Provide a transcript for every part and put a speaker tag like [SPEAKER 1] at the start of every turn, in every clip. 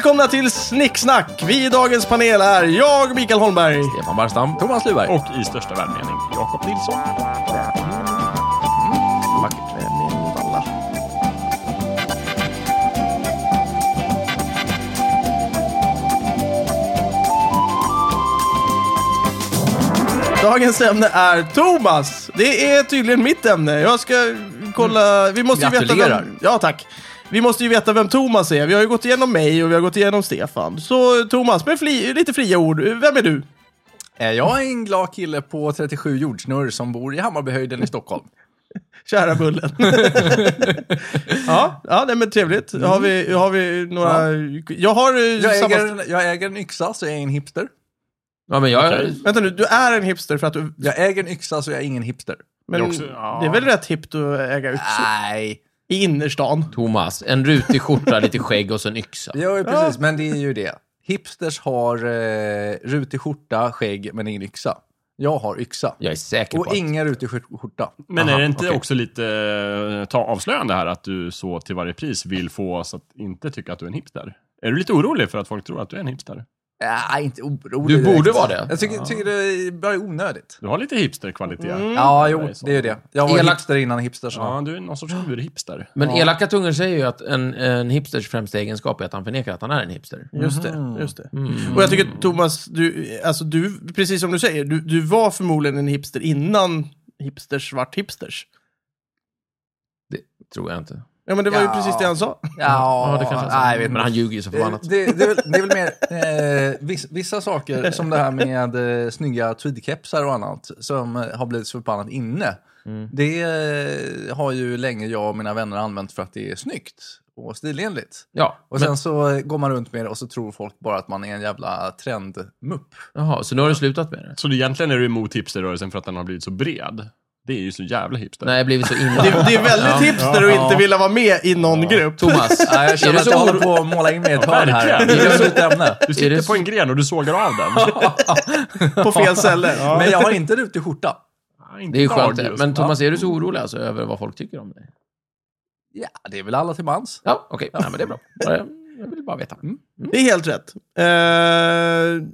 [SPEAKER 1] Välkomna till Snicksnack! Vi i dagens panel är jag, Mikael Holmberg.
[SPEAKER 2] Stefan Barstam, Thomas Mm. Luberg.
[SPEAKER 3] Och i största välmening, Jakob Nilsson.
[SPEAKER 1] Dagens ämne är Thomas. Det är tydligen mitt ämne. Jag ska kolla... Vi måste ju veta
[SPEAKER 2] Mm. Gratulerar.
[SPEAKER 1] vem... Ja, tack. Vi måste ju veta vem Thomas är. Vi har ju gått igenom mig och vi har gått igenom Stefan. Så Thomas, med fli... lite fria ord, vem är du?
[SPEAKER 2] Eh, Jag är en glad kille på 37 jordsnurr som bor i Hammarbyhöjden i Stockholm.
[SPEAKER 1] Kära Bullen. ja, ja nej, men trevligt. Har, vi, har vi några... Jag har... eh,
[SPEAKER 2] Mm. Jag
[SPEAKER 1] samma...
[SPEAKER 2] äger, en, jag äger en yxa så jag är en hipster.
[SPEAKER 4] Ja, men jag,
[SPEAKER 3] Okej.
[SPEAKER 1] Vänta nu, du är en hipster för att du...
[SPEAKER 2] Jag äger en yxa så jag är ingen hipster.
[SPEAKER 1] Men
[SPEAKER 3] Det är också- ja.
[SPEAKER 1] det är väl rätt hippt att äga yxor?
[SPEAKER 2] Nej.
[SPEAKER 1] I innerstan.
[SPEAKER 4] Thomas, en rutig skjorta, lite skägg och så en yxa.
[SPEAKER 2] Jo, precis. Men det är ju det. Hipsters har eh, rutig skjorta, skägg, men ingen yxa. Jag har yxa.
[SPEAKER 4] Jag är säker på
[SPEAKER 2] Och
[SPEAKER 4] att...
[SPEAKER 2] ingen rutig skjor- skjorta.
[SPEAKER 3] Men
[SPEAKER 4] Aha,
[SPEAKER 3] är det inte
[SPEAKER 4] okej.
[SPEAKER 3] också lite eh, ta avslöjande här att du så till varje pris vill få oss att inte tycka att du är en hipster? Är du lite orolig för att folk tror att du är en hipster?
[SPEAKER 2] Nej, Äh, inte orolig.
[SPEAKER 4] Du
[SPEAKER 2] direkt.
[SPEAKER 4] borde vara det.
[SPEAKER 2] Jag tycker, tycker det är bara onödigt.
[SPEAKER 3] Du har lite hipsterkvaliteter.
[SPEAKER 2] Ja,
[SPEAKER 3] Det
[SPEAKER 2] jo,
[SPEAKER 3] är så.
[SPEAKER 2] det är ju det. Jag var
[SPEAKER 4] Elak-
[SPEAKER 2] hipster innan hipsters.
[SPEAKER 3] Ja, du är någon sorts urhipster.
[SPEAKER 4] Men elaka tungor säger ju att en, en hipsters främsta egenskap är att han förnekar att han är en hipster.
[SPEAKER 1] Just det. Just det.
[SPEAKER 4] Mm.
[SPEAKER 1] Och jag tycker Thomas, du, alltså du, precis som du säger, du, du var förmodligen en hipster innan hipsters vart hipsters.
[SPEAKER 4] Tror jag inte.
[SPEAKER 1] Ja, men det var ju
[SPEAKER 2] Ja.
[SPEAKER 1] precis det han sa.
[SPEAKER 2] Ja,
[SPEAKER 4] det kanske
[SPEAKER 2] nej, jag vet
[SPEAKER 4] Men
[SPEAKER 2] inte.
[SPEAKER 4] han ljuger ju så förbannat.
[SPEAKER 2] Det, det, är väl- det är väl mer eh, viss, vissa saker som det här med eh, snygga tweedkepsar och annat som eh, har blivit så förbannat inne.
[SPEAKER 4] Mm.
[SPEAKER 2] Det eh, har ju länge jag och mina vänner använt för att det är snyggt och stilenligt.
[SPEAKER 4] Ja.
[SPEAKER 2] Och sen så eh, går man runt med det och så tror folk bara att man är en jävla trendmupp.
[SPEAKER 4] Jaha, så nu har du slutat med det?
[SPEAKER 3] Så du egentligen är du emot hipsterrörelsen för att den har blivit så bred? Det är ju så jävla hipster.
[SPEAKER 4] Nej, jag har blivit så
[SPEAKER 1] Det,
[SPEAKER 4] inblandad.
[SPEAKER 1] det är väldigt hipster att inte vilja vara med i någon grupp.
[SPEAKER 4] Thomas,
[SPEAKER 2] Ja, jag
[SPEAKER 4] är
[SPEAKER 2] känner
[SPEAKER 4] du
[SPEAKER 2] att jag
[SPEAKER 4] så
[SPEAKER 2] håller
[SPEAKER 4] oro...
[SPEAKER 2] på att måla in mig i ett
[SPEAKER 3] Ja,
[SPEAKER 2] hörn här. Det
[SPEAKER 3] verkligen.
[SPEAKER 2] är ett slut ämne.
[SPEAKER 3] Du
[SPEAKER 4] Är det
[SPEAKER 3] sitter
[SPEAKER 4] så-
[SPEAKER 3] på en gren och du sågar av den.
[SPEAKER 1] På fel celler. Ja.
[SPEAKER 2] Men jag har inte rutig skjorta.
[SPEAKER 3] Nej, Ah, inte
[SPEAKER 4] Det är ju
[SPEAKER 3] idag
[SPEAKER 4] skönt det.
[SPEAKER 3] just.
[SPEAKER 4] Men Thomas, är du så orolig alltså över vad folk tycker om dig?
[SPEAKER 2] Ja, det är väl alla till mans.
[SPEAKER 4] Ja, okej. Nej, men det är bra. Bara- Jag vill bara veta. Mm.
[SPEAKER 1] Det är helt rätt. Eh,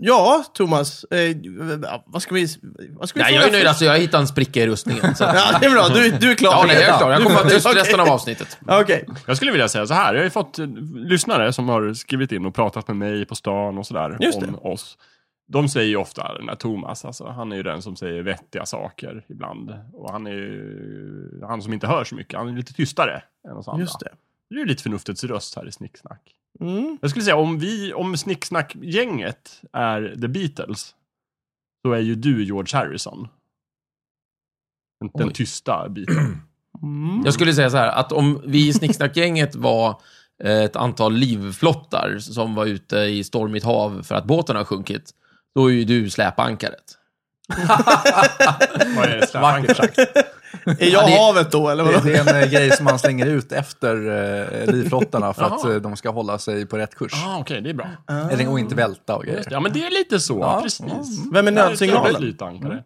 [SPEAKER 1] ja, Thomas. eh, ja, vad ska vi... Vad ska vi fråga
[SPEAKER 4] Nej, jag är
[SPEAKER 1] för-
[SPEAKER 4] nöjd. Alltså, jag hittade en spricka i rustningen. Så. att-
[SPEAKER 1] Ja, det är bra. Du, du är klar.
[SPEAKER 4] Ja, nej, jag är
[SPEAKER 1] redan.
[SPEAKER 4] klar. Jag
[SPEAKER 1] Du-
[SPEAKER 4] kommer vara tyst
[SPEAKER 1] Okej.
[SPEAKER 4] resten av avsnittet.
[SPEAKER 1] Okej.
[SPEAKER 3] Jag skulle vilja säga så här, jag har ju fått eh, lyssnare som har skrivit in och pratat med mig på stan och sådär
[SPEAKER 1] Just
[SPEAKER 3] om oss. De säger ju ofta, den där Thomas, alltså, han är ju den som säger vettiga saker ibland. Och han är ju han som inte hör så mycket, han är lite tystare än oss andra.
[SPEAKER 1] Just det.
[SPEAKER 3] det är ju lite förnuftets röst här i Snicksnack.
[SPEAKER 1] Mm.
[SPEAKER 3] Jag skulle säga om vi, om Snicksnack-gänget är The Beatles, så är ju du George Harrison. Den, den
[SPEAKER 4] Oj.
[SPEAKER 3] tysta biten.
[SPEAKER 1] Mm.
[SPEAKER 4] Jag skulle säga så här, att om vi i Snicksnackgänget var eh, ett antal livflottar som var ute i stormigt hav för att båten har sjunkit, då är ju du släpankaret.
[SPEAKER 3] Vad är det? Släpankaret?
[SPEAKER 1] Är jag
[SPEAKER 4] Ja, det-
[SPEAKER 1] havet då, eller
[SPEAKER 2] Det,
[SPEAKER 1] vadå?
[SPEAKER 2] det är en eh, grej som man slänger ut efter eh, livflottarna för att
[SPEAKER 3] Jaha.
[SPEAKER 2] eh, de ska hålla sig på rätt kurs.
[SPEAKER 3] Ah, Okej, det är bra.
[SPEAKER 2] Eller, och inte välta och
[SPEAKER 3] Just
[SPEAKER 2] grejer.
[SPEAKER 3] det. Ja, men det är lite så.
[SPEAKER 2] Ja.
[SPEAKER 3] Precis.
[SPEAKER 1] Vem är
[SPEAKER 3] Där
[SPEAKER 1] nödsignalen?
[SPEAKER 3] ska det bli ett ankare.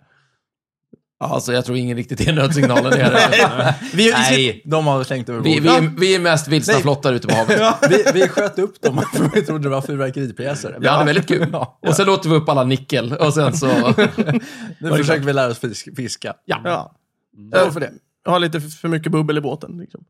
[SPEAKER 4] Alltså, jag tror ingen riktigt är nödsignalen. Det är det.
[SPEAKER 1] Vi, vi sitter-
[SPEAKER 2] Nej, de har slängt över
[SPEAKER 4] Vi,
[SPEAKER 2] vi,
[SPEAKER 4] vi, är, vi är mest vilsna
[SPEAKER 2] Nej.
[SPEAKER 4] flottar ute på havet.
[SPEAKER 2] vi, vi sköt upp dem för vi trodde det var fyrverkeripjäser.
[SPEAKER 4] Vi hade väldigt kul.
[SPEAKER 2] Ja.
[SPEAKER 4] Och sen låter vi upp alla nickel och sen så...
[SPEAKER 2] Nu försöker vi lära oss fisk, fiska.
[SPEAKER 4] Ja.
[SPEAKER 1] Ja.
[SPEAKER 3] Mm.
[SPEAKER 2] Ja, för det.
[SPEAKER 1] Jag har lite för mycket bubbel i båten. Liksom.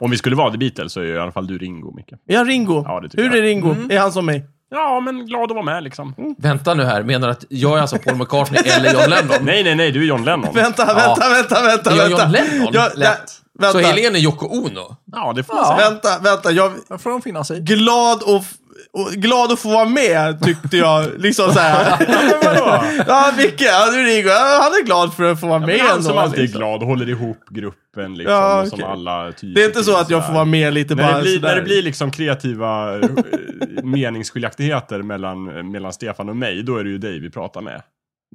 [SPEAKER 3] Om vi skulle vara The Beatles så är ju i alla fall du Ringo, Micke.
[SPEAKER 1] Är jag Ringo?
[SPEAKER 3] Ja, det tycker
[SPEAKER 1] Hur är
[SPEAKER 3] jag.
[SPEAKER 1] Ringo? Är han som mig?
[SPEAKER 3] Ja, men glad att vara med liksom.
[SPEAKER 4] Vänta nu här, menar du att jag är alltså Paul McCartney eller John Lennon?
[SPEAKER 3] Nej, nej, nej, du är John Lennon.
[SPEAKER 1] Vänta, vänta, vänta, vänta.
[SPEAKER 4] Är jag
[SPEAKER 1] vänta.
[SPEAKER 4] John Lennon?
[SPEAKER 1] Jag,
[SPEAKER 2] Lätt.
[SPEAKER 1] nej, vänta,
[SPEAKER 4] Så helgen är Yoko Ono?
[SPEAKER 3] Ja, det får man säga.
[SPEAKER 1] vänta, vänta. Jag,
[SPEAKER 2] Där får de finna sig.
[SPEAKER 1] glad och, f- och glad att få vara med, tyckte jag. liksom så här.
[SPEAKER 3] Men vadå?
[SPEAKER 1] ja, Micke, ja, du Ringo. Ja, han är glad för att få vara
[SPEAKER 3] Ja,
[SPEAKER 1] med
[SPEAKER 3] men han
[SPEAKER 1] ändå,
[SPEAKER 3] som alltid är
[SPEAKER 1] liksom.
[SPEAKER 3] glad och håller ihop gruppen liksom.
[SPEAKER 1] Ja,
[SPEAKER 3] och Som
[SPEAKER 1] okej.
[SPEAKER 3] alla typer
[SPEAKER 1] Det är inte så att jag
[SPEAKER 3] sådär.
[SPEAKER 1] får vara med lite bara
[SPEAKER 3] När det, blir,
[SPEAKER 1] sådär.
[SPEAKER 3] när det blir liksom kreativa eh, meningsskiljaktigheter mellan, eh, mellan Stefan och mig, då är det ju dig vi pratar med.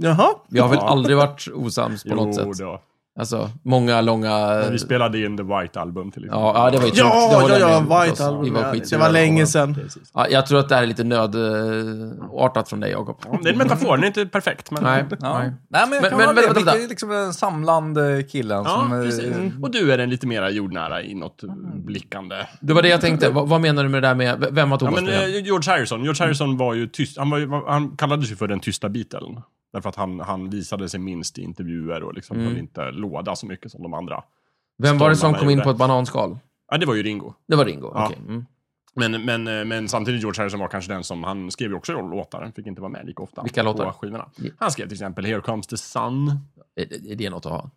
[SPEAKER 1] Jaha.
[SPEAKER 4] Vi har väl
[SPEAKER 3] Ja.
[SPEAKER 4] aldrig varit osams på något sätt?
[SPEAKER 3] då.
[SPEAKER 4] Alltså, många långa...
[SPEAKER 3] Vi spelade in The White Album till exempel.
[SPEAKER 4] Ja, ja, det var ju tråkigt. Det
[SPEAKER 1] Ja,
[SPEAKER 4] håller
[SPEAKER 1] ja,
[SPEAKER 4] jag
[SPEAKER 1] ja,
[SPEAKER 4] med om,
[SPEAKER 1] White
[SPEAKER 4] förstås. Vi
[SPEAKER 1] Album.
[SPEAKER 4] var
[SPEAKER 1] ja. Det
[SPEAKER 4] skitsura.
[SPEAKER 1] var länge sedan.
[SPEAKER 3] Precis.
[SPEAKER 4] Ja, jag tror att det här är lite nödartat från dig, Jakob.
[SPEAKER 3] Ja, Det är en metafor, den är inte perfekt. Men...
[SPEAKER 4] Nej.
[SPEAKER 2] Ja.
[SPEAKER 4] Nej.
[SPEAKER 2] Nej. men jag
[SPEAKER 4] Men-
[SPEAKER 2] kan
[SPEAKER 4] men-
[SPEAKER 2] hålla
[SPEAKER 4] vänta,
[SPEAKER 2] med.
[SPEAKER 4] vänta. Mm.
[SPEAKER 2] Micke är liksom den samlande killen
[SPEAKER 3] Ja,
[SPEAKER 4] Alltså,
[SPEAKER 2] som... eh,
[SPEAKER 3] precis. Och du är den lite mera jordnära, inåtblickande.
[SPEAKER 4] Det var det jag tänkte. Vad, vad menar du med det där med... v- Vem var
[SPEAKER 3] Ja,
[SPEAKER 4] Thomas?
[SPEAKER 3] men, eh,
[SPEAKER 4] Ja,
[SPEAKER 3] George Harrison. George Harrison var ju tyst. Han, var, ju- han kallades ju för den tysta Beatlen. Därför att han, han visade sig minst i intervjuer och liksom
[SPEAKER 4] Mm.
[SPEAKER 3] höll inte låda så mycket som de andra.
[SPEAKER 4] vem var det som
[SPEAKER 3] Stålarna
[SPEAKER 4] kom in
[SPEAKER 3] gjorde.
[SPEAKER 4] på ett bananskal?
[SPEAKER 3] Ja, det var ju Ringo.
[SPEAKER 4] Det var Ringo.
[SPEAKER 3] Ja.
[SPEAKER 4] Okej. Mm.
[SPEAKER 3] Men, men, eh, men samtidigt George Harrison var kanske den som, han skrev ju också låtar, han fick inte vara med lika ofta.
[SPEAKER 4] Vilka låtar?
[SPEAKER 3] På skivorna.
[SPEAKER 4] Ja.
[SPEAKER 3] Han skrev till exempel Here Comes the Sun.
[SPEAKER 4] Är, det- är det något att ha?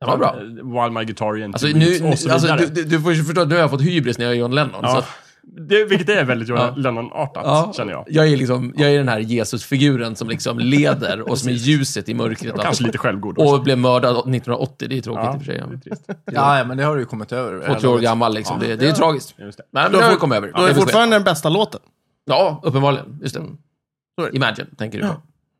[SPEAKER 4] Det var bra.
[SPEAKER 3] eh, While My Guitar and
[SPEAKER 4] Alltså,
[SPEAKER 3] Two
[SPEAKER 4] nu,
[SPEAKER 3] Weeks och så
[SPEAKER 4] alltså,
[SPEAKER 3] vidare.
[SPEAKER 4] du, du- du får ju förstå att nu har jag fått hybris när jag är John Lennon.
[SPEAKER 3] ja.
[SPEAKER 4] Så,
[SPEAKER 3] det, vilket är väldigt
[SPEAKER 4] Ja.
[SPEAKER 3] Lennon-artat,
[SPEAKER 4] ja,
[SPEAKER 3] känner jag.
[SPEAKER 4] Jag är, liksom, jag är den här Jesusfiguren som liksom leder och som är ljuset i mörkret.
[SPEAKER 3] Och kanske lite självgod också.
[SPEAKER 4] och blev mördad 1980. Det är tråkigt
[SPEAKER 3] Ja,
[SPEAKER 4] i och för sig.
[SPEAKER 3] det är trist.
[SPEAKER 2] Ja, ja, men det har du ju kommit över.
[SPEAKER 4] Ja. 80 år gammal liksom. det, det är tragiskt.
[SPEAKER 3] Just det.
[SPEAKER 4] Men
[SPEAKER 1] Då
[SPEAKER 4] nu har vi
[SPEAKER 1] får-
[SPEAKER 4] kommit över.
[SPEAKER 1] Då är
[SPEAKER 4] Det
[SPEAKER 1] det
[SPEAKER 4] besked.
[SPEAKER 1] fortfarande den bästa låten.
[SPEAKER 4] Ja, uppenbarligen. Just det.
[SPEAKER 1] Så
[SPEAKER 3] Mm.
[SPEAKER 1] är det.
[SPEAKER 4] Imagine, tänker du på.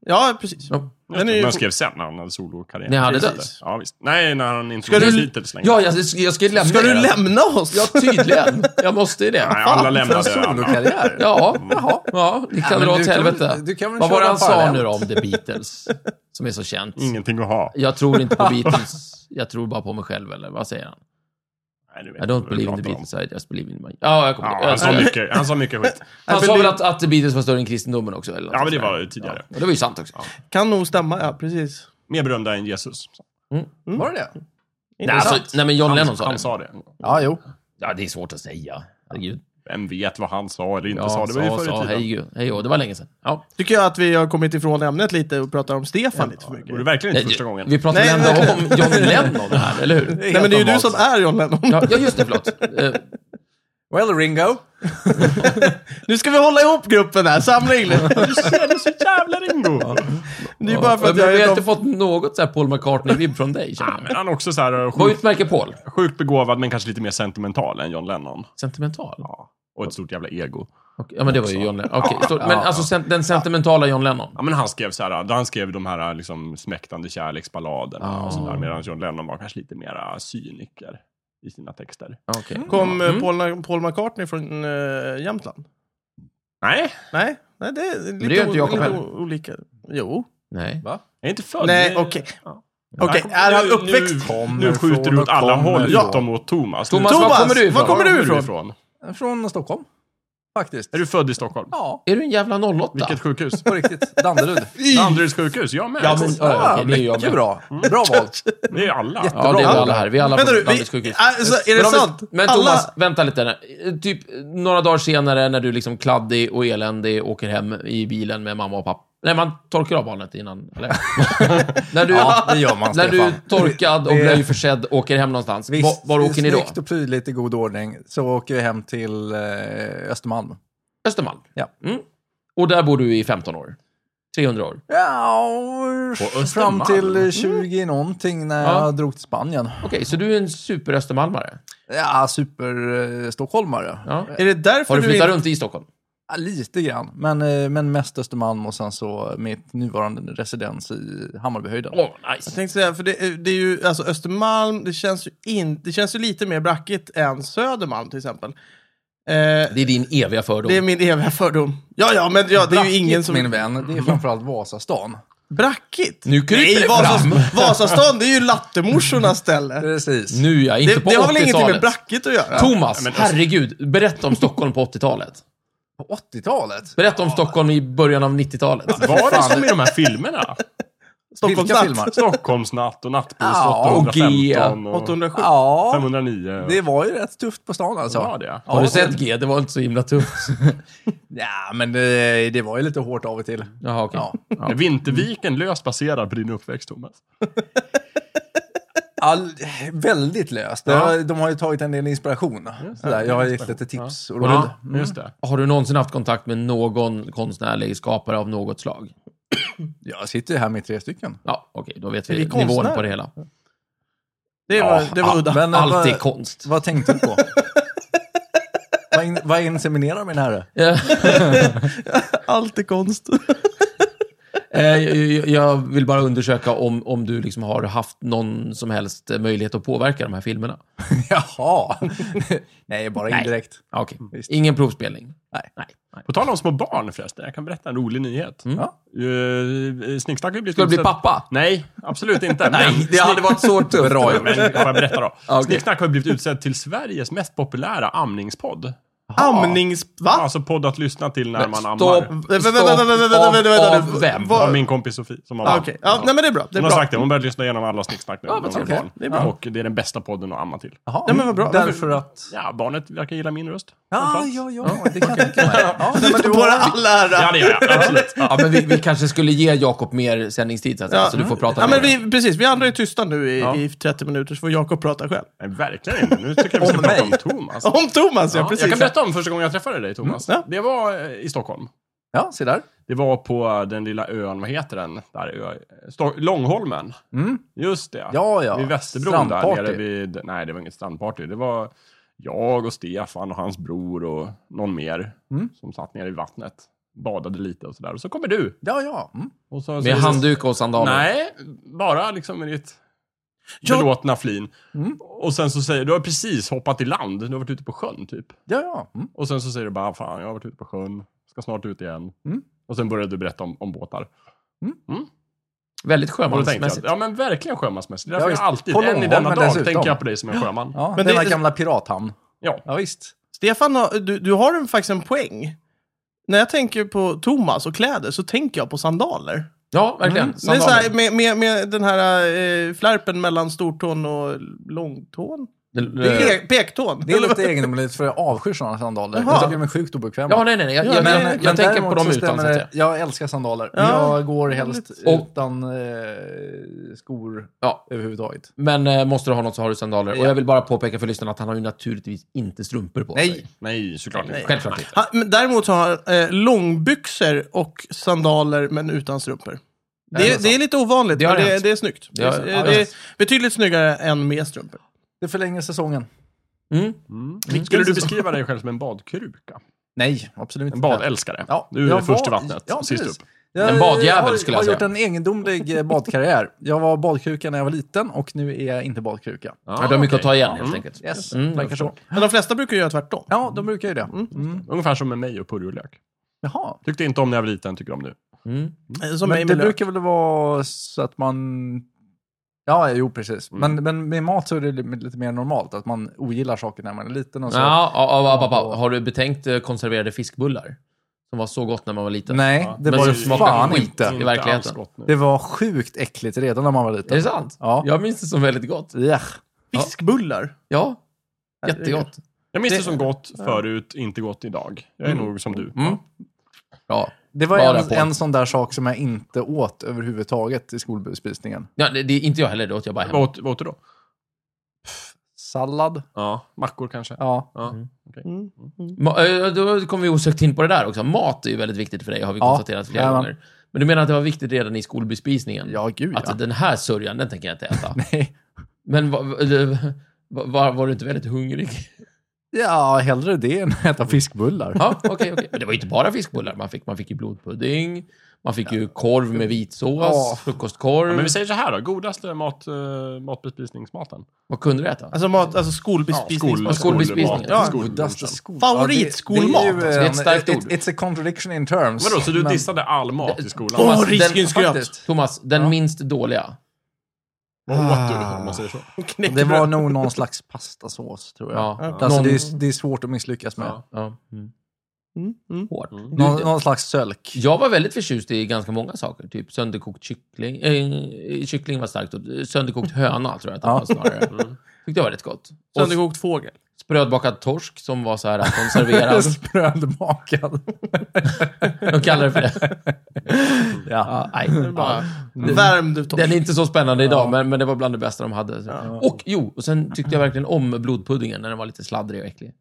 [SPEAKER 1] Ja, precis.
[SPEAKER 4] Ja.
[SPEAKER 1] Den
[SPEAKER 3] Just
[SPEAKER 1] är
[SPEAKER 3] det,
[SPEAKER 1] ju...
[SPEAKER 3] men han skrev sen när han hade solokarriär.
[SPEAKER 4] När han hade
[SPEAKER 3] Precis. Ja, visst. Nej, när han inte
[SPEAKER 1] Ska
[SPEAKER 3] var
[SPEAKER 1] du-
[SPEAKER 3] Beatles längre.
[SPEAKER 4] Ja, jag, jag ska ju lämna
[SPEAKER 1] Ska du
[SPEAKER 4] er.
[SPEAKER 1] lämna oss?
[SPEAKER 4] Ja, tydligen. Jag måste ju
[SPEAKER 3] Nej,
[SPEAKER 4] det.
[SPEAKER 3] alla
[SPEAKER 2] En
[SPEAKER 3] lämnade alla.
[SPEAKER 2] solokarriär?
[SPEAKER 4] Ja, jaha. Ja, ni kan
[SPEAKER 2] men
[SPEAKER 4] dra
[SPEAKER 2] du
[SPEAKER 4] åt
[SPEAKER 2] kan väl-
[SPEAKER 4] helvete.
[SPEAKER 2] du kan väl
[SPEAKER 4] Vad var det
[SPEAKER 2] köra
[SPEAKER 4] han sa
[SPEAKER 2] parallellt?
[SPEAKER 4] nu då om The Beatles? Som är så känt.
[SPEAKER 3] Ingenting att ha.
[SPEAKER 4] Jag tror inte på Beatles. Jag tror bara på mig själv, eller vad säger han?
[SPEAKER 3] Nej, du vet
[SPEAKER 4] I
[SPEAKER 3] inte vad
[SPEAKER 4] don't
[SPEAKER 3] du
[SPEAKER 4] believe in the
[SPEAKER 3] pratar om.
[SPEAKER 4] Beatles, I just believe in my... Ja, jag kommer
[SPEAKER 3] Ja,
[SPEAKER 4] ihåg.
[SPEAKER 3] han, sa
[SPEAKER 4] Jag-
[SPEAKER 3] mycket, han sa mycket skit.
[SPEAKER 4] Han sa väl att, att The Beatles var större än kristendomen också? Eller något
[SPEAKER 3] Ja, men det
[SPEAKER 4] sånt där.
[SPEAKER 3] var ju tidigare.
[SPEAKER 4] Ja, och det var ju sant också.
[SPEAKER 1] Kan nog stämma, ja, precis.
[SPEAKER 3] Mer berömda än Jesus.
[SPEAKER 2] Var det det?
[SPEAKER 4] Nej, alltså, nej, men John
[SPEAKER 3] Han,
[SPEAKER 4] Lennon sa
[SPEAKER 3] han
[SPEAKER 4] det.
[SPEAKER 3] sa det.
[SPEAKER 2] Ja, jo.
[SPEAKER 4] Ja, det är svårt att säga. Herregud.
[SPEAKER 3] Vem vet vad han sa eller inte
[SPEAKER 4] Ja,
[SPEAKER 3] sa. Det var ju förr i tiden.
[SPEAKER 4] hej, gud, hej, och det var länge sedan. Ja.
[SPEAKER 1] Tycker jag att vi har kommit ifrån ämnet lite och pratar om Stefan lite för mycket.
[SPEAKER 3] Det var verkligen inte första gången.
[SPEAKER 4] Vi pratar
[SPEAKER 1] Nej,
[SPEAKER 4] väl ändå
[SPEAKER 1] verkligen.
[SPEAKER 4] om John Lennon här, eller hur?
[SPEAKER 1] Nej, men det är ju du
[SPEAKER 2] normalt.
[SPEAKER 1] som är John Lennon.
[SPEAKER 4] Ja, ja, just det, förlåt. Eh,
[SPEAKER 2] Well, Ringo.
[SPEAKER 1] Nu ska vi hålla ihop gruppen här, samla in er.
[SPEAKER 3] Det är så jävla Ringo!
[SPEAKER 1] Det är ju bara för att
[SPEAKER 4] men
[SPEAKER 1] jag
[SPEAKER 4] vi
[SPEAKER 1] är
[SPEAKER 4] har inte
[SPEAKER 1] de...
[SPEAKER 4] fått något så här Paul McCartney-vibb från dig, känner jag.
[SPEAKER 3] Men han är också så här
[SPEAKER 4] Vad
[SPEAKER 3] sjukt,
[SPEAKER 4] utmärker Paul?
[SPEAKER 3] sjukt begåvad, men kanske lite mer sentimental än John Lennon.
[SPEAKER 4] Sentimental?
[SPEAKER 3] Ja. Och ett stort jävla ego.
[SPEAKER 4] Okej, ja, men det var ju John Lennon. Okej, så- men alltså sen, den sentimentala John Lennon?
[SPEAKER 3] Ja, men han skrev så här, han skrev de här liksom smäktande kärleksballaderna och sådär, medan John Lennon var kanske lite mera cyniker i sina texter.
[SPEAKER 4] Okej.
[SPEAKER 1] Kom eh, Paul, Paul McCartney från eh, Jämtland?
[SPEAKER 3] Nej,
[SPEAKER 1] Nej, nej det är lite,
[SPEAKER 4] det gör inte
[SPEAKER 1] o-
[SPEAKER 4] Jakob
[SPEAKER 1] lite
[SPEAKER 4] heller.
[SPEAKER 1] o- olika. Jo.
[SPEAKER 4] Nej.
[SPEAKER 3] jag är inte född.
[SPEAKER 1] Nej,
[SPEAKER 3] Det-
[SPEAKER 1] okej.
[SPEAKER 3] Ja.
[SPEAKER 1] Okej,
[SPEAKER 3] kom-
[SPEAKER 1] är han
[SPEAKER 3] nu-
[SPEAKER 1] uppväxt?
[SPEAKER 3] Nu,
[SPEAKER 2] Kommer
[SPEAKER 3] nu skjuter
[SPEAKER 2] från
[SPEAKER 3] du
[SPEAKER 2] och
[SPEAKER 3] åt alla
[SPEAKER 2] kommer
[SPEAKER 3] håll
[SPEAKER 2] från.
[SPEAKER 3] utom mot Thomas.
[SPEAKER 4] Thomas,
[SPEAKER 3] Thomas,
[SPEAKER 4] var
[SPEAKER 1] Thomas,
[SPEAKER 4] kommer du ifrån?
[SPEAKER 1] var kommer du ifrån?
[SPEAKER 2] Från Stockholm, faktiskt.
[SPEAKER 3] Är du född i Stockholm?
[SPEAKER 2] Ja,
[SPEAKER 4] Är du en jävla 08?
[SPEAKER 3] Vilket sjukhus?
[SPEAKER 2] på riktigt. Danderyd.
[SPEAKER 3] Danderyds sjukhus, jag med.
[SPEAKER 4] Ja, men-
[SPEAKER 2] Ja,
[SPEAKER 4] okej, det är ju jag
[SPEAKER 2] mycket
[SPEAKER 4] med.
[SPEAKER 2] bra. Bra val.
[SPEAKER 3] Det är alla.
[SPEAKER 4] Ja, det är vi
[SPEAKER 1] Bra.
[SPEAKER 4] alla här. Vi är alla
[SPEAKER 1] Vänta
[SPEAKER 4] på
[SPEAKER 1] du, vi,
[SPEAKER 4] Danderyds sjukhus.
[SPEAKER 1] alltså, är det
[SPEAKER 4] Men om vi-
[SPEAKER 1] sant?
[SPEAKER 4] Men
[SPEAKER 1] Alla-
[SPEAKER 4] Thomas, vänta lite. där. Eh, Typ eh, några dagar senare när du liksom kladdig och eländig åker hem i bilen med mamma och pappa. Nej, man torkar av barnet innan. Eller? när du,
[SPEAKER 2] Ja, det gör man,
[SPEAKER 4] när du
[SPEAKER 2] Stefan.
[SPEAKER 4] torkad och
[SPEAKER 2] Det-
[SPEAKER 4] blöjförsedd åker hem någonstans. var, var åker ni då?
[SPEAKER 2] snyggt och prydligt i god ordning så åker vi hem till eh, Östermalm.
[SPEAKER 4] Östermalm.
[SPEAKER 2] Ja.
[SPEAKER 4] Mm. Och där bor du i 15 år. 300 år.
[SPEAKER 2] Ja,
[SPEAKER 3] På
[SPEAKER 2] fram
[SPEAKER 3] Östermalm?
[SPEAKER 2] till eh, 20 någonting när
[SPEAKER 4] Ja.
[SPEAKER 2] jag drog till Spanien.
[SPEAKER 4] Okej, så du är en superöstermalmare.
[SPEAKER 2] Ja, eh, super-stockholmare.
[SPEAKER 4] Ja.
[SPEAKER 1] Är det därför
[SPEAKER 4] Har du
[SPEAKER 1] Eh, du,
[SPEAKER 4] flyttat
[SPEAKER 1] inte...
[SPEAKER 4] runt i Stockholm?
[SPEAKER 2] Ja, lite grann, men, eh, men mest Östermalm och sen så mitt nuvarande residens i Hammarbyhöjden.
[SPEAKER 4] Åh,
[SPEAKER 1] Jag
[SPEAKER 4] nice.
[SPEAKER 1] tänkte säga, för det, är- det är ju, alltså Östermalm, det känns ju in, det känns ju lite mer brackigt än Södermalm till exempel. Eh,
[SPEAKER 4] Det är din eviga fördom.
[SPEAKER 1] det är min eviga fördom. Ja, ja, men ja, det är ju ingen som...
[SPEAKER 2] Min vän, det är framförallt Vasastan.
[SPEAKER 1] Brackigt?
[SPEAKER 4] Nu kryper det
[SPEAKER 1] Vasas-
[SPEAKER 4] fram.
[SPEAKER 1] Vasastan, det är ju lattemorsornas ställe.
[SPEAKER 2] Precis.
[SPEAKER 4] Nu ja, inte
[SPEAKER 1] Det,
[SPEAKER 4] på
[SPEAKER 1] det har väl ingenting med
[SPEAKER 4] 80-talet.
[SPEAKER 1] brackigt att göra?
[SPEAKER 4] Thomas,
[SPEAKER 3] men-
[SPEAKER 4] herregud. Berätta om Stockholm på 80-talet.
[SPEAKER 2] På 80-talet?
[SPEAKER 4] Berätta om Stockholm i början av 90-talet.
[SPEAKER 3] Var det som i de här filmerna?
[SPEAKER 1] Stockholmsnatt.
[SPEAKER 2] Vilka filmer?
[SPEAKER 3] Stockholmsnatt och Nattbuss
[SPEAKER 2] Ja,
[SPEAKER 4] och
[SPEAKER 3] 815 och,
[SPEAKER 1] 807.
[SPEAKER 2] Ja,
[SPEAKER 3] 509.
[SPEAKER 2] det var ju rätt tufft på stan alltså.
[SPEAKER 3] var det.
[SPEAKER 4] Har du sett G? Det var inte så himla tufft.
[SPEAKER 2] Ja, men det, det var ju lite hårt av och till.
[SPEAKER 4] Jaha, okej.
[SPEAKER 2] Ja.
[SPEAKER 3] Vinterviken löst baserad på din uppväxt, Thomas.
[SPEAKER 2] All, väldigt löst. Det
[SPEAKER 3] Ja.
[SPEAKER 2] har- De har ju tagit en del inspiration. Sådär, jag har gett lite tips och råd.
[SPEAKER 4] Ja.
[SPEAKER 3] Just det.
[SPEAKER 4] Har du någonsin haft kontakt med någon konstnärlig skapare av något slag?
[SPEAKER 2] Jag sitter ju här med tre stycken.
[SPEAKER 4] Ja, okej. Då vet
[SPEAKER 1] Är
[SPEAKER 4] vi
[SPEAKER 1] vi konstnärer?
[SPEAKER 4] nivån på det hela.
[SPEAKER 1] Det var, det var udda.
[SPEAKER 2] Men,
[SPEAKER 4] Allt är
[SPEAKER 2] vad,
[SPEAKER 4] konst.
[SPEAKER 2] vad tänkte du på? vad, in, vad inseminerar min herre?
[SPEAKER 4] Eh,
[SPEAKER 1] Allt är konst.
[SPEAKER 4] Eh, jag, jag vill bara undersöka om, om du liksom har haft någon som helst eh, möjlighet att påverka de här filmerna.
[SPEAKER 2] Jaha! Nej, bara
[SPEAKER 4] Nej.
[SPEAKER 2] indirekt.
[SPEAKER 4] Ja, Ah, Okej.
[SPEAKER 2] Visst.
[SPEAKER 4] Ingen provspelning?
[SPEAKER 2] Nej.
[SPEAKER 4] Nej. Nej.
[SPEAKER 3] På tal om små barn förresten, jag kan berätta en rolig nyhet.
[SPEAKER 4] Mm.
[SPEAKER 3] Ja. Eh, Snicksnack har ju blivit...
[SPEAKER 4] Ska du bli
[SPEAKER 3] utsett-
[SPEAKER 4] pappa?
[SPEAKER 3] Nej, absolut inte.
[SPEAKER 4] Nej, det hade varit så tufft.
[SPEAKER 2] Bra gjort.
[SPEAKER 3] Men får jag berätta då?
[SPEAKER 4] Ja, okej.
[SPEAKER 3] Snicksnack har ju blivit utsedd till Sveriges mest populära amningspodd.
[SPEAKER 1] Amnings... Va?
[SPEAKER 3] Alltså podd att lyssna till när
[SPEAKER 4] Men
[SPEAKER 3] man
[SPEAKER 4] Stopp.
[SPEAKER 3] ammar.
[SPEAKER 1] Vänta, vänta, vänta, vänta, vänta, vänta, vänta.
[SPEAKER 4] Av- av vem?
[SPEAKER 1] Vad-
[SPEAKER 3] Av min kompis Sofie som
[SPEAKER 1] Ah,
[SPEAKER 3] ammar.
[SPEAKER 1] Okej, ja, nej men det är bra. Det är
[SPEAKER 3] Hon har
[SPEAKER 1] bra.
[SPEAKER 3] sagt det, hon började lyssna igenom alla Snicksnack nu.
[SPEAKER 4] Ja, men
[SPEAKER 3] när hon var
[SPEAKER 4] okej.
[SPEAKER 3] barn.
[SPEAKER 1] Det är bra.
[SPEAKER 3] Och det är den bästa podden att amma till.
[SPEAKER 2] Jaha.
[SPEAKER 1] Ja, men vad bra.
[SPEAKER 2] Därför att...
[SPEAKER 3] Ja, barnet verkar gilla min röst.
[SPEAKER 2] Ja,
[SPEAKER 3] framförallt.
[SPEAKER 2] ja, ja. Det kan jag tänka mig. Ja, nej, men du
[SPEAKER 1] Bara
[SPEAKER 2] har...
[SPEAKER 1] all ära.
[SPEAKER 3] Ja, det gör jag. Absolut.
[SPEAKER 4] Ja, men vi, vi kanske skulle ge Jakob mer sändningstid, så, att, säga,
[SPEAKER 1] Ja.
[SPEAKER 4] så du får prata
[SPEAKER 1] Ja, men
[SPEAKER 4] mer.
[SPEAKER 1] vi, precis, vi andra är tysta nu i,
[SPEAKER 4] Ja.
[SPEAKER 1] i 30 minuter så får Jakob prata själv.
[SPEAKER 3] Nej, verkligen inte. Nu tycker jag vi
[SPEAKER 2] Om
[SPEAKER 3] ska prata
[SPEAKER 2] mig.
[SPEAKER 3] om Thomas.
[SPEAKER 1] Om Thomas, ja,
[SPEAKER 3] Ja,
[SPEAKER 1] precis.
[SPEAKER 3] jag kan berätta om första gången jag träffade dig, Thomas.
[SPEAKER 1] Mm, ja.
[SPEAKER 3] Det var eh, i Stockholm.
[SPEAKER 2] Ja, se där.
[SPEAKER 3] Det var på eh, den lilla ön, vad heter den? Där, ö, Sto- Långholmen.
[SPEAKER 2] Mm.
[SPEAKER 3] Just det.
[SPEAKER 2] Ja, ja.
[SPEAKER 3] Vid Västerbron där
[SPEAKER 2] Strandparty.
[SPEAKER 3] nere vid... Nej, det var inget strandparty. Det var jag och Stefan och hans bror och någon mer
[SPEAKER 2] Mm.
[SPEAKER 3] som satt nere i vattnet. Badade lite och sådär. Och så kommer du.
[SPEAKER 2] Ja, ja. Mm.
[SPEAKER 3] Och så,
[SPEAKER 4] Med handduk och sandaler.
[SPEAKER 3] Nej, bara liksom med ditt
[SPEAKER 1] Jag-
[SPEAKER 3] belåtna flin.
[SPEAKER 2] Mm.
[SPEAKER 3] Och sen så säger du, har precis hoppat i land. Du har varit ute på sjön typ.
[SPEAKER 2] Ja, ja. Mm.
[SPEAKER 3] Och sen så säger du bara, fan jag har varit ute på sjön, ska snart ut igen.
[SPEAKER 2] Mm.
[SPEAKER 3] Och sen började du berätta om, om båtar.
[SPEAKER 4] Väldigt
[SPEAKER 3] Och då tänkte jag,
[SPEAKER 4] sjömansmässigt.
[SPEAKER 3] ja men verkligen sjömansmässigt. Det är
[SPEAKER 2] Ja,
[SPEAKER 3] därför
[SPEAKER 2] visst.
[SPEAKER 3] jag alltid,
[SPEAKER 2] På
[SPEAKER 3] än i
[SPEAKER 2] Långholmen
[SPEAKER 3] denna dag,
[SPEAKER 2] dessutom.
[SPEAKER 3] tänker jag på dig som en sjöman.
[SPEAKER 2] Ja,
[SPEAKER 1] Men
[SPEAKER 2] men denna
[SPEAKER 1] det-
[SPEAKER 2] gamla pirathamn.
[SPEAKER 3] Ja.
[SPEAKER 2] Ja, visst.
[SPEAKER 1] Stefan, har- du, du har en- faktiskt en poäng. När jag tänker på Thomas och kläder så tänker jag på sandaler.
[SPEAKER 4] Ja, verkligen.
[SPEAKER 1] Det är
[SPEAKER 4] Sandaler.
[SPEAKER 1] så här, med, med, med den här eh, flärpen mellan stortån och långtån. Pe pektån.
[SPEAKER 2] Det är
[SPEAKER 1] Eller vad-
[SPEAKER 2] lite egendomligt för jag avskyr sådana sandaler.
[SPEAKER 1] Jaha.
[SPEAKER 2] Jag blir mig sjukt obekväm.
[SPEAKER 4] Ja, nej, nej, nej. Jag,
[SPEAKER 1] Ja,
[SPEAKER 4] jag,
[SPEAKER 1] men-
[SPEAKER 4] jag, jag tänker på
[SPEAKER 2] däremot
[SPEAKER 4] dem
[SPEAKER 2] så
[SPEAKER 4] utan,
[SPEAKER 2] stämmer
[SPEAKER 4] så att
[SPEAKER 2] det.
[SPEAKER 4] säga.
[SPEAKER 2] Jag älskar sandaler.
[SPEAKER 1] Ja.
[SPEAKER 2] Jag går helst
[SPEAKER 4] Och-
[SPEAKER 2] utan eh, skor
[SPEAKER 4] Ja.
[SPEAKER 2] överhuvudtaget.
[SPEAKER 4] Men eh, måste du ha något så har du sandaler. Och
[SPEAKER 2] Ja.
[SPEAKER 4] jag vill bara påpeka för lyssnarna att han har ju naturligtvis inte strumpor på sig.
[SPEAKER 2] Nej,
[SPEAKER 3] Nej, såklart inte.
[SPEAKER 4] Självklart inte.
[SPEAKER 1] Han, men däremot så har han eh, långbyxor och sandaler men utan strumpor. Det,
[SPEAKER 4] det är
[SPEAKER 1] är, det är lite ovanligt,
[SPEAKER 4] Det
[SPEAKER 1] det
[SPEAKER 4] har
[SPEAKER 1] men det,
[SPEAKER 4] hänt.
[SPEAKER 1] det är snyggt.
[SPEAKER 4] Det
[SPEAKER 1] Det,
[SPEAKER 4] har-
[SPEAKER 1] är,
[SPEAKER 4] ja,
[SPEAKER 1] det är
[SPEAKER 4] visst.
[SPEAKER 1] betydligt snyggare än med strumpor.
[SPEAKER 2] det förlänger säsongen.
[SPEAKER 4] Mm.
[SPEAKER 3] Mm. Skulle du beskriva dig själv som en badkruka?
[SPEAKER 2] Nej, absolut inte.
[SPEAKER 3] En badälskare?
[SPEAKER 2] Ja.
[SPEAKER 3] Du är
[SPEAKER 2] Jag
[SPEAKER 3] först i
[SPEAKER 2] var-
[SPEAKER 3] vattnet,
[SPEAKER 2] ja,
[SPEAKER 3] sist
[SPEAKER 2] precis.
[SPEAKER 3] upp.
[SPEAKER 2] Jag
[SPEAKER 4] En badjävel
[SPEAKER 2] har-
[SPEAKER 4] skulle jag
[SPEAKER 2] har
[SPEAKER 4] säga.
[SPEAKER 2] gjort en egendomlig eh, badkarriär. Jag var badkruka när jag var liten och nu är jag inte badkruka.
[SPEAKER 4] Ja, du har mycket
[SPEAKER 3] okej.
[SPEAKER 4] att ta igen, helt
[SPEAKER 3] Mm.
[SPEAKER 4] enkelt.
[SPEAKER 2] Yes,
[SPEAKER 4] Mm,
[SPEAKER 2] verkar så.
[SPEAKER 1] Men de flesta brukar göra tvärtom.
[SPEAKER 2] Ja, de brukar ju det. Mm.
[SPEAKER 3] Ungefär som med mig och purjolök.
[SPEAKER 2] Jaha.
[SPEAKER 3] Tyckte inte om när jag var liten, tycker om nu.
[SPEAKER 4] Mm.
[SPEAKER 1] Eh, Som mig
[SPEAKER 2] Men det
[SPEAKER 1] med lök.
[SPEAKER 2] brukar väl vara så att man... Ja, jo precis.
[SPEAKER 4] Mm.
[SPEAKER 2] Men, men med mat så är det li- lite mer normalt, att man ogillar saker när man är liten och så.
[SPEAKER 4] Ja, ja, ja, ja, ja. Har du betänkt eh, konserverade fiskbullar? Som var så gott när man var liten.
[SPEAKER 2] Nej,
[SPEAKER 3] Ja.
[SPEAKER 2] det
[SPEAKER 4] Men
[SPEAKER 2] var
[SPEAKER 4] så
[SPEAKER 2] ju
[SPEAKER 4] smakar
[SPEAKER 2] fan
[SPEAKER 4] skit.
[SPEAKER 2] inte.
[SPEAKER 4] i verkligheten.
[SPEAKER 3] alls gott nu.
[SPEAKER 2] Det var sjukt äckligt redan när man var
[SPEAKER 4] Är
[SPEAKER 2] liten.
[SPEAKER 4] det sant?
[SPEAKER 2] Ja.
[SPEAKER 4] Jag minns det som väldigt gott.
[SPEAKER 2] Ja.
[SPEAKER 1] Fiskbullar.
[SPEAKER 4] Ja, jättegott.
[SPEAKER 3] Jag minns det,
[SPEAKER 1] det-
[SPEAKER 3] som gott förut, inte gott idag. Jag är nog som du.
[SPEAKER 4] Mm. Ja.
[SPEAKER 2] Det var
[SPEAKER 4] Bara
[SPEAKER 2] en,
[SPEAKER 4] på.
[SPEAKER 2] en sån där sak som jag inte åt överhuvudtaget i skolbespisningen.
[SPEAKER 4] Ja, det, det är inte jag heller, det åt jag bara
[SPEAKER 3] Vad
[SPEAKER 4] hemma.
[SPEAKER 3] åt- vad åt du då?
[SPEAKER 2] Sallad?
[SPEAKER 3] Ja. Mackor kanske?
[SPEAKER 2] Ja.
[SPEAKER 3] Ja.
[SPEAKER 1] Mm.
[SPEAKER 4] Ma- eh, Då kom vi osökt in på det där också. Mat är ju väldigt viktigt för dig, har vi
[SPEAKER 2] Ja,
[SPEAKER 4] konstaterat flera
[SPEAKER 2] jajamän.
[SPEAKER 4] gånger. Men du menar att det var viktigt redan i skolbespisningen?
[SPEAKER 2] Ja, gud
[SPEAKER 4] Att
[SPEAKER 2] ja.
[SPEAKER 4] den här sörjan, den tänker jag inte äta.
[SPEAKER 2] Nej.
[SPEAKER 4] Men va- va- va- va- var du inte väldigt hungrig?
[SPEAKER 2] Ja, hellre det än att äta fiskbullar.
[SPEAKER 4] Ja, okej, okej. Men det var ju inte bara fiskbullar. Man fick, man fick ju blodpudding, man fick ju korv med vitsås,
[SPEAKER 2] Ja.
[SPEAKER 4] frukostkorv.
[SPEAKER 3] Ja, men vi säger så här då, godaste mat, eh, matbespisningsmaten?
[SPEAKER 4] Vad kunde du äta?
[SPEAKER 1] Alltså, mat, alltså skolbespisning.
[SPEAKER 3] Ja, skol-
[SPEAKER 4] skolbespisning.
[SPEAKER 3] skolmat.
[SPEAKER 1] Ja.
[SPEAKER 2] Godaste
[SPEAKER 3] Skollunchen.
[SPEAKER 2] skol...
[SPEAKER 1] Favoritskolmat.
[SPEAKER 2] Ja, det- det är ju
[SPEAKER 4] Det är ett
[SPEAKER 2] en-
[SPEAKER 4] starkt
[SPEAKER 2] it-
[SPEAKER 4] ord.
[SPEAKER 2] It's a contradiction in terms.
[SPEAKER 3] Vadå, så du
[SPEAKER 2] Men-
[SPEAKER 3] dissade all mat i skolan?
[SPEAKER 1] Åh,
[SPEAKER 3] Vad
[SPEAKER 1] oh,
[SPEAKER 4] den-
[SPEAKER 1] risgrynsgröt!
[SPEAKER 2] faktiskt.
[SPEAKER 4] Thomas, den
[SPEAKER 2] Ja.
[SPEAKER 4] minst dåliga.
[SPEAKER 3] åt du, om man säger så?
[SPEAKER 2] Ah, Det var nog någon slags pastasås, tror jag.
[SPEAKER 4] Ja.
[SPEAKER 1] Ja.
[SPEAKER 2] Alltså,
[SPEAKER 4] Någon-
[SPEAKER 2] det, är, det är svårt att misslyckas med.
[SPEAKER 3] Ja.
[SPEAKER 4] Ja. Mm.
[SPEAKER 1] Mm, mm.
[SPEAKER 4] Hårt.
[SPEAKER 3] Mm.
[SPEAKER 4] Du-
[SPEAKER 2] Någon, någon slags sölk.
[SPEAKER 4] Jag var väldigt förtjust i ganska många saker. Typ sönderkokt kyckling. Eh, kyckling var starkt. ord. Sönderkokt höna tror jag att det
[SPEAKER 2] Ja.
[SPEAKER 4] var snarare.
[SPEAKER 3] Mm.
[SPEAKER 4] Tyckte jag var rätt gott. Och
[SPEAKER 1] Sönderkokt fågel.
[SPEAKER 4] sprödbakad torsk som var så här konserverad.
[SPEAKER 2] Sprödmakad.
[SPEAKER 4] De kallar det för det.
[SPEAKER 2] ja.
[SPEAKER 4] Ja, nej.
[SPEAKER 1] bara-
[SPEAKER 4] Ja.
[SPEAKER 1] Värmd torsk.
[SPEAKER 4] Mm. Den är inte så spännande idag,
[SPEAKER 2] Ja.
[SPEAKER 4] men, men det var bland det bästa de hade.
[SPEAKER 1] Ja.
[SPEAKER 4] Och jo, och sen tyckte jag verkligen om blodpuddingen när den var lite sladdrig och äcklig.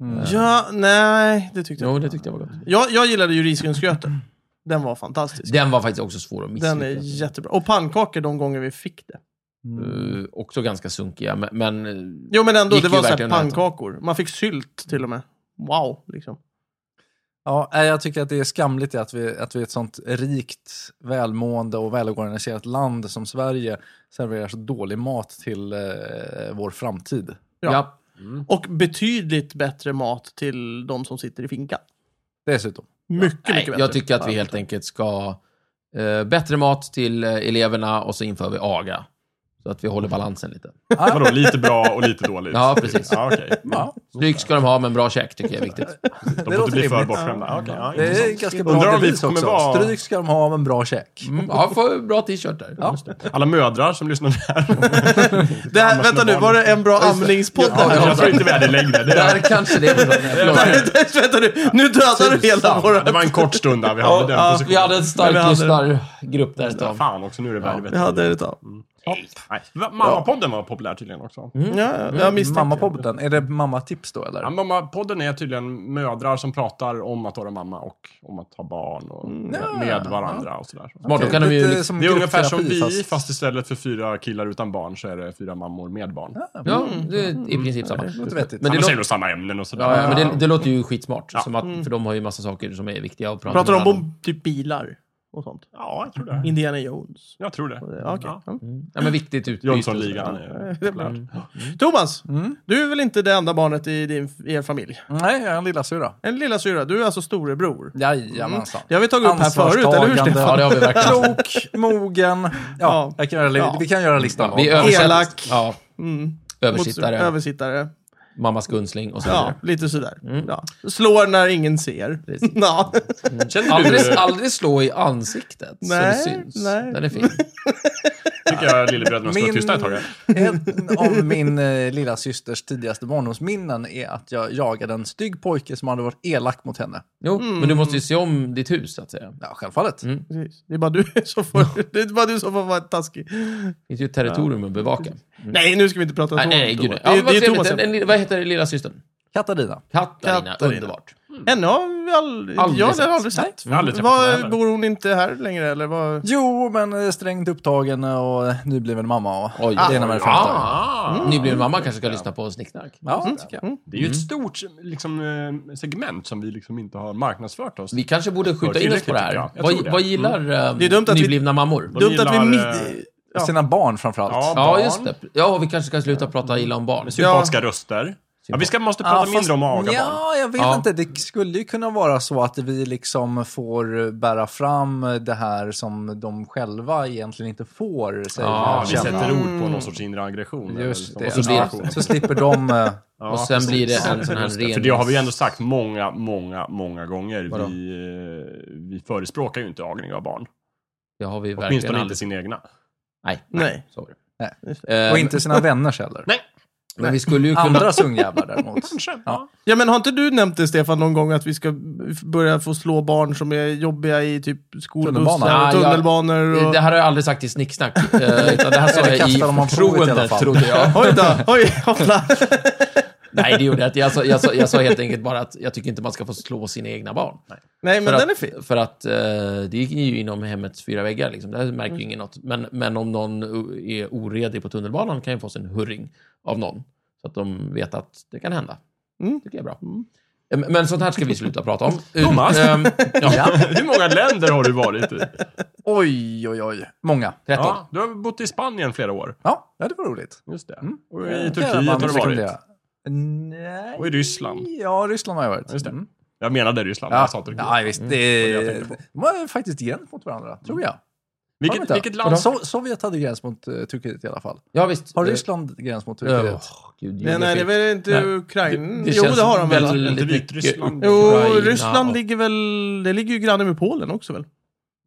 [SPEAKER 2] Mm.
[SPEAKER 1] Ja, nej, det tyckte jag
[SPEAKER 4] Jo, det tyckte jag var gott.
[SPEAKER 1] Jag, jag gillade ju risgrynsgröten. Den var fantastisk.
[SPEAKER 4] Den var faktiskt också svår att
[SPEAKER 1] Den är
[SPEAKER 4] misslyckas
[SPEAKER 1] jättebra. Och pannkakor de gånger vi fick det.
[SPEAKER 4] med. Eh, Också ganska sunkiga, men... men eh,
[SPEAKER 1] Jo men ändå,
[SPEAKER 4] Gick
[SPEAKER 1] det
[SPEAKER 4] ju
[SPEAKER 1] var så här
[SPEAKER 4] verkligen att äta.
[SPEAKER 1] pannkakor. Man fick sylt till och med. Wow, liksom.
[SPEAKER 2] Ja, nej, jag tycker att det är skamligt att vi, att vi i ett sånt rikt, välmående och välorganiserat land som Sverige serverar så dålig mat till eh, vår framtid.
[SPEAKER 1] Ja.
[SPEAKER 4] Ja.
[SPEAKER 1] Och betydligt bättre mat till de som sitter i finkan.
[SPEAKER 2] Dessutom.
[SPEAKER 1] Mycket, mycket
[SPEAKER 4] Nej,
[SPEAKER 1] bättre.
[SPEAKER 4] jag tycker att vi helt enkelt ska eh, bättre mat till eh, eleverna och så inför vi aga. Så att vi håller balansen lite.
[SPEAKER 3] Vadå, lite bra och lite dåligt?
[SPEAKER 4] Ja, precis.
[SPEAKER 3] Ja, okej. Mm.
[SPEAKER 4] Snyggt ska de ha, men bra käk tycker jag är viktigt.
[SPEAKER 3] De får
[SPEAKER 2] låter
[SPEAKER 3] inte bli för
[SPEAKER 2] rimligt.
[SPEAKER 3] bortskämda. Ja, okej, ja,
[SPEAKER 2] Det är
[SPEAKER 3] intressant.
[SPEAKER 2] ganska
[SPEAKER 3] Undrar
[SPEAKER 2] bra
[SPEAKER 3] om vi
[SPEAKER 2] devis
[SPEAKER 3] kommer
[SPEAKER 2] också.
[SPEAKER 3] vara-
[SPEAKER 2] Stryk ska de ha, men bra käk.
[SPEAKER 4] Mm, ja, får bra t-shirt där. Ja.
[SPEAKER 3] Alla mödrar som lyssnar där.
[SPEAKER 1] Det här, vänta nu, var det en bra amningspodd? det här?
[SPEAKER 3] Jag tror inte vi är det längre. Det
[SPEAKER 4] Där kanske det är. Förlåt.
[SPEAKER 1] vänta nu, nu dödar du hela
[SPEAKER 3] Ja, det
[SPEAKER 1] våra...
[SPEAKER 3] var en kort stund där vi hade den
[SPEAKER 4] Ja,
[SPEAKER 3] positionen.
[SPEAKER 4] vi hade en
[SPEAKER 1] Men vi
[SPEAKER 4] stark
[SPEAKER 1] hade-
[SPEAKER 4] lyssnargrupp där ett tag.
[SPEAKER 3] Fan också, nu är det värvet.
[SPEAKER 1] Ja, det är det. Ja,
[SPEAKER 3] Nej. Va- Mammapodden var populär tydligen också.
[SPEAKER 1] ja, jag misstänkte.
[SPEAKER 2] Mammapodden, är det mammatips då eller?
[SPEAKER 3] Ja, mammapodden är tydligen mödrar som pratar om att vara mamma och om att ha barn och med, med varandra och sådär.
[SPEAKER 4] Smart, då kan de ju...
[SPEAKER 2] Lite
[SPEAKER 4] liksom-
[SPEAKER 2] som
[SPEAKER 3] Det är ungefär som
[SPEAKER 2] gruppterapi,
[SPEAKER 3] vi, fast... istället för fyra killar utan barn så är det fyra mammor med barn.
[SPEAKER 4] Ja, det är i princip samma.
[SPEAKER 2] låter vettigt.
[SPEAKER 4] Men det
[SPEAKER 3] De
[SPEAKER 4] låter
[SPEAKER 3] säger nog samma ämnen och sådär.
[SPEAKER 4] Ja, ja, men det, det låter ju skitsmart. Som att, för de har ju massa saker som är viktiga att prata
[SPEAKER 1] Pratar de
[SPEAKER 4] med varandra
[SPEAKER 1] om typ bilar och sånt?
[SPEAKER 3] Ja, jag tror det.
[SPEAKER 1] Indiana Jones?
[SPEAKER 3] Jag tror det.
[SPEAKER 1] eh, Ja, okej.
[SPEAKER 3] Ja.
[SPEAKER 1] Ja.
[SPEAKER 4] Ja, men viktigt utbyte.
[SPEAKER 3] Jönssonligan. är-
[SPEAKER 1] Det är bra.
[SPEAKER 4] Mm.
[SPEAKER 1] Thomas,
[SPEAKER 3] Mm.
[SPEAKER 1] du är väl inte det enda barnet i din i er familj?
[SPEAKER 2] Nej, jag är en lillasyrra.
[SPEAKER 1] En lilla syra, du är alltså storebror.
[SPEAKER 2] Jajamensan.
[SPEAKER 1] Det har vi
[SPEAKER 2] Mm.
[SPEAKER 1] tagit upp här förut, eller hur
[SPEAKER 2] Ansvarstagande.
[SPEAKER 1] Stefan?
[SPEAKER 4] Ja, det har vi verkligen.
[SPEAKER 2] Klok, mogen. Ja,
[SPEAKER 1] Ja.
[SPEAKER 2] Jag kan göra,
[SPEAKER 1] Ja.
[SPEAKER 2] Vi kan göra listan.
[SPEAKER 4] Vi översätter.
[SPEAKER 1] Elak.
[SPEAKER 4] Ja. Översittare,
[SPEAKER 1] Mot- Mm. översittare.
[SPEAKER 4] mammas gunsling och så
[SPEAKER 1] Ja,
[SPEAKER 4] vidare.
[SPEAKER 1] lite sådär. Ja. Slår när ingen ser.
[SPEAKER 4] Mm. Precis.
[SPEAKER 1] Ja.
[SPEAKER 4] Aldrig, aldrig slå i ansiktet
[SPEAKER 1] Nej,
[SPEAKER 4] så det syns.
[SPEAKER 1] nej.
[SPEAKER 4] Den är fin.
[SPEAKER 3] tycker jag lillebröderna ska vara
[SPEAKER 2] Min-
[SPEAKER 3] tysta ett tag. här.
[SPEAKER 2] En av min eh, lilla systers tidigaste barndomsminnen är att jag jagade en stygg pojke som hade varit elak mot henne.
[SPEAKER 4] Jo, men du måste ju se om ditt hus, så att säga.
[SPEAKER 2] Ja, självfallet.
[SPEAKER 1] Precis. Det är bara du som får, det är bara du som får vara taskig.
[SPEAKER 4] Det finns ju ett territorium att bevaka.
[SPEAKER 1] Nej, nu ska vi inte prata om
[SPEAKER 4] Mm. Nej, nej,
[SPEAKER 1] Thomas.
[SPEAKER 4] gud nej.
[SPEAKER 1] Det
[SPEAKER 4] Ja,
[SPEAKER 1] är-
[SPEAKER 4] men vad
[SPEAKER 1] det är
[SPEAKER 4] trevligt.
[SPEAKER 1] Thomas.
[SPEAKER 4] En, en, vad heter lilla systern?
[SPEAKER 2] Katarina.
[SPEAKER 4] Katarina.
[SPEAKER 1] Katarina.
[SPEAKER 4] Underbart.
[SPEAKER 1] Ännu har vi aldrig,
[SPEAKER 4] Aldrig
[SPEAKER 1] jag har
[SPEAKER 4] sett.
[SPEAKER 1] aldrig sett.
[SPEAKER 3] Jag har aldrig träffat henne
[SPEAKER 1] Var,
[SPEAKER 3] heller.
[SPEAKER 1] bor hon inte här längre eller? Var...
[SPEAKER 2] Jo, men eh, strängt upptagen och eh, nybliven mamma och
[SPEAKER 4] Oj.
[SPEAKER 2] det ena med det femte.
[SPEAKER 3] Ah,
[SPEAKER 4] Nybliven mamma kanske ska lyssna på Mm, Snicksnack.
[SPEAKER 2] Ja, tycker jag.
[SPEAKER 3] Det är ju ett stort liksom, eh, segment som vi liksom inte har marknadsfört oss.
[SPEAKER 4] Vi kanske borde skjuta in oss på det
[SPEAKER 3] Jag
[SPEAKER 4] här.
[SPEAKER 3] tror det.
[SPEAKER 4] Vad, vad gillar
[SPEAKER 1] Det är dumt
[SPEAKER 4] eh,
[SPEAKER 1] att vi-
[SPEAKER 4] nyblivna mammor?
[SPEAKER 3] De
[SPEAKER 1] Dumt att vi...
[SPEAKER 3] gillar,
[SPEAKER 1] mi-
[SPEAKER 3] eh,
[SPEAKER 1] Ja.
[SPEAKER 2] Sina barn framförallt.
[SPEAKER 3] Ja,
[SPEAKER 4] Ja,
[SPEAKER 3] barn.
[SPEAKER 4] just det. Ja, vi kanske ska sluta prata illa om barn.
[SPEAKER 3] Sympatiska röster. Ja, vi ska, måste prata
[SPEAKER 2] fast-
[SPEAKER 3] mindre om att aga barn.
[SPEAKER 2] Ja, jag vet
[SPEAKER 4] Ja.
[SPEAKER 2] inte. Det skulle ju kunna vara så att vi liksom får bära fram det här som de själva egentligen inte får säga.
[SPEAKER 4] Ja,
[SPEAKER 3] Vi
[SPEAKER 2] känna. Mm.
[SPEAKER 3] sätter ord på någon sorts inre aggression.
[SPEAKER 2] Just
[SPEAKER 3] eller,
[SPEAKER 2] det.
[SPEAKER 3] någon sorts
[SPEAKER 4] blir-
[SPEAKER 3] aggression.
[SPEAKER 2] Så slipper de... eh,
[SPEAKER 3] Ja,
[SPEAKER 4] Och sen
[SPEAKER 3] precis.
[SPEAKER 4] blir det en sån här
[SPEAKER 3] Just det,
[SPEAKER 4] ren...
[SPEAKER 3] För det har vi ju ändå sagt många, många, många gånger.
[SPEAKER 4] Vadå?
[SPEAKER 3] Vi, eh, vi förespråkar ju inte agning av barn.
[SPEAKER 4] Det har vi verkligen
[SPEAKER 3] Åtminstone inte
[SPEAKER 4] aldrig...
[SPEAKER 3] sin egna.
[SPEAKER 4] Nej.
[SPEAKER 1] Nej.
[SPEAKER 4] Sorry.
[SPEAKER 2] Nej.
[SPEAKER 4] Eh,
[SPEAKER 2] Och inte sina vänners heller.
[SPEAKER 3] Nej,
[SPEAKER 4] Men vi skulle ju kunna...
[SPEAKER 2] Andra ungjävlar däremot.
[SPEAKER 3] kanske.
[SPEAKER 2] Ja.
[SPEAKER 3] Ja.
[SPEAKER 1] Ja, men har inte du nämnt det Stefan någon gång att vi ska börja få slå barn som är jobbiga i typ skolbussar
[SPEAKER 4] Tunnelbana.
[SPEAKER 1] och tunnelbanor? Och...
[SPEAKER 4] Det här har jag aldrig sagt i snicksnack. eh, Utan det här sa jag
[SPEAKER 2] kastar dem av
[SPEAKER 4] i
[SPEAKER 2] provet i alla
[SPEAKER 4] förtroende,
[SPEAKER 2] fall.
[SPEAKER 4] trodde
[SPEAKER 1] Oj
[SPEAKER 4] jag.
[SPEAKER 1] då, oj, hoppla.
[SPEAKER 4] Nej, det gjorde jag inte. Jag sa, jag, sa, jag sa helt enkelt bara att jag tycker inte man ska få slå sina egna barn.
[SPEAKER 1] Nej, men
[SPEAKER 4] för
[SPEAKER 1] den är
[SPEAKER 4] att,
[SPEAKER 1] fin.
[SPEAKER 4] För att eh, det är ju inom hemmets fyra väggar. Liksom. Där märker ju ingen något. Men, men om någon o- är oredig på tunnelbanan kan ju få sig en hurring av någon. Så att de vet att det kan hända.
[SPEAKER 1] Mm.
[SPEAKER 4] tycker jag är bra. Eh, Men sånt här ska vi sluta prata om.
[SPEAKER 3] Thomas?
[SPEAKER 4] Ehm, ja,
[SPEAKER 3] Hur många länder har du varit i?
[SPEAKER 2] Oj, oj, oj. Många.
[SPEAKER 4] 13.
[SPEAKER 3] Ja, du har bott i Spanien flera år.
[SPEAKER 2] Ja, ja det var roligt.
[SPEAKER 3] Just det. Och i
[SPEAKER 2] Det kan
[SPEAKER 3] Turkiet har
[SPEAKER 2] man
[SPEAKER 3] du varit.
[SPEAKER 2] rekommendera. Nej.
[SPEAKER 3] Och i Ryssland.
[SPEAKER 2] Ja, Ryssland har jag varit.
[SPEAKER 3] Just det.
[SPEAKER 2] Mm.
[SPEAKER 3] Jag menade Ryssland, men
[SPEAKER 2] Ja,
[SPEAKER 3] jag sa Turkiet.
[SPEAKER 2] ja visst. Det,
[SPEAKER 3] Det var det jag tänkte
[SPEAKER 2] de har faktiskt gräns mot varandra, tror jag. Har de
[SPEAKER 3] vilket,
[SPEAKER 2] inte?
[SPEAKER 3] vilket land...
[SPEAKER 2] So Sovjet hade gräns mot eh, Turkiet i alla fall.
[SPEAKER 4] ja, visst.
[SPEAKER 2] Har
[SPEAKER 4] Eh,
[SPEAKER 2] Ryssland gräns mot Turkiet?
[SPEAKER 4] Åh, gud,
[SPEAKER 1] Nej, nej, det är väl inte
[SPEAKER 4] Nej.
[SPEAKER 1] Ukraina?
[SPEAKER 4] Det
[SPEAKER 1] mm, jo,
[SPEAKER 4] känns
[SPEAKER 1] det har de väl?
[SPEAKER 4] väldigt
[SPEAKER 3] Inte
[SPEAKER 4] mycket-
[SPEAKER 3] Vitryssland.
[SPEAKER 1] Jo,
[SPEAKER 4] Ukraina
[SPEAKER 1] Ryssland
[SPEAKER 4] och-
[SPEAKER 1] ligger väl... Det ligger ju granne med Polen också väl?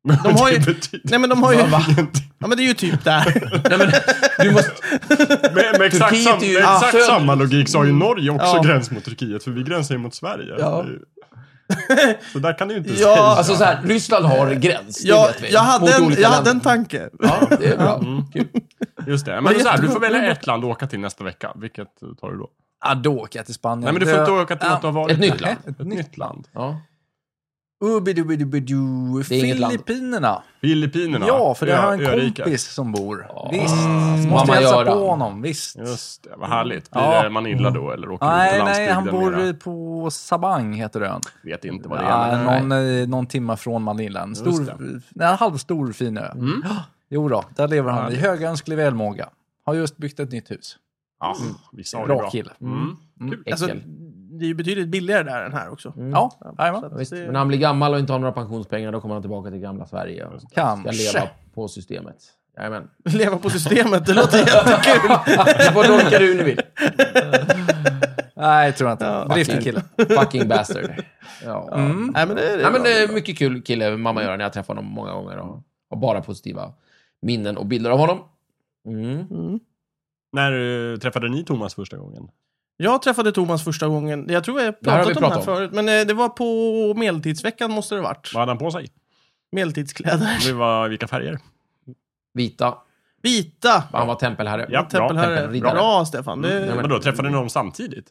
[SPEAKER 3] De
[SPEAKER 1] har
[SPEAKER 3] har
[SPEAKER 1] ju-
[SPEAKER 3] ju... Det betyder
[SPEAKER 1] Nej, men de har ju...
[SPEAKER 3] ingenting.
[SPEAKER 1] Ja, men det är ju typ där.
[SPEAKER 4] Nej, men, du måste,
[SPEAKER 3] Med, med exakt,
[SPEAKER 4] Turkiet
[SPEAKER 3] sam,
[SPEAKER 4] är ju-
[SPEAKER 3] med exakt
[SPEAKER 4] Ja.
[SPEAKER 3] samma logik så har ju Norge också
[SPEAKER 1] Ja.
[SPEAKER 3] gräns mot Turkiet, för vi gränsar ju mot Sverige.
[SPEAKER 4] Ja.
[SPEAKER 3] Så där kan du ju inte
[SPEAKER 1] Ja,
[SPEAKER 3] säga.
[SPEAKER 4] alltså så här, Ryssland har gräns, det
[SPEAKER 1] Jag,
[SPEAKER 4] vet vi.
[SPEAKER 1] jag, hade
[SPEAKER 4] mot
[SPEAKER 1] en,
[SPEAKER 4] olika
[SPEAKER 1] jag hade en
[SPEAKER 4] länder.
[SPEAKER 1] tanke.
[SPEAKER 4] Ja, det är bra. Mm, Kul.
[SPEAKER 3] Just det. Men så här, du får välja ett land att åka till nästa vecka. Vilket tar du då?
[SPEAKER 2] Ja, då åker jag till Spanien. Eh,
[SPEAKER 3] Nej, men du får inte åka till något du har varit
[SPEAKER 4] Ett nytt
[SPEAKER 3] i.
[SPEAKER 4] land.
[SPEAKER 3] Ett nytt land.
[SPEAKER 4] Ja.
[SPEAKER 2] Ubidubidubidoo,
[SPEAKER 4] Det är inget land.
[SPEAKER 2] Filippinerna.
[SPEAKER 3] Filippinerna.
[SPEAKER 2] Ja, för det
[SPEAKER 3] Ö-
[SPEAKER 2] har en
[SPEAKER 3] öriket.
[SPEAKER 2] kompis som bor.
[SPEAKER 4] Ja.
[SPEAKER 2] Visst.
[SPEAKER 4] Mamma
[SPEAKER 2] Måste hälsa
[SPEAKER 4] Göran.
[SPEAKER 2] på honom, visst.
[SPEAKER 3] Just det, vad härligt. Blir
[SPEAKER 2] Ja.
[SPEAKER 3] det Manila då eller åker du ut
[SPEAKER 2] Nej,
[SPEAKER 3] på
[SPEAKER 2] nej, han
[SPEAKER 3] landsbygden
[SPEAKER 2] bor
[SPEAKER 3] mera?
[SPEAKER 2] på Sabang, heter ön.
[SPEAKER 3] Vet inte vad det är.
[SPEAKER 2] Ja,
[SPEAKER 3] men-
[SPEAKER 2] någon, eh, någon timma från Manila. En stor, nej, en halvstor fin ö. Ja, Jo då, där lever han i högönsklig välmåga. Har just byggt ett nytt hus.
[SPEAKER 3] Ja, vi sa det
[SPEAKER 2] Bra
[SPEAKER 3] bra.
[SPEAKER 2] kille.
[SPEAKER 3] Mm. Kul.
[SPEAKER 4] Äckel.
[SPEAKER 1] Alltså, det är ju betydligt billigare där än här också.
[SPEAKER 4] Mm.
[SPEAKER 2] Ja,
[SPEAKER 1] Så
[SPEAKER 2] jajamän.
[SPEAKER 1] att
[SPEAKER 4] Visst,
[SPEAKER 1] det-
[SPEAKER 4] men han blir gammal och inte har några pensionspengar, då kommer han tillbaka till gamla Sverige och ska
[SPEAKER 2] Kanske.
[SPEAKER 4] leva på systemet. Jajamän.
[SPEAKER 1] Leva på systemet, det låter jättekul.
[SPEAKER 4] Du får dolka du nu vill.
[SPEAKER 2] Nej, jag tror inte. Driftig kille.
[SPEAKER 4] Fucking bastard. Ja.
[SPEAKER 1] Mm. Nej, men det, det,
[SPEAKER 4] Nej, men det är mycket kul kille mamma gör när jag träffar honom många gånger och har bara positiva minnen och bilder av honom. Mm.
[SPEAKER 3] När eh, träffade ni Thomas första gången?
[SPEAKER 1] Jag träffade Thomas första gången. Jag tror jag har
[SPEAKER 4] Det här har
[SPEAKER 1] pratat
[SPEAKER 4] vi
[SPEAKER 1] om det här
[SPEAKER 4] pratat om.
[SPEAKER 1] förut. Men eh, det var på medeltidsveckan måste det ha varit.
[SPEAKER 3] Vad hade han på sig?
[SPEAKER 1] Medeltidskläder.
[SPEAKER 4] Mm.
[SPEAKER 3] Det var, vilka färger?
[SPEAKER 4] Vita.
[SPEAKER 1] Vita!
[SPEAKER 4] Han var tempelherre.
[SPEAKER 3] Ja,
[SPEAKER 1] Tempelherre.
[SPEAKER 4] tempelriddare.
[SPEAKER 1] Bra, Stefan. Det,
[SPEAKER 4] Mm, ja, men-
[SPEAKER 3] Vadå, träffade ni dem samtidigt?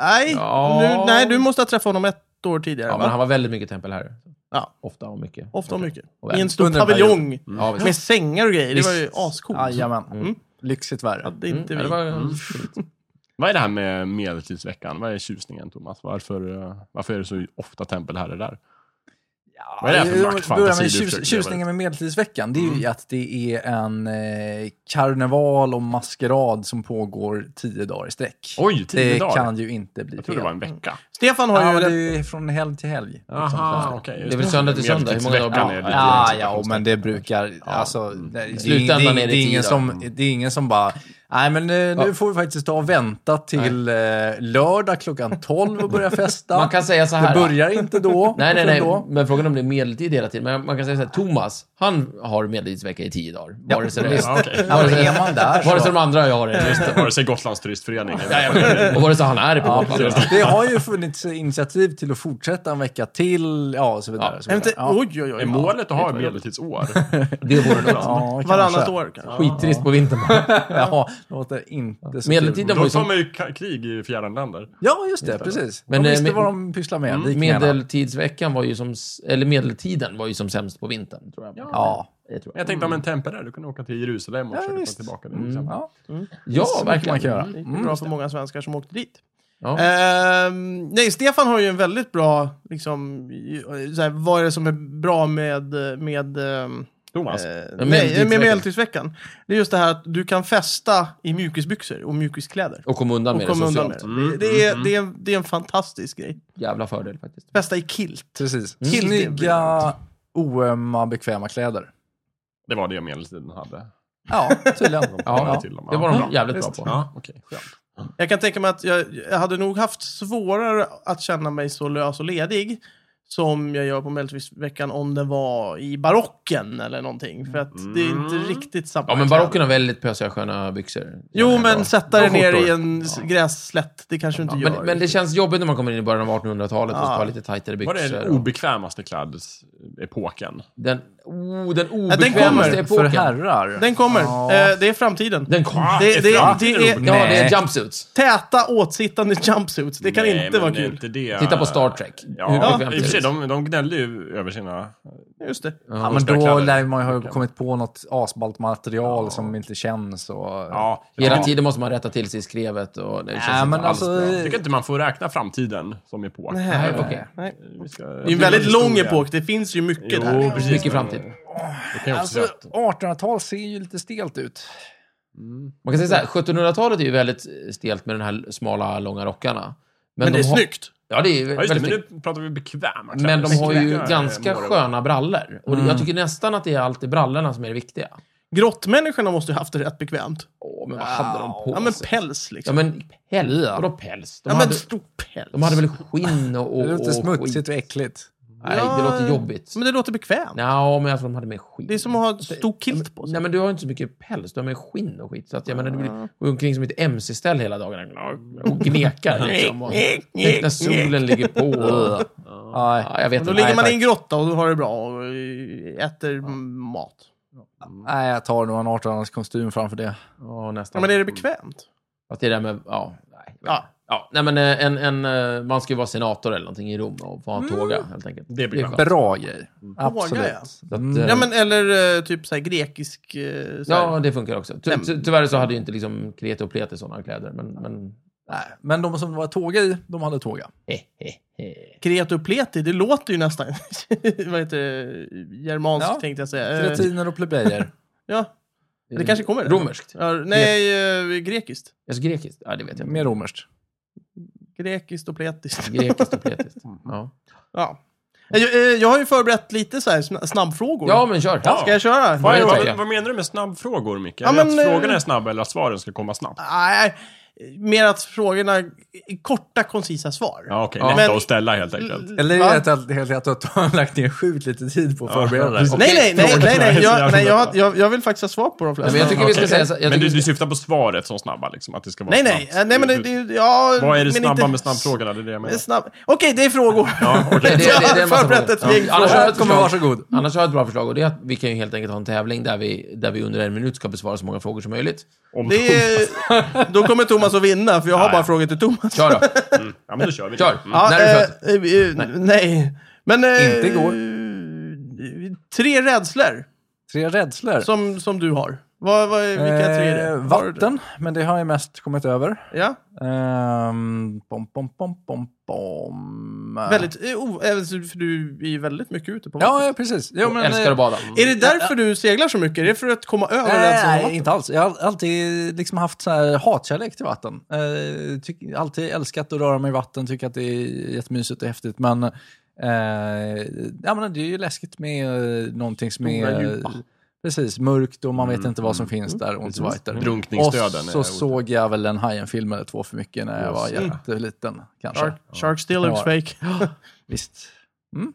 [SPEAKER 1] nej,
[SPEAKER 4] Ja.
[SPEAKER 1] nu, nej, du måste ha träffat honom ett år tidigare.
[SPEAKER 4] Ja,
[SPEAKER 1] va?
[SPEAKER 4] men han var väldigt mycket tempelherre.
[SPEAKER 1] Ja.
[SPEAKER 4] Ofta och mycket.
[SPEAKER 1] Ofta och mycket. Mm.
[SPEAKER 4] Och
[SPEAKER 1] I en stor
[SPEAKER 2] under en period.
[SPEAKER 1] paviljong.
[SPEAKER 4] Ja, visst.
[SPEAKER 1] Med sängar och grejer. Det var ju
[SPEAKER 4] Visst.
[SPEAKER 1] ascoolt.
[SPEAKER 2] Jajamän.
[SPEAKER 4] Mm.
[SPEAKER 2] Lyxigt värre.
[SPEAKER 1] Det är inte
[SPEAKER 4] Ja,
[SPEAKER 1] vi. Mm.
[SPEAKER 4] det var,
[SPEAKER 3] Vad är det här med medeltidsveckan? Vad är tjusningen, Thomas? Varför, eh, varför är det så ofta tempelherrar där? Vad är det här för
[SPEAKER 2] Jag
[SPEAKER 3] maktfantasi
[SPEAKER 2] börjar med
[SPEAKER 3] du
[SPEAKER 2] tjus-
[SPEAKER 3] försöker leva
[SPEAKER 2] Tjusningen
[SPEAKER 3] ut?
[SPEAKER 2] med Medeltidsveckan, det är ju att det är en eh, karneval och maskerad som pågår tio dagar i sträck.
[SPEAKER 3] Oj, tio
[SPEAKER 2] det
[SPEAKER 3] dagar?
[SPEAKER 2] kan ju inte bli
[SPEAKER 3] Jag
[SPEAKER 2] fel.
[SPEAKER 3] trodde det var en vecka.
[SPEAKER 1] Stefan har
[SPEAKER 2] Ja,
[SPEAKER 1] ju...
[SPEAKER 2] men det
[SPEAKER 1] rätt-
[SPEAKER 2] är ju från helg till helg.
[SPEAKER 3] Aha, okej. just
[SPEAKER 4] Det är väl söndag till söndag, hur många dagar
[SPEAKER 3] Medeltidsveckan
[SPEAKER 4] blir det?
[SPEAKER 3] är lite
[SPEAKER 2] Ja,
[SPEAKER 3] grann
[SPEAKER 2] ja, och
[SPEAKER 3] så
[SPEAKER 2] men det brukar... Alltså, det, det, det,
[SPEAKER 4] Mm. slutändan
[SPEAKER 2] det,
[SPEAKER 4] är det
[SPEAKER 2] det, är ingen
[SPEAKER 4] tio
[SPEAKER 2] som, det är ingen som bara... Nej, men nu, nu får vi faktiskt ta och vänta till eh, lördag klockan 12 och börja festa.
[SPEAKER 4] man kan säga så
[SPEAKER 2] det
[SPEAKER 4] här. va?
[SPEAKER 2] börjar inte då.
[SPEAKER 4] Nej, nej,
[SPEAKER 2] förrän
[SPEAKER 4] nej.
[SPEAKER 2] Då.
[SPEAKER 4] Men frågan är om det är medeltid hela tiden. Men man kan säga så här, Thomas, han har medeltidsvecka i tio dagar. Vare sig det
[SPEAKER 2] visst.
[SPEAKER 4] är...
[SPEAKER 3] Ja, okej.
[SPEAKER 2] Ja, men är man där
[SPEAKER 4] Vare sig
[SPEAKER 2] så...
[SPEAKER 4] de andra jag har det.
[SPEAKER 3] Vare sig Gotlands turistförening eller-
[SPEAKER 4] Och vare sig han är på Gotland.
[SPEAKER 2] Det har ju funnits initiativ till att fortsätta en vecka till, ja, och så vidare.
[SPEAKER 4] Ja.
[SPEAKER 2] så
[SPEAKER 1] Nej,
[SPEAKER 2] vidare.
[SPEAKER 1] men
[SPEAKER 2] Ja.
[SPEAKER 1] det- Oj, oj,
[SPEAKER 3] Är
[SPEAKER 1] oj.
[SPEAKER 3] målet att ha ett medeltidsår?
[SPEAKER 4] Det vore något.
[SPEAKER 2] Ja,
[SPEAKER 1] Varannat
[SPEAKER 2] kanske.
[SPEAKER 1] år kanske.
[SPEAKER 4] Skittrist på vintern.
[SPEAKER 2] Ja, låter inte så
[SPEAKER 4] Medeltiden
[SPEAKER 2] kul.
[SPEAKER 4] var
[SPEAKER 3] Då
[SPEAKER 4] ju
[SPEAKER 3] tar
[SPEAKER 4] som
[SPEAKER 3] man ju ka- krig i fjärran länder.
[SPEAKER 2] Ja, just det. Precis.
[SPEAKER 4] Men,
[SPEAKER 2] de visste
[SPEAKER 4] eh, med-
[SPEAKER 2] vad
[SPEAKER 4] Mm,
[SPEAKER 2] de pysslar med. vikingarna.
[SPEAKER 4] Medeltidsveckan var ju som, s- eller medeltiden var ju som sämst på vintern, tror jag.
[SPEAKER 2] Ja.
[SPEAKER 4] det tror jag.
[SPEAKER 3] Jag tänkte om en temperär, du kan åka till Jerusalem och
[SPEAKER 2] Ja,
[SPEAKER 3] försöka
[SPEAKER 2] visst.
[SPEAKER 3] ta tillbaka det. Mm.
[SPEAKER 2] Ja,
[SPEAKER 4] ja
[SPEAKER 2] verkligen.
[SPEAKER 4] verkligen.
[SPEAKER 2] man kan göra.
[SPEAKER 1] Det gick ju bra för många svenskar som åkte dit.
[SPEAKER 4] Mm, Ja.
[SPEAKER 1] Ehm, nej, Stefan har ju en väldigt bra, liksom, så här, vad är det som är bra med, med, ehm,
[SPEAKER 3] Thomas,
[SPEAKER 1] eh,
[SPEAKER 4] med
[SPEAKER 1] nej, med
[SPEAKER 4] medeltidsveckan.
[SPEAKER 1] medeltidsveckan? Det är just det här att du kan festa i mjukisbyxor och mjukiskläder.
[SPEAKER 4] Och kom undan
[SPEAKER 1] Och
[SPEAKER 4] med det
[SPEAKER 1] komma
[SPEAKER 4] socialt. Mm,
[SPEAKER 1] undan med det. Det, det, är, det, är, det är en fantastisk grej.
[SPEAKER 4] Jävla fördel faktiskt.
[SPEAKER 1] Festa i kilt.
[SPEAKER 2] precis.
[SPEAKER 1] Till det
[SPEAKER 2] Snygga, oömma, bekväma kläder.
[SPEAKER 3] det var det medeltiden hade.
[SPEAKER 2] Ja, tydligen.
[SPEAKER 4] Ja,
[SPEAKER 3] till dem.
[SPEAKER 4] det var
[SPEAKER 3] Ja,
[SPEAKER 4] de
[SPEAKER 3] bra.
[SPEAKER 4] jävligt
[SPEAKER 2] Visst.
[SPEAKER 4] bra på.
[SPEAKER 3] Ja, okej. skönt.
[SPEAKER 1] Jag kan tänka mig att jag, jag hade nog haft svårare att känna mig så lös och ledig som jag gör på Medeltidsveckan om den var i barocken eller någonting. För att det är inte riktigt samma.
[SPEAKER 4] Ja, men
[SPEAKER 1] kläder.
[SPEAKER 4] barocken har väldigt pösiga, sköna byxor.
[SPEAKER 1] Jo, men sätta dig
[SPEAKER 4] Bra
[SPEAKER 1] ner i
[SPEAKER 4] skjortor.
[SPEAKER 1] en s- grässlätt, det kanske du inte gör.
[SPEAKER 4] Men, men det känns jobbigt när man kommer in i början av 1800-talet och ska ha lite tajtare
[SPEAKER 3] Var det
[SPEAKER 4] byxor.
[SPEAKER 3] den
[SPEAKER 4] och-
[SPEAKER 3] obekvämaste klädesepoken?
[SPEAKER 4] Den, oh, den
[SPEAKER 1] den kommer.
[SPEAKER 4] obekvämaste
[SPEAKER 2] För
[SPEAKER 4] epoken.
[SPEAKER 2] herrar.
[SPEAKER 1] Den kommer.
[SPEAKER 2] Ja.
[SPEAKER 1] Eh, det är framtiden.
[SPEAKER 4] Den kommer.
[SPEAKER 1] det, det, det,
[SPEAKER 3] Ja,
[SPEAKER 1] är
[SPEAKER 4] Ja, det är
[SPEAKER 2] Nej.
[SPEAKER 4] jumpsuits.
[SPEAKER 1] täta åtsittande jumpsuits. Det kan
[SPEAKER 3] Nej,
[SPEAKER 1] inte
[SPEAKER 3] men
[SPEAKER 1] vara
[SPEAKER 3] det är
[SPEAKER 1] kul.
[SPEAKER 3] Inte det.
[SPEAKER 4] Titta på Star Trek. Hur
[SPEAKER 3] Ja, i och
[SPEAKER 4] bekvämt
[SPEAKER 3] för
[SPEAKER 4] är det?
[SPEAKER 3] sig, de, de gnällde ju över sina...
[SPEAKER 1] Just det.
[SPEAKER 2] Ja, men
[SPEAKER 3] Schyssta
[SPEAKER 2] då
[SPEAKER 3] kläder.
[SPEAKER 2] lär man ju ha kommit på något asballt material som inte känns. Och...
[SPEAKER 3] Ja, jag
[SPEAKER 4] Hela
[SPEAKER 3] tycker-
[SPEAKER 4] tiden måste man rätta till sig i skrevet och det känns
[SPEAKER 2] Nej,
[SPEAKER 4] inte
[SPEAKER 2] men
[SPEAKER 4] alls
[SPEAKER 2] alltså...
[SPEAKER 4] bra.
[SPEAKER 3] Jag tycker inte man får räkna framtiden som epok.
[SPEAKER 1] Nej,
[SPEAKER 4] Nej, okej.
[SPEAKER 1] nej.
[SPEAKER 3] Vi ska-
[SPEAKER 1] Det är en väldigt lång epok. Det finns ju mycket
[SPEAKER 3] Jo,
[SPEAKER 1] där.
[SPEAKER 3] precis.
[SPEAKER 4] Mycket
[SPEAKER 3] men-
[SPEAKER 4] framtid.
[SPEAKER 3] Det kan jag också
[SPEAKER 2] Alltså,
[SPEAKER 3] säga.
[SPEAKER 2] 1800-tal ser ju lite stelt ut.
[SPEAKER 4] Man kan säga så här, 1700-talet är ju väldigt stelt med den här smala, långa rockarna.
[SPEAKER 1] Men det är
[SPEAKER 4] de har-
[SPEAKER 1] snyggt.
[SPEAKER 4] Ja, det är
[SPEAKER 3] Ja, just det,
[SPEAKER 4] väldigt
[SPEAKER 3] men
[SPEAKER 4] snyggt.
[SPEAKER 3] nu pratar vi bekväma kläder.
[SPEAKER 4] Men de har ju
[SPEAKER 3] Bekväma,
[SPEAKER 4] ganska
[SPEAKER 3] eh, morgon.
[SPEAKER 4] sköna brallor. Och
[SPEAKER 1] Mm.
[SPEAKER 4] jag tycker nästan att det är alltid brallorna som är det viktiga.
[SPEAKER 1] Grottmänniskorna måste ju haft det rätt bekvämt.
[SPEAKER 4] Åh, men vad hade de på
[SPEAKER 1] Ja, men
[SPEAKER 4] sig?
[SPEAKER 1] päls
[SPEAKER 4] Ja,
[SPEAKER 1] liksom.
[SPEAKER 4] men päls. Vadå päls? De,
[SPEAKER 1] Ja, men
[SPEAKER 4] hade,
[SPEAKER 1] stor päls.
[SPEAKER 4] de hade väl skinn och... och
[SPEAKER 2] Det låter
[SPEAKER 4] och
[SPEAKER 2] smutsigt
[SPEAKER 4] skit.
[SPEAKER 2] och äckligt.
[SPEAKER 4] Nej, det
[SPEAKER 1] Ja,
[SPEAKER 4] låter jobbigt.
[SPEAKER 1] Men det låter bekvämt.
[SPEAKER 4] Nja, men jag tror de hade mer skinn.
[SPEAKER 1] Det är som att ha ett stor kilt på sig.
[SPEAKER 4] Nej, men du har ju inte så mycket päls. Du har mer skinn och skit. Så att, jag menar, du blir- går omkring som ett mc-ställ hela dagen och gnekar. Liksom, och, när solen ligger på.
[SPEAKER 2] Nej.
[SPEAKER 4] Ja, jag vet
[SPEAKER 1] Då
[SPEAKER 4] inte.
[SPEAKER 1] ligger man i en
[SPEAKER 2] tack.
[SPEAKER 1] grotta och har det bra och eh, äter mat.
[SPEAKER 2] Nej, jag tar nog en 1800-talskostym framför det.
[SPEAKER 4] Ja,
[SPEAKER 1] Ja,
[SPEAKER 4] nästan.
[SPEAKER 1] men är det bekvämt?
[SPEAKER 4] Att det där med... Ja, nej.
[SPEAKER 1] Ja.
[SPEAKER 4] Ja, nej men eh, en, en, eh, man ska ju vara senator eller någonting i Rom och få ha en
[SPEAKER 1] Mm.
[SPEAKER 4] tåga helt enkelt.
[SPEAKER 3] Det blir
[SPEAKER 4] skönt.
[SPEAKER 2] Bra grej.
[SPEAKER 1] Vågar jag?
[SPEAKER 2] Absolut.
[SPEAKER 4] Så att,
[SPEAKER 2] Mm.
[SPEAKER 4] eh,
[SPEAKER 1] Ja, men eller eh, typ så här grekisk... eh, Så här.
[SPEAKER 4] Ja, det funkar också. Ty, ty, tyvärr så hade ju inte liksom Kreti och Pleti sådana kläder, men... men eh,
[SPEAKER 2] Nej, men de som var tåga i, de hade tåga.
[SPEAKER 4] he, he, he.
[SPEAKER 1] Kreti och pleti, det låter ju nästan... vad heter det? Germanskt
[SPEAKER 2] Ja.
[SPEAKER 1] tänkte jag säga. Eh,
[SPEAKER 2] Kretiner och plebejer.
[SPEAKER 1] Ja, det kanske kommer.
[SPEAKER 4] Romerskt?
[SPEAKER 1] Ja, nej, eh, grekiskt.
[SPEAKER 4] Alltså grekiskt? Ja, det vet jag inte.
[SPEAKER 2] Mer romerskt.
[SPEAKER 1] Grekiskt och pletiskt.
[SPEAKER 4] Grekiskt och pletiskt. Ja,
[SPEAKER 1] Ja. Eh, Jag, eh, jag har ju förberett lite så här sna- snabbfrågor.
[SPEAKER 4] ja men kör.
[SPEAKER 3] Ja.
[SPEAKER 1] Ska jag köra?
[SPEAKER 3] Vad,
[SPEAKER 4] det
[SPEAKER 3] är,
[SPEAKER 4] tänker jag.
[SPEAKER 3] vad, vad menar du med snabbfrågor, Micke?
[SPEAKER 1] Ja,
[SPEAKER 3] är
[SPEAKER 1] men,
[SPEAKER 3] det att frågorna
[SPEAKER 1] eh,
[SPEAKER 3] är snabba eller att svaren ska komma snabbt?
[SPEAKER 1] Nej, mer att frågorna... Korta, koncisa svar.
[SPEAKER 3] Ja, okej.
[SPEAKER 4] Ja.
[SPEAKER 3] Lätt
[SPEAKER 1] Men-
[SPEAKER 3] att ställa helt enkelt.
[SPEAKER 2] Eller
[SPEAKER 1] Va?
[SPEAKER 2] är det att- helt enkelt att du har lagt ner sjukt lite tid på att förbereda dig?
[SPEAKER 3] precis.
[SPEAKER 1] Nej, nej, nej, nej, nej,
[SPEAKER 3] Frågorna är så
[SPEAKER 1] jag, nej
[SPEAKER 3] jävla
[SPEAKER 1] jag, jag, jag vill faktiskt ha svar på de
[SPEAKER 4] Nej,
[SPEAKER 1] flesta.
[SPEAKER 4] men jag tycker vi ska
[SPEAKER 3] Okej.
[SPEAKER 4] säga så, jag
[SPEAKER 3] Men
[SPEAKER 4] tycker
[SPEAKER 3] du,
[SPEAKER 4] vi
[SPEAKER 3] du
[SPEAKER 4] ska-
[SPEAKER 3] syftar på svaret som snabba, liksom? Att det ska vara
[SPEAKER 1] Nej, nej,
[SPEAKER 3] snabbt?
[SPEAKER 1] eh, nej, men det, det, ja,
[SPEAKER 3] Vad är det
[SPEAKER 1] men
[SPEAKER 3] snabba
[SPEAKER 1] inte-
[SPEAKER 3] med snabbfrågorna? Det är det jag menar.
[SPEAKER 1] Snabb... Okej, det är frågor.
[SPEAKER 3] Ja, okej.
[SPEAKER 4] det- det- det är en massa
[SPEAKER 1] jag har förberett
[SPEAKER 4] frågor.
[SPEAKER 1] ett gäng
[SPEAKER 4] Ja,
[SPEAKER 1] frågor.
[SPEAKER 4] annars har jag
[SPEAKER 2] Svaret kommer varsågod.
[SPEAKER 4] Annars har jag ett bra förslag och det är att vi kan ju helt enkelt ha en tävling där vi, där vi under en minut ska besvara så många frågor som möjligt.
[SPEAKER 3] Om
[SPEAKER 1] Det är... Då kommer Thomas att vinna, för jag har
[SPEAKER 3] Ja,
[SPEAKER 1] bara
[SPEAKER 3] ja.
[SPEAKER 1] frågor till Thomas.
[SPEAKER 4] Kör då!
[SPEAKER 3] Mm. Ja, men då kör vi.
[SPEAKER 4] Kör!
[SPEAKER 3] Mm.
[SPEAKER 1] Ja,
[SPEAKER 4] När är du
[SPEAKER 1] eh,
[SPEAKER 4] född?
[SPEAKER 1] eh, eh, nej. Men... eh,
[SPEAKER 2] Inte igår.
[SPEAKER 1] Tre rädslor
[SPEAKER 2] Tre rädslor.
[SPEAKER 1] som, som du har. Vad, vad, vilka tre är det?
[SPEAKER 2] Eh,
[SPEAKER 1] Har du-
[SPEAKER 2] vatten, men det har jag mest kommit över.
[SPEAKER 1] Ja,
[SPEAKER 2] Ehm, pom, pom, pom, pom, pom.
[SPEAKER 1] väldigt... eh, o- eh, För du är ju väldigt mycket ute på vatten.
[SPEAKER 2] Ja, ja, precis. Jo, men, eh,
[SPEAKER 4] Älskar att bada.
[SPEAKER 1] Är det därför du seglar så mycket? Är det för att komma över
[SPEAKER 2] Nej,
[SPEAKER 1] rädslan? av
[SPEAKER 2] nej,
[SPEAKER 1] vatten?
[SPEAKER 2] inte alls. Jag har alltid liksom haft så här hatkärlek till vatten. Eh, tyck, alltid älskat att röra mig i vatten, tycker att det är jättemysigt och häftigt. Men, eh, ja, men det är ju läskigt med eh, någonting som
[SPEAKER 1] Stora,
[SPEAKER 2] är
[SPEAKER 1] djupa.
[SPEAKER 2] precis, mörkt och man vet
[SPEAKER 3] Mm,
[SPEAKER 2] inte vad som finns där och så vidare. Och
[SPEAKER 3] Drunkningsdöden. är
[SPEAKER 2] så såg jag väl en Hajen-film eller två för mycket när jag var
[SPEAKER 3] Just det.
[SPEAKER 2] jätteliten. Kanske.
[SPEAKER 1] Shark, shark still looks
[SPEAKER 2] Ja.
[SPEAKER 1] fake.
[SPEAKER 2] Visst.
[SPEAKER 3] Mhm.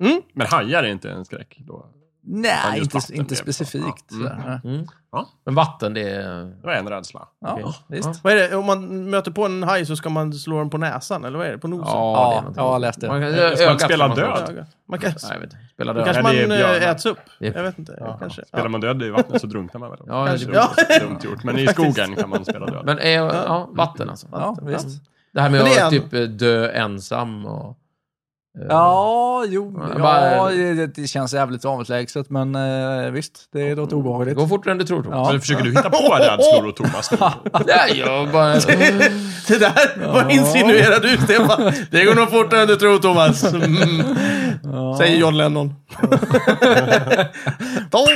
[SPEAKER 1] Mm.
[SPEAKER 3] Men hajar är inte en skräck? Då. Ja,
[SPEAKER 2] Nej,
[SPEAKER 3] just
[SPEAKER 2] inte,
[SPEAKER 3] vatten
[SPEAKER 2] inte
[SPEAKER 3] blev bra.
[SPEAKER 2] specifikt.
[SPEAKER 3] Ja. Mm.
[SPEAKER 2] sådär. Ja.
[SPEAKER 4] Men vatten, det är...
[SPEAKER 3] Det var en rädsla.
[SPEAKER 2] Ja,
[SPEAKER 4] Okej.
[SPEAKER 2] visst.
[SPEAKER 4] Ja.
[SPEAKER 1] Vad är det? Om man möter på en haj så ska man slå den på näsan, eller vad är det? På nosen?
[SPEAKER 2] Ja,
[SPEAKER 4] det är någonting.
[SPEAKER 2] jag har läst det.
[SPEAKER 4] Man kan,
[SPEAKER 3] Jag ska
[SPEAKER 4] ögat
[SPEAKER 3] spela
[SPEAKER 4] kan man säga.
[SPEAKER 3] död.
[SPEAKER 1] Öga. Man kan,
[SPEAKER 4] Nej, jag vet inte. Spela död.
[SPEAKER 1] kanske
[SPEAKER 3] Ja, det är
[SPEAKER 1] man
[SPEAKER 3] björnar.
[SPEAKER 1] eh, äts upp.
[SPEAKER 4] Det-
[SPEAKER 1] Jag vet inte. Kanske.
[SPEAKER 3] Spelar man död i vattnet så drunknar man väl?
[SPEAKER 4] Ja,
[SPEAKER 1] Kanske.
[SPEAKER 4] det-
[SPEAKER 1] Ja.
[SPEAKER 3] Dumt gjort. Men i skogen kan man spela död.
[SPEAKER 4] Men eh, ja, vatten alltså.
[SPEAKER 2] Ja, visst.
[SPEAKER 4] Det här med
[SPEAKER 1] Men det är
[SPEAKER 4] att
[SPEAKER 1] en-
[SPEAKER 4] typ eh, dö ensam och... eh,
[SPEAKER 2] Ja, jo,
[SPEAKER 4] Ja,
[SPEAKER 2] ja,
[SPEAKER 4] bara-
[SPEAKER 2] det, det känns jävligt avlägset, men eh, visst, det låter
[SPEAKER 4] Det
[SPEAKER 2] obehagligt.
[SPEAKER 4] går fortare än du tror, Thomas.
[SPEAKER 2] Ja.
[SPEAKER 3] Men försöker du hitta på rädslor och Thomas? nu?
[SPEAKER 4] Nej, jag bara... Mm.
[SPEAKER 1] Det där, vad insinuerar du Stefan? Det går nog fortare än du tror Thomas. Mm. Säger John Lennon. Tom.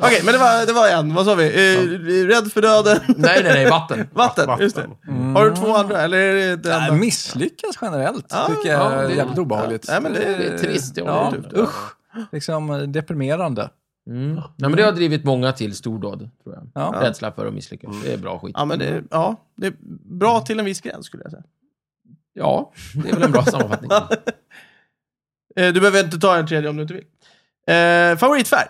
[SPEAKER 1] Okej, men det var, det var en. Vad sa vi? Eh, Rädd för döden.
[SPEAKER 4] Nej, nej, nej, vatten.
[SPEAKER 1] Vatten, just det. Har du två andra, eller är det det
[SPEAKER 2] Ja,
[SPEAKER 1] enda?
[SPEAKER 2] misslyckas generellt, tycker jag
[SPEAKER 4] ja,
[SPEAKER 2] är
[SPEAKER 4] det-
[SPEAKER 2] jävligt obehagligt.
[SPEAKER 1] Ja, men det-
[SPEAKER 4] Det är trist. Det är
[SPEAKER 2] Ja,
[SPEAKER 1] typ
[SPEAKER 4] tufft.
[SPEAKER 2] usch. Liksom eh, deprimerande.
[SPEAKER 4] Mm. Nej, men det har drivit många till stordåd, tror jag.
[SPEAKER 2] Ja. Mm.
[SPEAKER 4] Rädsla för att misslyckas. Det är bra skit.
[SPEAKER 1] Ja, men det, ja, det är bra till en viss gräns skulle jag säga.
[SPEAKER 4] Ja, det är väl en bra sammanfattning.
[SPEAKER 1] Eh, Du behöver inte ta en tredje om du inte vill. Eh, favoritfärg?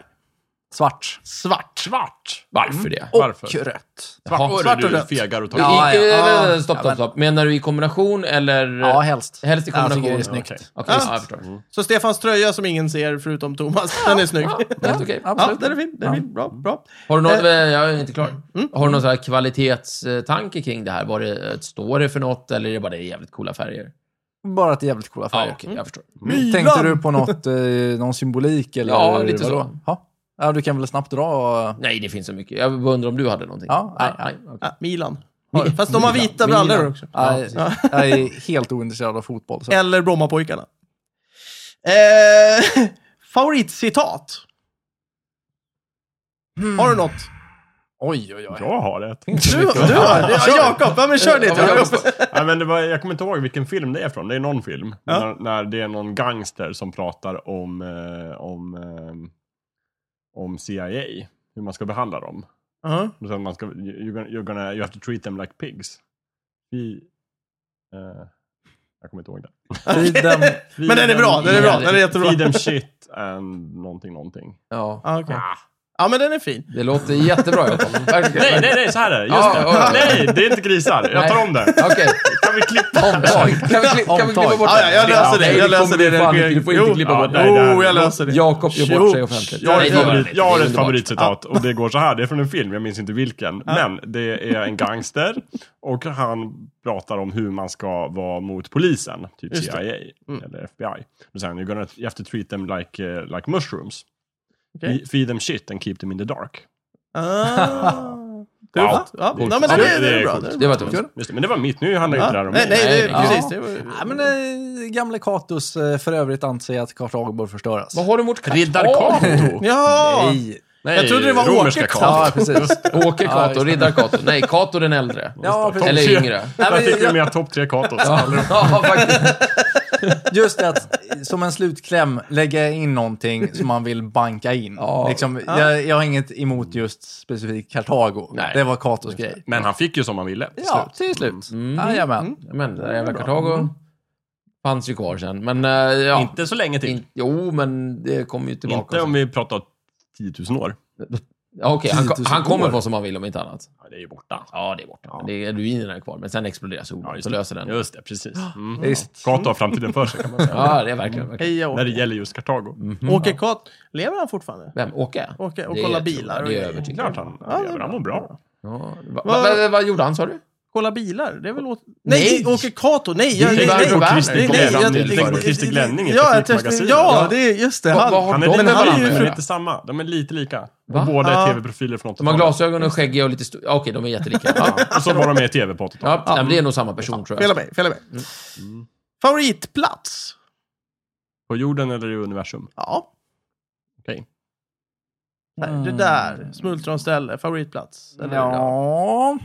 [SPEAKER 2] Svart.
[SPEAKER 1] Svart.
[SPEAKER 3] Svart!
[SPEAKER 4] Varför det?
[SPEAKER 2] Och
[SPEAKER 3] Varför?
[SPEAKER 2] rött.
[SPEAKER 3] Svart,
[SPEAKER 1] Svart och
[SPEAKER 3] och du
[SPEAKER 1] rött.
[SPEAKER 3] fegar och tar
[SPEAKER 2] Mm. Ja.
[SPEAKER 4] I, eh,
[SPEAKER 2] ja.
[SPEAKER 4] vänta, stopp,
[SPEAKER 2] Ja,
[SPEAKER 4] stopp,
[SPEAKER 2] men-
[SPEAKER 4] stopp. Menar du i kombination eller?
[SPEAKER 2] Ja, helst.
[SPEAKER 4] Helst i
[SPEAKER 2] Jag tycker
[SPEAKER 4] kombination.
[SPEAKER 2] det är snyggt.
[SPEAKER 3] Okej.
[SPEAKER 4] Okej,
[SPEAKER 1] Ja.
[SPEAKER 4] ja, jag förstår.
[SPEAKER 1] Så Stefans tröja som ingen ser förutom Thomas, den är snygg.
[SPEAKER 4] Ja, helt okej.
[SPEAKER 1] Ja,
[SPEAKER 2] Absolut.
[SPEAKER 1] den är fin. Den är fin. Bra, bra.
[SPEAKER 4] Har du
[SPEAKER 1] Eh.
[SPEAKER 4] något, jag är inte klar.
[SPEAKER 1] Mm.
[SPEAKER 4] Har du någon sån här kvalitetstanke kring det här? Var det, står det för något eller är det bara det är jävligt coola färger?
[SPEAKER 2] Bara att det är jävligt coola
[SPEAKER 4] Ja,
[SPEAKER 2] färger. Mm.
[SPEAKER 4] okej, jag förstår.
[SPEAKER 1] Mylan!
[SPEAKER 2] Tänkte du på något, eh, någon symbolik? Eller
[SPEAKER 4] Ja, lite så.
[SPEAKER 2] vadå? Ja. ja, du kan väl snabbt dra...
[SPEAKER 4] Nej, det finns så mycket. Jag bara undrar om du hade någonting?
[SPEAKER 2] Ja, nej,
[SPEAKER 4] okej.
[SPEAKER 1] Ah, Milan. Har du. Fast de har vita
[SPEAKER 4] Milan.
[SPEAKER 1] brallor också.
[SPEAKER 2] Ja, jag är helt ointresserad av fotboll. Så.
[SPEAKER 1] Eller Brommapojkarna. Eh, favoritcitat? Har du något?
[SPEAKER 2] Oj, oj, oj.
[SPEAKER 3] Jag har ett.
[SPEAKER 1] Du, du har det. Ja, Jakob, ja, men kör lite.
[SPEAKER 4] Ja, men jag
[SPEAKER 1] Jakob.
[SPEAKER 3] Nej, men det var, jag kommer inte ihåg vilken film det är från. Det är någon film.
[SPEAKER 1] Ja.
[SPEAKER 3] När, när det är någon gangster som pratar om, eh, om, eh, om CIA. Hur man ska behandla dem.
[SPEAKER 1] Ja.
[SPEAKER 3] Och sen man ska, you- you're, gonna, you're gonna, you have to treat them like pigs. Vi, eh, jag kommer inte ihåg det.
[SPEAKER 2] Tiden...
[SPEAKER 1] Men den är bra, den är bra, den är jättebra.
[SPEAKER 3] Feed them shit and någonting, någonting.
[SPEAKER 4] Ja.
[SPEAKER 1] Ja, okej.
[SPEAKER 4] Ah.
[SPEAKER 1] Ja, men den är fin.
[SPEAKER 4] Det låter jättebra, Jakob.
[SPEAKER 3] Nej, nej, nej, så här är det. Just
[SPEAKER 4] Ja,
[SPEAKER 3] det.
[SPEAKER 4] ja, ja.
[SPEAKER 3] Nej, det är inte grisar. Jag tar om det.
[SPEAKER 4] Okej.
[SPEAKER 3] Kan vi klippa?
[SPEAKER 4] Omtag. Kan vi, kli- kan vi klippa bort
[SPEAKER 1] Ja, ja, jag löser det.
[SPEAKER 4] Nej,
[SPEAKER 1] Jag löser
[SPEAKER 4] kommer
[SPEAKER 1] det.
[SPEAKER 4] du fan inte- Du får inte
[SPEAKER 1] Jo,
[SPEAKER 4] klippa bort det.
[SPEAKER 3] nej. det här-
[SPEAKER 1] Jo, jag löser det.
[SPEAKER 4] Jakob gör bort sig
[SPEAKER 1] Jo.
[SPEAKER 4] offentligt.
[SPEAKER 3] Jag har,
[SPEAKER 4] Nej,
[SPEAKER 3] ett
[SPEAKER 4] det gör han
[SPEAKER 3] favorit,
[SPEAKER 4] inte.
[SPEAKER 3] jag
[SPEAKER 4] Det
[SPEAKER 3] har
[SPEAKER 4] är
[SPEAKER 3] ett
[SPEAKER 4] underbart.
[SPEAKER 3] favoritcitat och det går så här. Det är från en film, jag minns inte vilken. Men det är en gangster och han pratar om hur man ska vara mot polisen. Typ
[SPEAKER 1] Just det. Mm.
[SPEAKER 3] CIA eller FBI. Då säger han, you're gonna, you have to treat them like, eh, like mushrooms.
[SPEAKER 1] Okej.
[SPEAKER 3] Feed them shit and keep them in the dark.
[SPEAKER 1] Ah. Tufft. Ja,
[SPEAKER 4] Coolt.
[SPEAKER 1] nej, men det,
[SPEAKER 4] Ja,
[SPEAKER 1] det,
[SPEAKER 3] det
[SPEAKER 1] är
[SPEAKER 3] är
[SPEAKER 1] bra.
[SPEAKER 3] coolt.
[SPEAKER 1] Det är
[SPEAKER 4] Det
[SPEAKER 1] bra.
[SPEAKER 4] var tufft.
[SPEAKER 3] Just det, men det var mitt, nu handlar ju inte det här
[SPEAKER 1] Ja.
[SPEAKER 3] om
[SPEAKER 1] Nej,
[SPEAKER 3] mig.
[SPEAKER 1] nej, det,
[SPEAKER 4] Nej,
[SPEAKER 1] precis. Det
[SPEAKER 2] Ja,
[SPEAKER 1] var,
[SPEAKER 2] men eh, gamle Katus eh, för övrigt anser att Kartago bör förstöras.
[SPEAKER 4] Vad har du emot
[SPEAKER 3] Riddar
[SPEAKER 4] Kato?
[SPEAKER 3] Kato?
[SPEAKER 1] ja!
[SPEAKER 2] Nej.
[SPEAKER 4] Nej,
[SPEAKER 1] Jag trodde det var
[SPEAKER 3] romerska
[SPEAKER 1] Åke
[SPEAKER 3] Kato.
[SPEAKER 2] Ja, precis.
[SPEAKER 4] Åke
[SPEAKER 2] Ja, just
[SPEAKER 4] Kato, riddar Kato. Nej, Kato den äldre.
[SPEAKER 2] Ja, precis.
[SPEAKER 4] Eller
[SPEAKER 3] Topp tre.
[SPEAKER 4] yngre.
[SPEAKER 2] Nej,
[SPEAKER 3] Där
[SPEAKER 2] men
[SPEAKER 3] fick vi
[SPEAKER 2] jag-
[SPEAKER 3] med topp tre Katos.
[SPEAKER 4] Ja, faktiskt.
[SPEAKER 2] Just det att eh, som en slutkläm lägga in någonting som man vill banka in.
[SPEAKER 4] Ja.
[SPEAKER 2] Liksom, jag, jag har inget emot just specifikt Kartago.
[SPEAKER 4] Nej.
[SPEAKER 2] Det var Katos grej.
[SPEAKER 3] Men han fick ju som han ville. till
[SPEAKER 2] Ja,
[SPEAKER 3] slut.
[SPEAKER 2] till slut.
[SPEAKER 4] Mm.
[SPEAKER 2] Jajamän.
[SPEAKER 4] Men eh, det där jävla Kartago fanns ju kvar sen. Men eh, ja.
[SPEAKER 3] Inte så länge till.
[SPEAKER 4] In- jo, men det kommer ju tillbaka.
[SPEAKER 3] Inte om vi pratar 10 000 år.
[SPEAKER 4] Ja, okej, han,
[SPEAKER 2] 10 000
[SPEAKER 4] han kommer
[SPEAKER 2] år.
[SPEAKER 4] få som han vill om inte annat.
[SPEAKER 3] Ja, det är ju borta.
[SPEAKER 4] Ja, det är borta. Men Det är ruinerna är kvar, men sen exploderar solen,
[SPEAKER 3] Ja, just
[SPEAKER 4] så
[SPEAKER 3] det.
[SPEAKER 4] löser den.
[SPEAKER 3] Just det, precis. Mm.
[SPEAKER 2] Visst.
[SPEAKER 3] Kato har framtiden för sig kan man säga.
[SPEAKER 4] Ja, det är verkligen... verkligen.
[SPEAKER 1] Heja
[SPEAKER 3] När
[SPEAKER 1] Åke.
[SPEAKER 3] det gäller just Kartago.
[SPEAKER 1] Åke Kat, lever han fortfarande?
[SPEAKER 4] Vem? Åke?
[SPEAKER 1] Åke och
[SPEAKER 4] Mm. Det
[SPEAKER 1] kolla
[SPEAKER 4] tror
[SPEAKER 1] bilar
[SPEAKER 4] jag,
[SPEAKER 1] och
[SPEAKER 4] Det är
[SPEAKER 1] grejer.
[SPEAKER 4] jag övertygad om.
[SPEAKER 3] Klart han
[SPEAKER 1] Ja, det är
[SPEAKER 3] lever, han mår bra.
[SPEAKER 4] Ja. Va, va, va, vad gjorde han, sa du?
[SPEAKER 1] Kolla bilar? Det är väl åt... Nej,
[SPEAKER 4] Nej.
[SPEAKER 1] Åke Kato! Nej, jag,
[SPEAKER 4] Vi
[SPEAKER 1] nej,
[SPEAKER 4] tänker
[SPEAKER 1] nej,
[SPEAKER 4] på
[SPEAKER 1] nej,
[SPEAKER 4] Christer
[SPEAKER 1] nej,
[SPEAKER 4] Glenning.
[SPEAKER 1] jag-
[SPEAKER 4] Vi tänker på
[SPEAKER 3] Christer Glenning i
[SPEAKER 1] Ja, jag
[SPEAKER 3] Teknikmagasinet.
[SPEAKER 1] tänkte- ja, det är just det.
[SPEAKER 4] Vad- vad har
[SPEAKER 1] Han.
[SPEAKER 3] Han är
[SPEAKER 4] de
[SPEAKER 3] lite,
[SPEAKER 1] med
[SPEAKER 3] han
[SPEAKER 1] varandra
[SPEAKER 3] är
[SPEAKER 1] att
[SPEAKER 3] ju
[SPEAKER 1] göra?
[SPEAKER 3] lite samma. De är lite lika.
[SPEAKER 4] Va?
[SPEAKER 3] Och båda
[SPEAKER 1] Ja.
[SPEAKER 3] är tv-profiler från 80-talet.
[SPEAKER 4] De har glasögon och skäggiga och lite stor... ja, Okej, de är jättelika. Ja,
[SPEAKER 3] Ja, och så var de med i tv på 80-talet.
[SPEAKER 4] ja, men det är nog samma person, tror
[SPEAKER 1] Fela
[SPEAKER 4] jag.
[SPEAKER 1] mig, fela mig.
[SPEAKER 3] Mm.
[SPEAKER 1] Favoritplats?
[SPEAKER 3] På jorden eller i universum.
[SPEAKER 1] Ja.
[SPEAKER 3] Okej.
[SPEAKER 1] Nej, Det där, smultronställe, favoritplats. Eller, ja.
[SPEAKER 2] Ja.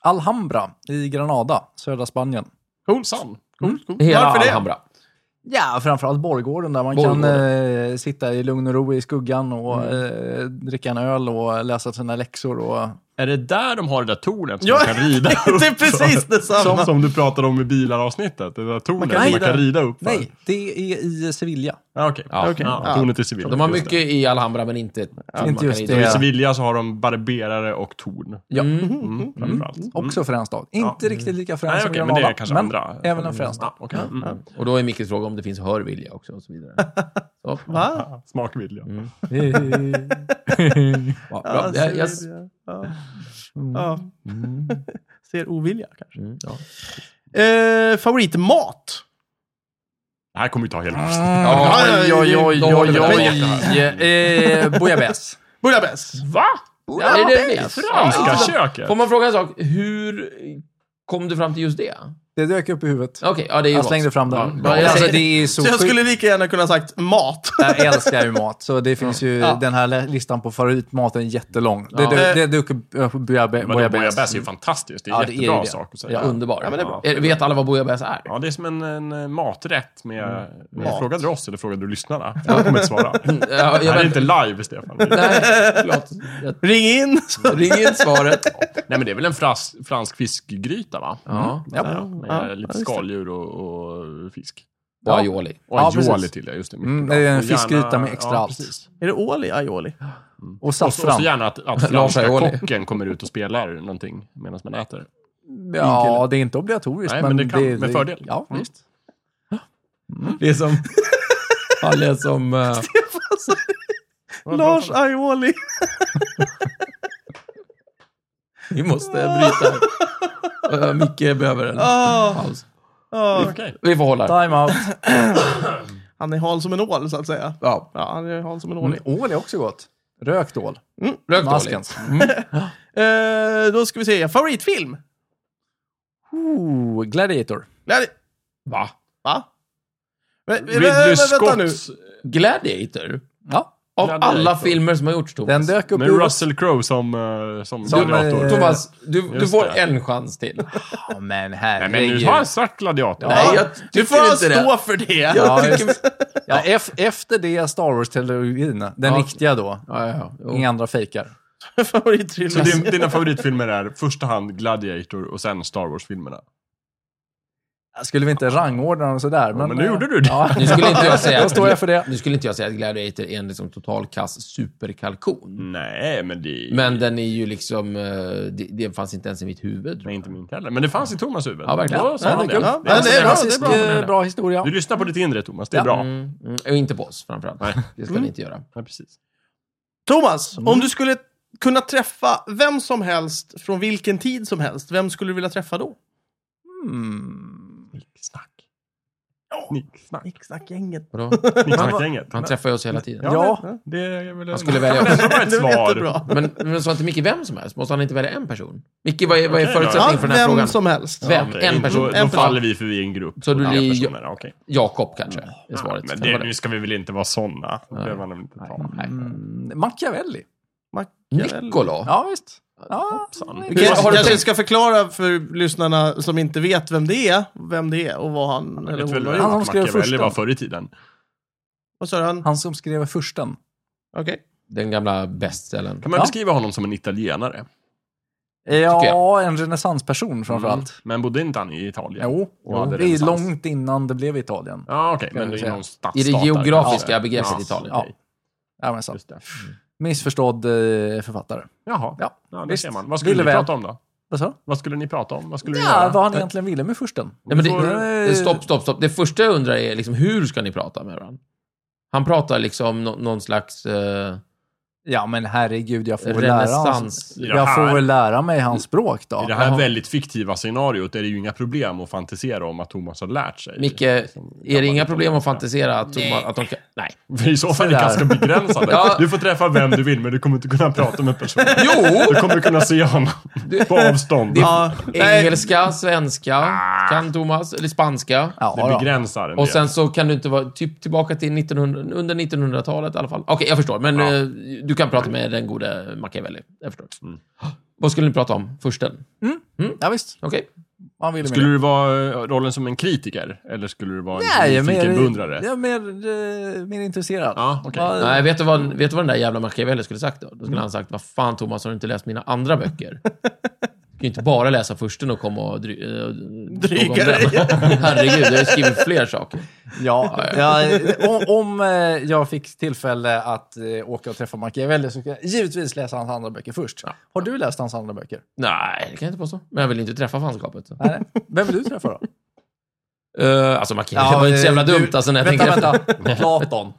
[SPEAKER 2] Alhambra i Granada, södra Spanien.
[SPEAKER 3] Cool son.
[SPEAKER 1] Coolt, coolt.
[SPEAKER 4] Hela
[SPEAKER 1] Varför det?
[SPEAKER 4] Alhambra.
[SPEAKER 2] Ja, framförallt borggården där man
[SPEAKER 4] Borggården.
[SPEAKER 2] kan eh, sitta i lugn och ro i skuggan och eh, dricka en öl och läsa sina läxor. Och...
[SPEAKER 3] Är det där de har det där tornet som
[SPEAKER 1] Ja,
[SPEAKER 3] man kan rida upp
[SPEAKER 1] Det är precis
[SPEAKER 3] för?
[SPEAKER 1] detsamma.
[SPEAKER 3] Som, som du pratade om i bilaravsnittet. Det där tornet
[SPEAKER 2] kan
[SPEAKER 3] som man
[SPEAKER 2] rida.
[SPEAKER 3] kan rida upp för.
[SPEAKER 2] Nej, det är i Sevilla.
[SPEAKER 3] Ja, okej.
[SPEAKER 4] Ja.
[SPEAKER 1] Okej.
[SPEAKER 3] Ja,
[SPEAKER 1] Ja.
[SPEAKER 3] tornet i Sevilla.
[SPEAKER 4] De har
[SPEAKER 3] just det.
[SPEAKER 4] mycket i Alhambra, men inte... man
[SPEAKER 2] Inte
[SPEAKER 4] kan
[SPEAKER 2] just
[SPEAKER 4] inte-
[SPEAKER 2] det.
[SPEAKER 3] I Sevilla så har de barberare och torn.
[SPEAKER 2] Ja.
[SPEAKER 3] Mm, framförallt. Mm.
[SPEAKER 2] Också frän stad. Inte riktigt lika frän
[SPEAKER 3] Nej,
[SPEAKER 2] som
[SPEAKER 3] okej, men
[SPEAKER 2] Granada.
[SPEAKER 3] det är kanske andra.
[SPEAKER 2] även en frän stad.
[SPEAKER 3] Ja, okej. Mm.
[SPEAKER 4] Och då är Mickes fråga om det finns hörvilja också och så vidare. Så,
[SPEAKER 1] Va?
[SPEAKER 3] Smakvilja.
[SPEAKER 4] ja, bra.
[SPEAKER 1] Ja, ser
[SPEAKER 4] Jag, Mm.
[SPEAKER 1] ovilja.
[SPEAKER 4] jag,
[SPEAKER 1] Ja. Ja. Ser ovilja kanske.
[SPEAKER 4] mm, ja.
[SPEAKER 1] Eh, favoritmat?
[SPEAKER 3] Det här kommer ju ta
[SPEAKER 2] Ah.
[SPEAKER 3] hela avsnittet.
[SPEAKER 1] Oj, oj, oj,
[SPEAKER 4] Då håller vi
[SPEAKER 1] oj,
[SPEAKER 4] den.
[SPEAKER 1] oj.
[SPEAKER 2] Eh, Bouillabaisse.
[SPEAKER 1] Bouillabaisse. Va?
[SPEAKER 4] Ja, är det det? Ja.
[SPEAKER 3] Franska köket.
[SPEAKER 4] Får man fråga en sak? Hur kom du fram till just det?
[SPEAKER 2] Det dök upp i huvudet.
[SPEAKER 4] Okej, ja det är ju
[SPEAKER 2] Jag
[SPEAKER 4] gott.
[SPEAKER 2] slängde fram den.
[SPEAKER 4] Ja, jag
[SPEAKER 2] alltså,
[SPEAKER 4] säger-
[SPEAKER 2] det är så
[SPEAKER 1] Så jag
[SPEAKER 2] sjukt.
[SPEAKER 1] skulle lika gärna kunna sagt mat.
[SPEAKER 2] Jag älskar ju mat, så det finns ju
[SPEAKER 1] Ja.
[SPEAKER 2] den här listan på favoritmaten är jättelång. Det,
[SPEAKER 4] Ja.
[SPEAKER 2] dök- det dök upp eh, bouillabaisse.
[SPEAKER 3] Men bouillabaisse är ju fantastiskt. Det är
[SPEAKER 2] Ja,
[SPEAKER 3] en
[SPEAKER 2] det är
[SPEAKER 3] jättebra
[SPEAKER 2] ju det.
[SPEAKER 3] sak att säga.
[SPEAKER 4] Ja, underbar.
[SPEAKER 1] Ja, men det är bra.
[SPEAKER 4] Eh, Vet alla vad bouillabaisse är?
[SPEAKER 3] Ja, det är som en, en maträtt med... med-
[SPEAKER 1] Mat.
[SPEAKER 3] Frågade du oss eller frågade du lyssnarna? Jag kommer inte svara.
[SPEAKER 4] Mm, Ja,
[SPEAKER 3] Det
[SPEAKER 4] jag
[SPEAKER 3] här är
[SPEAKER 4] vet
[SPEAKER 3] inte live, Stefan.
[SPEAKER 4] Nej, förlåt. Jag-
[SPEAKER 1] Ring in.
[SPEAKER 4] Ring in svaret.
[SPEAKER 3] Nej, men det är väl en fras, fransk fiskgryta, va?
[SPEAKER 4] Ja.
[SPEAKER 2] Ja.
[SPEAKER 3] Ja, med
[SPEAKER 1] Ja, ja,
[SPEAKER 3] lite
[SPEAKER 1] just det.
[SPEAKER 3] skaldjur och, och fisk.
[SPEAKER 4] Och aioli.
[SPEAKER 3] Och
[SPEAKER 2] Ja,
[SPEAKER 3] aioli
[SPEAKER 2] precis.
[SPEAKER 3] till det, just det. mycket
[SPEAKER 2] Mm,
[SPEAKER 3] bra.
[SPEAKER 2] det är en
[SPEAKER 3] Och gärna-
[SPEAKER 2] fiskgryta med extra
[SPEAKER 3] ja,
[SPEAKER 2] allt.
[SPEAKER 3] precis.
[SPEAKER 1] Är det ål i aioli?
[SPEAKER 2] Och
[SPEAKER 3] Och så, och
[SPEAKER 2] saffran.
[SPEAKER 3] så gärna att, att
[SPEAKER 4] Lars
[SPEAKER 3] franska
[SPEAKER 4] Aioli.
[SPEAKER 3] kocken kommer ut och spelar någonting medan man äter.
[SPEAKER 2] ja, det är inte obligatoriskt.
[SPEAKER 3] Nej, men det kan- med fördel.
[SPEAKER 2] Ja,
[SPEAKER 3] Mm.
[SPEAKER 2] visst.
[SPEAKER 4] Det är som... Ja, det är som... eh,
[SPEAKER 1] Lars aioli.
[SPEAKER 4] vi måste bryta. Uh, Micke behöver en
[SPEAKER 1] Ah,
[SPEAKER 4] paus.
[SPEAKER 1] ah.
[SPEAKER 3] Okej.
[SPEAKER 4] Vi får hålla.
[SPEAKER 2] Time out.
[SPEAKER 1] Han är hal som en ål så att säga.
[SPEAKER 4] Ja. Mm.
[SPEAKER 1] Ja, han är hal som en ål.
[SPEAKER 2] Men ål är också gott. Rökt ål.
[SPEAKER 4] Rökt aioli.
[SPEAKER 2] Maskens.
[SPEAKER 1] Eh, då ska vi se. Favoritfilm?
[SPEAKER 2] Ooh, Oh, Gladiator.
[SPEAKER 1] Nej,
[SPEAKER 4] Va?
[SPEAKER 1] va? Men- men-
[SPEAKER 3] Ridley
[SPEAKER 1] men vänta nu.
[SPEAKER 3] Scotts
[SPEAKER 4] Gladiator?
[SPEAKER 2] Ja,
[SPEAKER 4] Av
[SPEAKER 3] Gladiator.
[SPEAKER 4] alla filmer som har gjorts, Thomas.
[SPEAKER 2] den dök upp i
[SPEAKER 3] Med
[SPEAKER 2] huvudet.
[SPEAKER 3] Russell Crowe som, eh, som,
[SPEAKER 2] Som,
[SPEAKER 3] gladiator.
[SPEAKER 2] eh,
[SPEAKER 4] Thomas, du, du
[SPEAKER 3] Just
[SPEAKER 4] får
[SPEAKER 3] det.
[SPEAKER 4] en chans till.
[SPEAKER 2] Ja, men
[SPEAKER 3] Nej, men nu
[SPEAKER 2] herregud.
[SPEAKER 3] har jag sagt gladiator.
[SPEAKER 4] Nej,
[SPEAKER 1] Ja,
[SPEAKER 4] jag
[SPEAKER 1] du
[SPEAKER 4] tycker
[SPEAKER 1] får
[SPEAKER 4] inte det.
[SPEAKER 1] stå för det.
[SPEAKER 2] Ja,
[SPEAKER 4] Jag tycker-
[SPEAKER 2] visst. ja, ef- efter det Star Wars-trilogin, den
[SPEAKER 4] Ja.
[SPEAKER 2] riktiga då.
[SPEAKER 4] Ja, ja, ja. Jo.
[SPEAKER 2] Inga andra fejkar.
[SPEAKER 3] Så
[SPEAKER 1] Favoritfilm.
[SPEAKER 3] din, dina favoritfilmer är första hand Gladiator och sen Star Wars-filmerna?
[SPEAKER 2] Skulle vi inte rangordna dem sådär? eh,
[SPEAKER 3] Men, nu gjorde du det.
[SPEAKER 2] Ja,
[SPEAKER 4] Nu skulle inte jag säga
[SPEAKER 2] då står jag för det.
[SPEAKER 4] Nu skulle inte jag säga att Gladiator är en liksom total kass superkalkon.
[SPEAKER 3] Nej, men det...
[SPEAKER 4] Men den är ju liksom... eh, Det, det fanns inte ens i mitt huvud. tror
[SPEAKER 3] Nej,
[SPEAKER 4] jag.
[SPEAKER 3] inte min heller. Men det fanns i Thomas huvud.
[SPEAKER 4] Ja, verkligen.
[SPEAKER 3] Då sa
[SPEAKER 1] Ja,
[SPEAKER 3] han
[SPEAKER 1] det
[SPEAKER 3] det.
[SPEAKER 1] är kul.
[SPEAKER 3] Ja,
[SPEAKER 1] Ja, det är bra,
[SPEAKER 2] klassisk,
[SPEAKER 1] det är bra.
[SPEAKER 2] eh, bra historia.
[SPEAKER 3] Du lyssnar på ditt inre, Thomas. Det är
[SPEAKER 2] Ja.
[SPEAKER 3] bra.
[SPEAKER 4] Mm, mm, och inte på oss framförallt.
[SPEAKER 3] Nej.
[SPEAKER 4] Det ska
[SPEAKER 1] Mm.
[SPEAKER 4] vi inte göra.
[SPEAKER 3] Ja, precis.
[SPEAKER 1] Thomas,
[SPEAKER 4] Mm.
[SPEAKER 1] om du skulle kunna träffa vem som helst från vilken tid som helst, vem skulle du vilja träffa då?
[SPEAKER 2] Mm.
[SPEAKER 3] Nicksnack.
[SPEAKER 1] Ja.
[SPEAKER 3] Nicksnack.
[SPEAKER 1] Nicksnackgänget.
[SPEAKER 4] Vadå?
[SPEAKER 3] Nicksnackgänget.
[SPEAKER 4] Han träffar ju oss hela tiden.
[SPEAKER 3] Ja,
[SPEAKER 2] Ja.
[SPEAKER 3] det är väl...
[SPEAKER 4] Han skulle välja oss.
[SPEAKER 3] Det var ett
[SPEAKER 1] Det var
[SPEAKER 3] svar.
[SPEAKER 1] jättebra.
[SPEAKER 4] Men, men sa inte Micke vem som helst? Måste han inte välja en person? Micke, vad är, vad är
[SPEAKER 3] Okej, då.
[SPEAKER 4] förutsättningen
[SPEAKER 1] Ja,
[SPEAKER 4] för den här
[SPEAKER 1] vem
[SPEAKER 4] frågan?
[SPEAKER 1] som helst.
[SPEAKER 4] Vem?
[SPEAKER 3] Okej,
[SPEAKER 4] En person.
[SPEAKER 3] Då,
[SPEAKER 1] En
[SPEAKER 3] då
[SPEAKER 1] person.
[SPEAKER 3] faller vi förbi en grupp.
[SPEAKER 4] Så
[SPEAKER 3] på
[SPEAKER 4] du
[SPEAKER 3] tre
[SPEAKER 4] blir-
[SPEAKER 3] personer. Okej.
[SPEAKER 4] Jakob kanske, är svaret.
[SPEAKER 3] Men
[SPEAKER 4] Stämmer
[SPEAKER 3] det, nu ska vi väl inte vara sådana. Det behöver man väl inte ta.
[SPEAKER 4] Nej.
[SPEAKER 2] Mm. Machiavelli.
[SPEAKER 3] Mm.
[SPEAKER 4] Nikola?
[SPEAKER 2] Ja, visst. Ja,
[SPEAKER 1] Vi kanske-
[SPEAKER 4] Har du
[SPEAKER 1] kanske
[SPEAKER 4] tänkt-
[SPEAKER 1] ska förklara för lyssnarna som inte vet vem det är, vem det är och vad han eller
[SPEAKER 3] Jag vet
[SPEAKER 1] hon
[SPEAKER 3] väl
[SPEAKER 1] har
[SPEAKER 2] han
[SPEAKER 1] gjort.
[SPEAKER 2] som
[SPEAKER 3] att
[SPEAKER 2] skrev
[SPEAKER 3] Machiavelli
[SPEAKER 2] första.
[SPEAKER 3] var förr i tiden.
[SPEAKER 1] Vad sa han?
[SPEAKER 2] Han som skrev försten.
[SPEAKER 1] Okej.
[SPEAKER 4] Den gamla bestsellern.
[SPEAKER 3] Kan man
[SPEAKER 2] Ja.
[SPEAKER 3] beskriva honom som en italienare?
[SPEAKER 2] Ja, en renässansperson framförallt.
[SPEAKER 3] Mm. Men bodde inte han i Italien?
[SPEAKER 2] Jo,
[SPEAKER 3] Och
[SPEAKER 2] det
[SPEAKER 3] hade
[SPEAKER 2] är
[SPEAKER 3] renässans.
[SPEAKER 2] långt innan det blev Italien.
[SPEAKER 3] Ja, okej.
[SPEAKER 2] Kan
[SPEAKER 3] Men
[SPEAKER 2] vi
[SPEAKER 3] det är
[SPEAKER 2] säga.
[SPEAKER 3] någon stadsstat.
[SPEAKER 4] I det
[SPEAKER 3] där
[SPEAKER 4] geografiska
[SPEAKER 3] kanske.
[SPEAKER 4] begreppet
[SPEAKER 3] Ja,
[SPEAKER 4] Italien.
[SPEAKER 3] okej.
[SPEAKER 2] Ja, men sant.
[SPEAKER 3] Just det.
[SPEAKER 2] Missförstådd eh, författare.
[SPEAKER 3] Jaha.
[SPEAKER 2] Ja,
[SPEAKER 3] Ja, det
[SPEAKER 2] visst.
[SPEAKER 3] ser man. Vad skulle
[SPEAKER 2] Ville
[SPEAKER 3] ni
[SPEAKER 2] väl.
[SPEAKER 3] prata om då?
[SPEAKER 2] Vad sa du?
[SPEAKER 3] Vad skulle ni prata om? Vad skulle ni
[SPEAKER 2] Ja,
[SPEAKER 3] göra?
[SPEAKER 2] vad han egentligen ville med försten.
[SPEAKER 4] Nej, men det,
[SPEAKER 2] Nej.
[SPEAKER 4] det, stopp, stopp, stopp. Det första jag undrar är liksom, hur ska ni prata med varandra? Han pratar liksom no, någon slags eh,
[SPEAKER 2] Ja, men herregud, jag får väl lära, hans,
[SPEAKER 4] renässans...
[SPEAKER 3] I det
[SPEAKER 2] jag får
[SPEAKER 3] här-
[SPEAKER 2] väl lära mig hans språk
[SPEAKER 3] I
[SPEAKER 2] då.
[SPEAKER 3] det här
[SPEAKER 4] Jaha.
[SPEAKER 3] väldigt fiktiva scenariot är det ju inga problem att fantisera om att Thomas har lärt sig.
[SPEAKER 4] Micke, är det inga problem att fantisera att, de- att de kan... Nej.
[SPEAKER 3] För I så fall är det
[SPEAKER 2] Sådär.
[SPEAKER 3] ganska begränsande.
[SPEAKER 4] Ja.
[SPEAKER 3] Du får träffa vem du vill, men du kommer inte kunna prata med personen.
[SPEAKER 4] Jo!
[SPEAKER 3] Du kommer kunna se honom på avstånd. Det,
[SPEAKER 1] Ja, eh, nej,
[SPEAKER 4] Engelska, svenska, kan Thomas, eller spanska.
[SPEAKER 2] Ja, då.
[SPEAKER 3] begränsar en
[SPEAKER 4] Och
[SPEAKER 3] del.
[SPEAKER 4] sen så kan du inte vara, typ tillbaka till 1900, under 1900-talet i alla fall. Okej, jag förstår. Men
[SPEAKER 3] Ja.
[SPEAKER 4] eh, du kan prata med den gode Machiavelli. Jag förstår.
[SPEAKER 3] Mm.
[SPEAKER 4] Vad skulle ni prata om? Försten?
[SPEAKER 2] Ja, visst.
[SPEAKER 4] Okej.
[SPEAKER 2] Han ville
[SPEAKER 3] Skulle
[SPEAKER 2] med
[SPEAKER 3] du vara eh, rollen som en kritiker? Eller skulle du vara en
[SPEAKER 2] det. Nej, jag är
[SPEAKER 3] nyfiken beundrare?
[SPEAKER 2] mer, jag är mer, eh, mer intresserad.
[SPEAKER 3] Ja, okej.
[SPEAKER 2] Vad-
[SPEAKER 4] Nej, vet du, vad, vet du vad den där jävla Machiavelli skulle sagt då? Då skulle han sagt, vad fan Thomas, har du inte läst mina andra böcker? Du kan ju inte bara läsa försten och komma och dry, eh, fråga om
[SPEAKER 1] dig.
[SPEAKER 4] den. Herregud, jag har ju skrivit fler saker.
[SPEAKER 2] Ja, ja, om, om eh, jag fick tillfälle att eh, åka och träffa Machiavelli så ska jag givetvis läsa hans andra böcker först. Har du läst hans andra böcker?
[SPEAKER 4] Nej, det kan jag inte påstå. Men jag vill inte träffa fanskapet. Så.
[SPEAKER 2] Nej, nej. Vem vill du träffa då?
[SPEAKER 4] Eh, alltså, Machiavelli var ju inte så jävla
[SPEAKER 2] eh, du-
[SPEAKER 4] dumt alltså, när jag
[SPEAKER 2] vänta,
[SPEAKER 4] tänker efter.
[SPEAKER 2] vänta. Platon.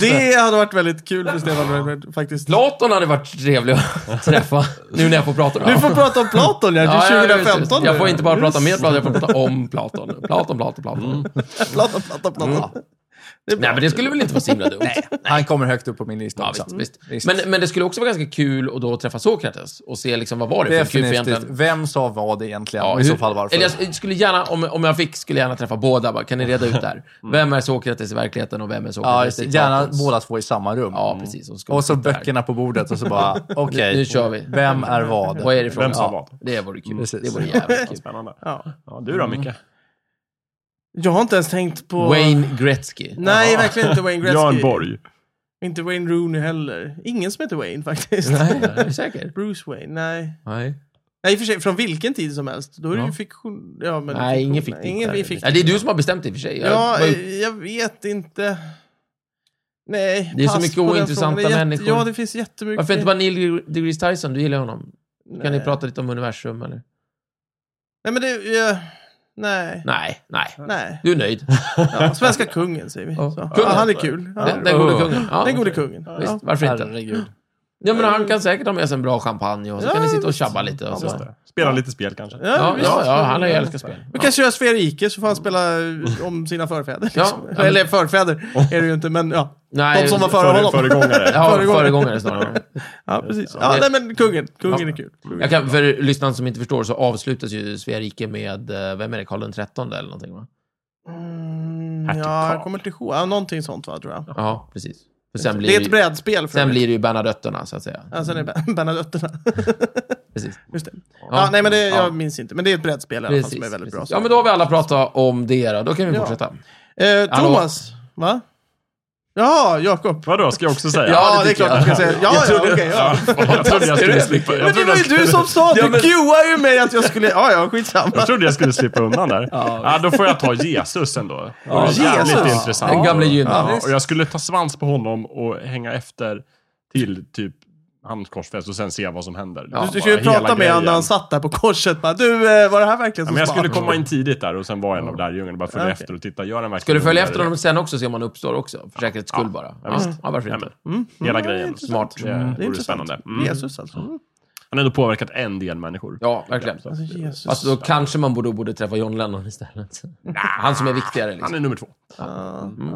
[SPEAKER 1] det hade varit väldigt kul för Stefan Reinfeldt, faktiskt.
[SPEAKER 4] Platon hade varit trevlig att träffa, nu när jag får prata med
[SPEAKER 1] Du
[SPEAKER 4] honom.
[SPEAKER 1] får prata om Platon, ja.
[SPEAKER 4] Ja,
[SPEAKER 1] Det
[SPEAKER 4] ja,
[SPEAKER 1] är
[SPEAKER 4] just det.
[SPEAKER 1] 2015
[SPEAKER 4] Jag
[SPEAKER 1] nu.
[SPEAKER 4] får inte bara prata med Platon, jag får prata om Platon. Platon, Platon, Platon.
[SPEAKER 1] Platon, Platon, Platon. Det är bra.
[SPEAKER 4] Mm. Nej, men det skulle väl inte vara så himla dumt?
[SPEAKER 2] Han kommer högt upp på min lista
[SPEAKER 4] Ja,
[SPEAKER 2] också.
[SPEAKER 4] visst, visst.
[SPEAKER 2] Liksom. Visst.
[SPEAKER 4] Men, men det skulle också vara ganska kul att då träffa Sokrates och se liksom, vad var det för kul för
[SPEAKER 2] Definitivt.
[SPEAKER 4] egentligen.
[SPEAKER 2] Vem sa vad egentligen?
[SPEAKER 4] Ja,
[SPEAKER 2] och i
[SPEAKER 4] hur-
[SPEAKER 2] så fall varför?
[SPEAKER 4] Eller jag s- skulle gärna, om, om jag fick, skulle jag gärna träffa båda. Bara, kan ni reda ut det här? Vem är Sokrates i verkligheten och vem är
[SPEAKER 2] Mm. ja,
[SPEAKER 4] Sokrates
[SPEAKER 2] just det.
[SPEAKER 4] i
[SPEAKER 2] Gärna
[SPEAKER 4] Platons?
[SPEAKER 2] båda två i samma rum.
[SPEAKER 4] Ja, precis. Och,
[SPEAKER 2] Och så
[SPEAKER 4] sitta här.
[SPEAKER 2] böckerna på bordet och så bara, okej,
[SPEAKER 4] Nu kör vi.
[SPEAKER 2] vem är vad?
[SPEAKER 4] Vad är det frågan
[SPEAKER 3] Vem
[SPEAKER 4] om?
[SPEAKER 3] sa
[SPEAKER 4] Ja, Det vore kul.
[SPEAKER 2] Precis.
[SPEAKER 4] Det vore jävligt
[SPEAKER 3] Vad
[SPEAKER 4] kul.
[SPEAKER 3] Spännande.
[SPEAKER 1] Ja.
[SPEAKER 3] Ja, du då, Micke?
[SPEAKER 1] Jag har inte ens tänkt på...
[SPEAKER 4] Wayne Gretzky.
[SPEAKER 1] Nej, verkligen inte Wayne Gretzky.
[SPEAKER 3] Jan Borg.
[SPEAKER 1] Inte Wayne Rooney heller. Ingen som heter Wayne faktiskt.
[SPEAKER 4] Nej, är du säker?
[SPEAKER 1] Bruce Wayne, nej.
[SPEAKER 4] Nej.
[SPEAKER 1] Nej, i och för sig, från vilken tid som helst. Då är det
[SPEAKER 4] Ja.
[SPEAKER 1] ju fiktion. Ja, men
[SPEAKER 4] Nej, ingen fick
[SPEAKER 1] fiktion.
[SPEAKER 4] det.
[SPEAKER 1] Ingen vi fick
[SPEAKER 4] Nej, det är du som har bestämt det i och för sig. Jag
[SPEAKER 1] Ja,
[SPEAKER 4] var ju-
[SPEAKER 1] eh, jag vet inte. Nej,
[SPEAKER 4] Det är så
[SPEAKER 1] pass
[SPEAKER 4] mycket
[SPEAKER 1] på den
[SPEAKER 4] ointressanta
[SPEAKER 1] frågan. Det är jätte-
[SPEAKER 4] människor.
[SPEAKER 1] Ja, det finns jättemycket.
[SPEAKER 4] varför inte bara Neil deGrasse Tyson? Du gillar honom.
[SPEAKER 1] eh. nej.
[SPEAKER 4] Kan ni prata lite om universum eller?
[SPEAKER 1] Nej, men det... eh, nej.
[SPEAKER 4] Nej, nej.
[SPEAKER 1] Nej.
[SPEAKER 4] Du är nöjd.
[SPEAKER 1] Ja, svenska kungen säger vi.
[SPEAKER 4] Ja.
[SPEAKER 1] Så. Ja,
[SPEAKER 4] Kungen.
[SPEAKER 1] han är kul. Ja.
[SPEAKER 4] Den, den gode kungen. Ja,
[SPEAKER 1] Den gode kungen. Ja.
[SPEAKER 4] Visst, varför inte?
[SPEAKER 2] Herregud.
[SPEAKER 4] Ja, men han kan säkert ha med sig en bra champagne och så
[SPEAKER 1] Ja,
[SPEAKER 4] kan ni sitta och tjabba lite. Och så.
[SPEAKER 3] Just det. Spela lite spel kanske.
[SPEAKER 4] Ja,
[SPEAKER 1] visst.
[SPEAKER 4] ja, ja, han har ju älskat spel.
[SPEAKER 1] Man kan köra Sverige så får han spela eh, om sina förfäder. Liksom.
[SPEAKER 4] Ja.
[SPEAKER 1] Eller förfäder är det ju inte, men ja.
[SPEAKER 4] Nej,
[SPEAKER 1] De som var före
[SPEAKER 3] Före,
[SPEAKER 1] honom.
[SPEAKER 3] föregångare.
[SPEAKER 4] Ja,
[SPEAKER 1] föregångare.
[SPEAKER 4] föregångare snarare.
[SPEAKER 1] Ja, precis. Ja, nej, men kungen. Kungen är kul.
[SPEAKER 4] Jag kan, för lyssnaren som inte förstår så avslutas ju Svea rike med, eh, vem är det, Karl den trettonde eller någonting va?
[SPEAKER 1] Mm,
[SPEAKER 3] Hertig
[SPEAKER 1] ja,
[SPEAKER 3] Karl.
[SPEAKER 1] jag kommer inte ihåg. Ja, någonting sånt va, tror jag.
[SPEAKER 4] Ja, precis. För sen blir
[SPEAKER 1] Det
[SPEAKER 4] det
[SPEAKER 1] är ett
[SPEAKER 4] ju,
[SPEAKER 1] brädspel. För
[SPEAKER 4] sen
[SPEAKER 1] övrigt.
[SPEAKER 4] blir det ju Bernadotterna så att säga.
[SPEAKER 1] Ja, sen är det Ben- Bernadotterna.
[SPEAKER 4] Precis.
[SPEAKER 1] Just det.
[SPEAKER 4] Ja,
[SPEAKER 1] Ja, nej, men det, jag
[SPEAKER 4] ja.
[SPEAKER 1] minns inte. Men det är ett brädspel i alla fall
[SPEAKER 4] Precis,
[SPEAKER 1] som är väldigt bra.
[SPEAKER 4] precis. Ja, men då har vi alla pratat om det då. Då kan vi
[SPEAKER 1] Ja.
[SPEAKER 4] fortsätta.
[SPEAKER 1] Eh,
[SPEAKER 4] Hallå?
[SPEAKER 1] Thomas, va? Jaha, Jakob.
[SPEAKER 3] Vadå, ska jag också säga?
[SPEAKER 1] Ja, det, är
[SPEAKER 2] tycker
[SPEAKER 1] klart jag. ska
[SPEAKER 2] jag.
[SPEAKER 1] säga. Ja, ja, okej. ja.
[SPEAKER 3] Jag trodde jag skulle slippa, jag
[SPEAKER 1] Men det
[SPEAKER 3] trodde
[SPEAKER 1] var
[SPEAKER 3] jag
[SPEAKER 1] ju du
[SPEAKER 3] skulle,
[SPEAKER 1] som sa, du
[SPEAKER 2] Ja, men-
[SPEAKER 1] cueade ju mig att jag skulle... Ja, ja, skitsamma.
[SPEAKER 3] jag trodde jag skulle slippa undan där. Ja, då får jag ta Jesus ändå. Ja, jävligt
[SPEAKER 1] Jesus.
[SPEAKER 3] intressant.
[SPEAKER 4] Den gamle gynnaren.
[SPEAKER 3] Ja, och jag skulle ta svans på honom och hänga efter till typ hans korsfäst och sen se vad som händer.
[SPEAKER 4] Ja,
[SPEAKER 1] Du, du
[SPEAKER 3] Bara
[SPEAKER 1] skulle ju
[SPEAKER 3] hela
[SPEAKER 1] prata med honom
[SPEAKER 3] grejen.
[SPEAKER 1] när han satt där på korset. Bara, du, eh, var det här verkligen
[SPEAKER 3] Ja,
[SPEAKER 1] så
[SPEAKER 3] men jag
[SPEAKER 1] smart?
[SPEAKER 3] skulle komma in tidigt där och sen vara en av lärjungarna och bara följa
[SPEAKER 1] Okej.
[SPEAKER 3] efter och titta, gör den verkligen
[SPEAKER 4] Ska du följa
[SPEAKER 3] under-
[SPEAKER 4] efter honom sen också, se om han uppstår också? För säkerhets skull bara.
[SPEAKER 3] ja, visst.
[SPEAKER 4] Ja, varför
[SPEAKER 3] Nej,
[SPEAKER 4] inte?
[SPEAKER 3] men, Hela grejen.
[SPEAKER 1] intressant.
[SPEAKER 3] Det
[SPEAKER 1] Mm.
[SPEAKER 3] vore
[SPEAKER 1] intressant.
[SPEAKER 3] spännande. Mm.
[SPEAKER 1] Jesus alltså. Mm.
[SPEAKER 3] Han har ändå påverkat en del människor.
[SPEAKER 4] Ja, verkligen.
[SPEAKER 1] Alltså, Jesus.
[SPEAKER 4] Fast då kanske man borde, borde träffa John Lennon istället. Han som är viktigare
[SPEAKER 3] Han
[SPEAKER 4] liksom.
[SPEAKER 3] är nummer två.
[SPEAKER 1] Ja.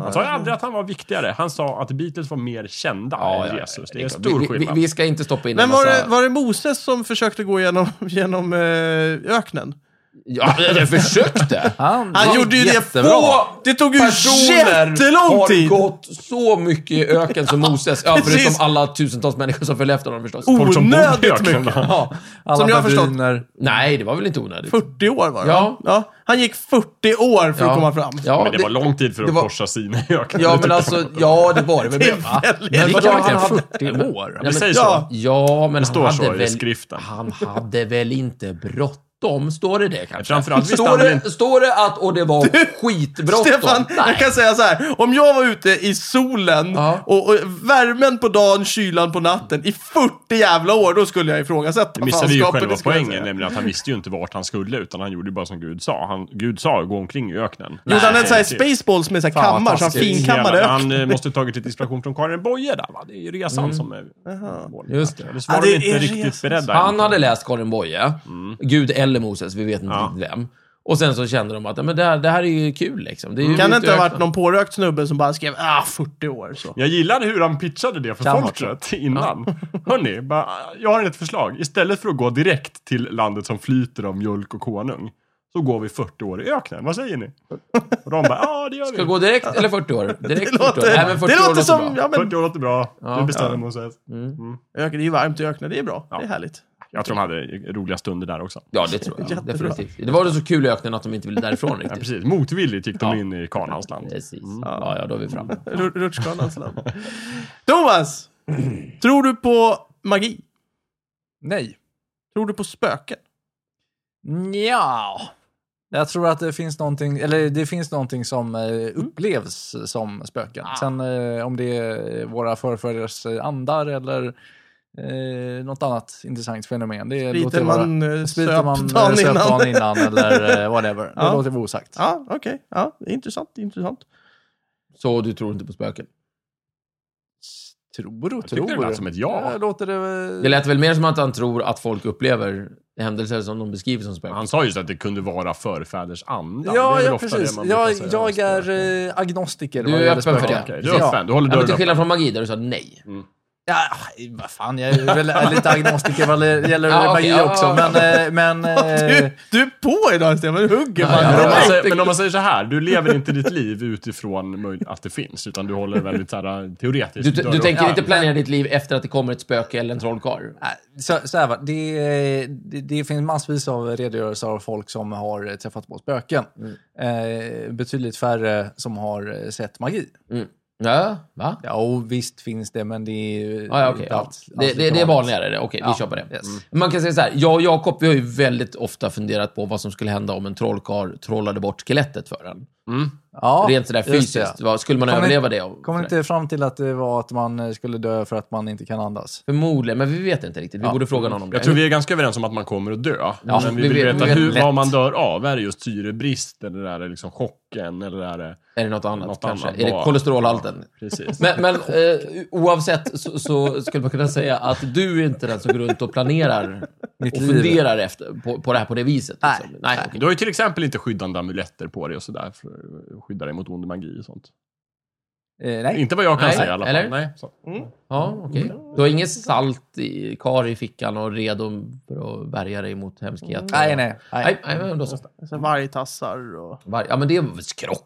[SPEAKER 3] Han sa ju aldrig att han var viktigare. Han sa att Beatles var mer kända
[SPEAKER 4] Ja, ja,
[SPEAKER 3] än
[SPEAKER 4] ja.
[SPEAKER 3] Jesus.
[SPEAKER 4] Det
[SPEAKER 3] Det är
[SPEAKER 4] är
[SPEAKER 3] en
[SPEAKER 4] klart.
[SPEAKER 3] stor
[SPEAKER 4] vi, vi,
[SPEAKER 3] skillnad.
[SPEAKER 4] vi ska inte stoppa in
[SPEAKER 1] Men
[SPEAKER 4] en
[SPEAKER 1] var
[SPEAKER 4] massa...
[SPEAKER 1] det, var det Moses som försökte gå genom, genom eh, öknen?
[SPEAKER 4] Ja, jag försökte!
[SPEAKER 2] Han,
[SPEAKER 1] Han gjorde ju
[SPEAKER 2] jättebra.
[SPEAKER 1] det få... Det tog ju jättelång
[SPEAKER 4] har
[SPEAKER 1] tid!
[SPEAKER 4] gått så mycket i öken som Moses. Ja,
[SPEAKER 1] Precis. Oh.
[SPEAKER 4] förutom alla tusentals människor som följde efter honom förstås.
[SPEAKER 3] Folk som bor i
[SPEAKER 1] Onödigt
[SPEAKER 3] öknen.
[SPEAKER 1] mycket!
[SPEAKER 2] Ja, alla eh,
[SPEAKER 1] Som jag har förstått.
[SPEAKER 2] beduiner.
[SPEAKER 4] Nej, det var väl inte onödigt?
[SPEAKER 1] 40 år var det?
[SPEAKER 4] Ja.
[SPEAKER 1] ja. Han gick 40 år för att
[SPEAKER 4] Ja.
[SPEAKER 1] komma fram.
[SPEAKER 4] Ja,
[SPEAKER 3] Men det var lång tid för
[SPEAKER 2] det
[SPEAKER 3] att
[SPEAKER 2] var-
[SPEAKER 3] korsa sina öknen.
[SPEAKER 2] Ja, men alltså, ja, det var det väl.
[SPEAKER 1] Det är
[SPEAKER 2] Men-
[SPEAKER 1] väldigt-
[SPEAKER 2] Men vadå,
[SPEAKER 4] Rickard
[SPEAKER 2] han
[SPEAKER 4] verkligen
[SPEAKER 2] hade 40 år?
[SPEAKER 3] Det
[SPEAKER 4] men-
[SPEAKER 3] sägs
[SPEAKER 1] ja.
[SPEAKER 3] så.
[SPEAKER 4] Ja, men
[SPEAKER 3] står
[SPEAKER 4] han
[SPEAKER 3] så
[SPEAKER 4] hade
[SPEAKER 3] i
[SPEAKER 4] väl...
[SPEAKER 3] skriften.
[SPEAKER 4] Han hade väl inte bråttom? Står det det kanske?
[SPEAKER 3] Framförallt visste
[SPEAKER 4] står,
[SPEAKER 3] han väl
[SPEAKER 4] det,
[SPEAKER 3] inte...
[SPEAKER 4] står det att och det var skitbråttom?
[SPEAKER 1] Stefan, jag kan säga så här. Om jag var ute i solen
[SPEAKER 4] Ja.
[SPEAKER 1] och, och värmen på dagen, kylan på natten i 40 jävla år, då skulle jag ifrågasätta
[SPEAKER 3] Det missade ju
[SPEAKER 1] fanskapet,
[SPEAKER 3] själva
[SPEAKER 1] det skulle jag
[SPEAKER 3] poängen,
[SPEAKER 1] säga.
[SPEAKER 3] nämligen att han visste ju inte vart han skulle, utan han gjorde ju bara som Gud sa. Han, Gud sa, gå omkring i öknen.
[SPEAKER 1] Gjorde han
[SPEAKER 3] Nej, typ.
[SPEAKER 1] en sån här
[SPEAKER 3] till-
[SPEAKER 1] spaceballs med så här
[SPEAKER 2] Fan, vad
[SPEAKER 1] kammar, så han
[SPEAKER 2] taskigt.
[SPEAKER 1] finkammade
[SPEAKER 3] Jävlar,
[SPEAKER 1] öknen?
[SPEAKER 3] Han eh, måste ha tagit lite inspiration från Karin Boye där va? Det är ju resan som är målet.
[SPEAKER 4] Just det.
[SPEAKER 3] Så var
[SPEAKER 1] Ja,
[SPEAKER 3] de
[SPEAKER 1] det
[SPEAKER 3] inte
[SPEAKER 1] är
[SPEAKER 3] riktigt
[SPEAKER 1] resan.
[SPEAKER 3] beredda.
[SPEAKER 4] Han
[SPEAKER 3] än.
[SPEAKER 4] hade läst Karin Boye, Gud eller Moses, vi vet inte
[SPEAKER 3] Ja.
[SPEAKER 4] riktigt vem. Och sen så kände de att ja, men det, här, det här är ju kul liksom. Det är ju
[SPEAKER 1] Kan det inte ha
[SPEAKER 4] utökat.
[SPEAKER 1] varit någon pårökt snubbe som bara skrev ah, 40 år så.
[SPEAKER 3] Jag gillade hur han pitchade det för
[SPEAKER 2] Kan vara
[SPEAKER 3] folket innan. Hörni, bara, jag har ett förslag. Istället för att gå direkt till landet som flyter av mjölk och konung, så går vi 40 år i öknen. Vad säger ni? Och de bara, ja det gör vi.
[SPEAKER 4] Ska gå direkt eller 40 år? Direkt 40 år.
[SPEAKER 1] det
[SPEAKER 4] Nej,
[SPEAKER 1] låter,
[SPEAKER 4] men 40
[SPEAKER 1] det
[SPEAKER 4] år
[SPEAKER 1] låter som...
[SPEAKER 4] bra.
[SPEAKER 1] Ja, men,
[SPEAKER 3] 40 år låter bra.
[SPEAKER 4] Ja.
[SPEAKER 3] du bestämmer Moses.
[SPEAKER 1] öken, det är ju varmt i öknen, det är bra. Det är härligt.
[SPEAKER 3] Jag tror de hade roliga stunder där också.
[SPEAKER 4] Ja, det tror jag.
[SPEAKER 1] Jättebra.
[SPEAKER 4] Definitivt. Det var ju så kul i öknen att de inte ville därifrån
[SPEAKER 3] Ja,
[SPEAKER 4] riktigt.
[SPEAKER 3] precis. Motvilligt gick de
[SPEAKER 4] Ja.
[SPEAKER 3] in i Kanans land.
[SPEAKER 4] Precis. Ja, ja, då är vi framme.
[SPEAKER 1] Ru- Rutschkanans land. Thomas! Tror du på magi?
[SPEAKER 2] Nej.
[SPEAKER 1] Tror du på spöken?
[SPEAKER 2] Ja. Jag tror att det finns någonting, eller det finns någonting som eh, upplevs som spöken.
[SPEAKER 4] Ah.
[SPEAKER 2] Sen eh, om det är våra förföders andar eller eh, något annat intressant fenomen. Det låter
[SPEAKER 1] Spriten
[SPEAKER 2] vara-
[SPEAKER 1] man eh,
[SPEAKER 2] spriten man
[SPEAKER 1] söp
[SPEAKER 2] eh,
[SPEAKER 1] dagen
[SPEAKER 2] söp
[SPEAKER 1] innan.
[SPEAKER 2] dagen innan eller eh, whatever. Det
[SPEAKER 1] Ja.
[SPEAKER 2] låter vara osagt.
[SPEAKER 1] Ja, okej. Ja, det är intressant. det är intressant.
[SPEAKER 4] Så du tror inte på spöken?
[SPEAKER 2] Tror och
[SPEAKER 3] tyckte det
[SPEAKER 2] tror.
[SPEAKER 3] lät som ett ja.
[SPEAKER 2] Eh, låter det...
[SPEAKER 4] Det lät väl mer som att han tror att folk upplever händelser som de beskriver som spöken.
[SPEAKER 3] Han sa just att det kunde vara förfäders anda. Det är
[SPEAKER 2] Ja,
[SPEAKER 3] väl
[SPEAKER 2] ja
[SPEAKER 3] ofta det
[SPEAKER 2] precis.
[SPEAKER 3] man brukar
[SPEAKER 2] Jag,
[SPEAKER 3] säga.
[SPEAKER 2] jag är eh, agnostiker
[SPEAKER 4] Du
[SPEAKER 2] vad
[SPEAKER 4] är
[SPEAKER 2] gäller
[SPEAKER 4] öppen för
[SPEAKER 2] spöken.
[SPEAKER 4] det.
[SPEAKER 3] Okej, Du är ett fan. Du håller
[SPEAKER 4] Ja, men till
[SPEAKER 3] dörren
[SPEAKER 4] skillnad från magi, där du sa nej.
[SPEAKER 2] Mm. Ja, vad fan, jag är väl lite agnostiker vad det gäller
[SPEAKER 4] Ja, okej,
[SPEAKER 2] magi
[SPEAKER 4] ja,
[SPEAKER 2] också.
[SPEAKER 4] ja,
[SPEAKER 2] Men, eh, men eh,
[SPEAKER 1] Du, du är på idag Stefan, du hugger man.
[SPEAKER 3] Men om, man
[SPEAKER 4] Ja.
[SPEAKER 3] säger, men om man säger så här, du lever inte ditt liv utifrån möj- att det finns, utan du håller väldigt så här, äh, teoretiskt.
[SPEAKER 4] Du, du
[SPEAKER 3] dörren
[SPEAKER 4] tänker
[SPEAKER 3] öppen.
[SPEAKER 4] inte planera ditt liv efter att det kommer ett spöke eller en trollkarl?
[SPEAKER 2] nej, så, så här va, det, det, det finns massvis av redogörelser av folk som har eh, träffat på spöken. Eh, betydligt färre som har eh, sett magi.
[SPEAKER 4] Ja, va?
[SPEAKER 2] Ja, och visst finns det, men det är ju
[SPEAKER 4] Ja, ja, okej.
[SPEAKER 2] inte alltså,
[SPEAKER 4] ja.
[SPEAKER 2] allt-
[SPEAKER 4] Det,
[SPEAKER 2] allt
[SPEAKER 4] det, det är
[SPEAKER 2] lika vanligt.
[SPEAKER 4] vanligare. det. Okej, vi
[SPEAKER 2] Ja,
[SPEAKER 4] kör på det. Mm.
[SPEAKER 2] yes.
[SPEAKER 4] Man kan säga så här, jag och Jakob vi har ju väldigt ofta funderat på vad som skulle hända om en trollkarl trollade bort skelettet för en.
[SPEAKER 2] Ja,
[SPEAKER 4] Rent sådär
[SPEAKER 2] just det.
[SPEAKER 4] fysiskt, vad, skulle man
[SPEAKER 2] Kommer
[SPEAKER 4] överleva
[SPEAKER 2] ni-
[SPEAKER 4] det? Och,
[SPEAKER 2] Kommer
[SPEAKER 4] sådär.
[SPEAKER 2] inte fram till att det var att man eh, skulle dö för att man inte kan andas?
[SPEAKER 4] Förmodligen, men vi vet inte riktigt. Vi borde fråga någon om det.
[SPEAKER 3] Jag tror vi är ganska överens om att man kommer att dö.
[SPEAKER 4] Ja,
[SPEAKER 3] men vi
[SPEAKER 4] vi
[SPEAKER 3] vill
[SPEAKER 4] vet-
[SPEAKER 3] veta
[SPEAKER 4] vi vet
[SPEAKER 3] hur, vad
[SPEAKER 2] lätt.
[SPEAKER 3] man dör av. Är det just syrebrist, eller är det liksom chocken, eller är det...
[SPEAKER 4] Är det något annat
[SPEAKER 3] Något
[SPEAKER 4] kanske?
[SPEAKER 3] annat,
[SPEAKER 4] är det
[SPEAKER 3] bara-
[SPEAKER 4] kolesterolhalten?
[SPEAKER 3] Precis.
[SPEAKER 4] Men, men eh, oavsett så, så skulle man kunna säga att du är inte den som går runt och planerar
[SPEAKER 2] Mitt
[SPEAKER 4] och
[SPEAKER 2] liv.
[SPEAKER 4] funderar efter, på, på det här på det viset. liksom.
[SPEAKER 2] Nej.
[SPEAKER 4] Nej, okej.
[SPEAKER 3] Du har ju till exempel inte skyddande amuletter på dig och sådär, för att skydda dig mot ond magi och sånt.
[SPEAKER 2] Eh, nej.
[SPEAKER 3] Inte vad jag kan
[SPEAKER 4] Nej,
[SPEAKER 3] säga i alla fall.
[SPEAKER 4] eller?
[SPEAKER 3] Nej, så.
[SPEAKER 4] Ja, okej. Du har inget salt i, kar i fickan och redo för att värja dig mot hemskheter?
[SPEAKER 2] Nej, nej. nej.
[SPEAKER 4] Nej, nej, men då så.
[SPEAKER 1] Så här Vargtassar och...
[SPEAKER 4] Var- Ja, men det är väl skrock.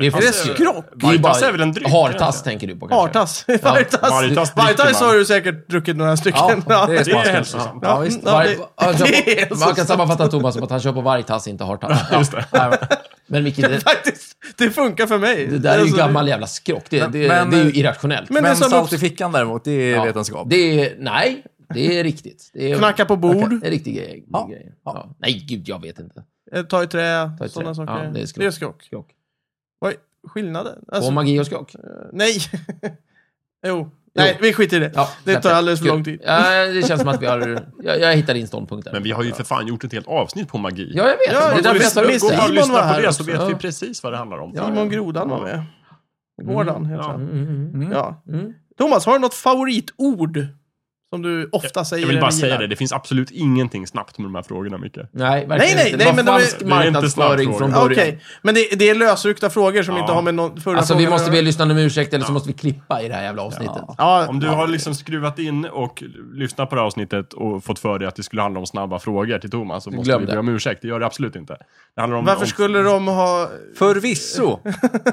[SPEAKER 4] Det är för
[SPEAKER 3] Vargtass
[SPEAKER 4] skrock.
[SPEAKER 3] väl-
[SPEAKER 4] Det är ju
[SPEAKER 3] Vargtass
[SPEAKER 4] bara-
[SPEAKER 3] är väl en dryck?
[SPEAKER 4] Hartass tänker du på kanske?
[SPEAKER 1] Hartass. Vargtass.
[SPEAKER 3] Vargtass dricker
[SPEAKER 1] Vargtass
[SPEAKER 3] man.
[SPEAKER 1] har du säkert druckit några stycken.
[SPEAKER 2] Ja, det är
[SPEAKER 3] Det är
[SPEAKER 2] smaskigt.
[SPEAKER 3] hälsosamt.
[SPEAKER 2] Ja, visst.
[SPEAKER 1] Ja,
[SPEAKER 4] Var,
[SPEAKER 1] det-
[SPEAKER 4] ja,
[SPEAKER 1] det är
[SPEAKER 4] man-
[SPEAKER 1] så
[SPEAKER 4] man kan sammanfatta Thomas som att han kör på vargtass, inte hartass. Ja.
[SPEAKER 3] Just det.
[SPEAKER 2] Nej, men-
[SPEAKER 4] Men Micke, det,
[SPEAKER 1] Faktiskt, det funkar för mig.
[SPEAKER 4] det där är ju
[SPEAKER 1] Alltså,
[SPEAKER 4] gammal jävla skrock. Det, det,
[SPEAKER 2] Men-
[SPEAKER 4] det är ju irrationellt.
[SPEAKER 1] Men
[SPEAKER 2] Men,
[SPEAKER 1] det är som
[SPEAKER 2] salt
[SPEAKER 1] också-
[SPEAKER 2] i fickan däremot, det är
[SPEAKER 4] Ja,
[SPEAKER 2] vetenskap.
[SPEAKER 4] Det är, nej, det är riktigt. Det är,
[SPEAKER 1] Knacka på bord,
[SPEAKER 4] Det är riktig grej.
[SPEAKER 2] Ja,
[SPEAKER 4] grej.
[SPEAKER 2] ja.
[SPEAKER 4] Ja. Nej, gud, jag vet inte.
[SPEAKER 1] eh, ta i trä,
[SPEAKER 4] Ta i trä.
[SPEAKER 1] sådana saker.
[SPEAKER 4] Ja, det är skrock.
[SPEAKER 1] Det är skrock.
[SPEAKER 4] Skrock.
[SPEAKER 1] Vad är skillnaden?
[SPEAKER 4] Och
[SPEAKER 1] Alltså,
[SPEAKER 4] magi och skrock.
[SPEAKER 1] Nej. jo. Nej, vi skiter i det.
[SPEAKER 4] Ja,
[SPEAKER 1] det
[SPEAKER 4] släpp
[SPEAKER 1] tar alldeles för
[SPEAKER 4] Gud.
[SPEAKER 1] lång tid.
[SPEAKER 4] Ja, det känns som att vi har... Jag, jag hittar din ståndpunkt där.
[SPEAKER 3] Men vi har ju för fan gjort ett helt avsnitt på magi.
[SPEAKER 4] Ja, jag vet.
[SPEAKER 1] Ja,
[SPEAKER 4] det är
[SPEAKER 1] jag
[SPEAKER 4] därför jag
[SPEAKER 1] lyssnar-
[SPEAKER 4] tar upp
[SPEAKER 1] lyssnar-
[SPEAKER 4] det.
[SPEAKER 3] Gå bara och
[SPEAKER 1] Simon
[SPEAKER 3] lyssna
[SPEAKER 1] var
[SPEAKER 3] på
[SPEAKER 1] här
[SPEAKER 3] det
[SPEAKER 1] också.
[SPEAKER 3] så vet vi
[SPEAKER 4] Ja.
[SPEAKER 3] precis vad det handlar om.
[SPEAKER 4] Ja.
[SPEAKER 1] Simon Grodan var med. Gordon heter
[SPEAKER 3] Ja.
[SPEAKER 1] han.
[SPEAKER 4] Mm, mm, mm.
[SPEAKER 1] Ja.
[SPEAKER 4] Mm.
[SPEAKER 1] Thomas, har du något favoritord som du ofta säger?
[SPEAKER 3] Jag vill
[SPEAKER 1] eller
[SPEAKER 3] bara säga
[SPEAKER 1] gillar?
[SPEAKER 3] det, det finns absolut ingenting snabbt med de här frågorna Micke.
[SPEAKER 4] Nej,
[SPEAKER 1] Nej,
[SPEAKER 4] verkligen
[SPEAKER 1] nej, nej,
[SPEAKER 4] inte. Det var
[SPEAKER 1] men de är-
[SPEAKER 4] falsk
[SPEAKER 3] Det är inte
[SPEAKER 4] marknadsföring
[SPEAKER 3] snabbfrågor.
[SPEAKER 4] från
[SPEAKER 1] Ja,
[SPEAKER 4] början.
[SPEAKER 1] Okej, men det, det är lösryckta frågor som
[SPEAKER 3] Ja.
[SPEAKER 1] inte har med någon förra
[SPEAKER 4] Alltså,
[SPEAKER 1] frågan
[SPEAKER 4] vi måste
[SPEAKER 1] att
[SPEAKER 4] be
[SPEAKER 1] göra.
[SPEAKER 4] lyssnarna om ursäkt, eller så måste vi klippa i det här jävla avsnittet.
[SPEAKER 1] Ja,
[SPEAKER 3] Om du har liksom skruvat in och lyssnat på det här avsnittet och fått för dig att det skulle handla om snabba frågor till Thomas så måste
[SPEAKER 4] Glöm
[SPEAKER 3] vi
[SPEAKER 4] det.
[SPEAKER 3] be om ursäkt. Det gör det absolut inte. Det handlar om...
[SPEAKER 1] Varför
[SPEAKER 3] om...
[SPEAKER 1] skulle de ha...
[SPEAKER 2] Förvisso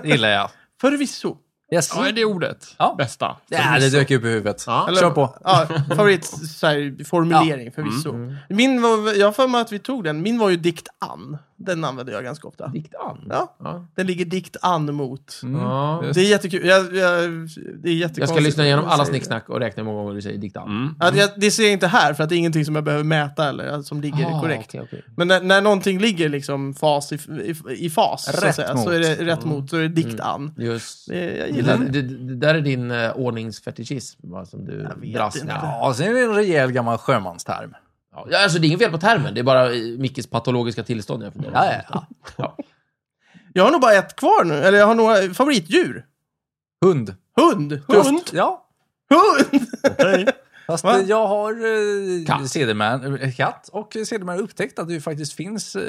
[SPEAKER 2] gillar jag.
[SPEAKER 1] Förvisso.
[SPEAKER 2] Yes.
[SPEAKER 3] Ja, är det ordet?
[SPEAKER 2] Ja.
[SPEAKER 3] Bästa.
[SPEAKER 2] Ja, det dök upp i huvudet.
[SPEAKER 3] Ja.
[SPEAKER 2] Kör på.
[SPEAKER 1] Ja, favorit så här, formulering förvisso.
[SPEAKER 4] Mm.
[SPEAKER 1] Min var, jag har för mig att vi tog den. Min var ju dikt an. Den använder jag ganska ofta.
[SPEAKER 4] Dikt an.
[SPEAKER 1] Ja,
[SPEAKER 4] Ja.
[SPEAKER 1] den ligger dikt an mot.
[SPEAKER 4] Ja.
[SPEAKER 1] Det är jättekul. Jag, jag, det är jättekonstigt.
[SPEAKER 4] Jag Mm. ska lyssna igenom alla snicksnack och räkna hur många gånger du säger dikt an.
[SPEAKER 3] Mm.
[SPEAKER 1] Ja, det, det ser jag inte här, för att det är ingenting som jag behöver mäta eller alltså, som ligger
[SPEAKER 4] Ah,
[SPEAKER 1] korrekt.
[SPEAKER 4] okej, okej.
[SPEAKER 1] Men när, när någonting ligger liksom fas i, i, i fas, så,
[SPEAKER 2] Rätt
[SPEAKER 1] att säga,
[SPEAKER 2] mot.
[SPEAKER 1] så är det rätt
[SPEAKER 4] Mm.
[SPEAKER 1] mot, så är det dikt an.
[SPEAKER 4] Just.
[SPEAKER 1] Det, jag
[SPEAKER 4] Det,
[SPEAKER 1] gillar
[SPEAKER 4] där-
[SPEAKER 1] det.
[SPEAKER 4] det, det där är din uh, ordningsfetischism va, som du
[SPEAKER 1] vet
[SPEAKER 4] dras
[SPEAKER 1] inte.
[SPEAKER 4] med.
[SPEAKER 2] Ja, sen är det en rejäl gammal sjömansterm.
[SPEAKER 4] Ja, alltså, det är inget fel på termen, det är bara eh, Mickes patologiska tillstånd jag funderar på.
[SPEAKER 2] Ja, ja, ja.
[SPEAKER 1] Jag har nog bara ett kvar nu, eller jag har några favoritdjur.
[SPEAKER 2] Hund.
[SPEAKER 1] Hund!
[SPEAKER 2] Hund? Ja.
[SPEAKER 1] Hund!
[SPEAKER 3] Okej.
[SPEAKER 2] Fast
[SPEAKER 1] Va?
[SPEAKER 2] eh, jag har eh,
[SPEAKER 4] Katt.
[SPEAKER 2] sedermär- eh, katt och sedermär upptäckt att det ju faktiskt finns eh,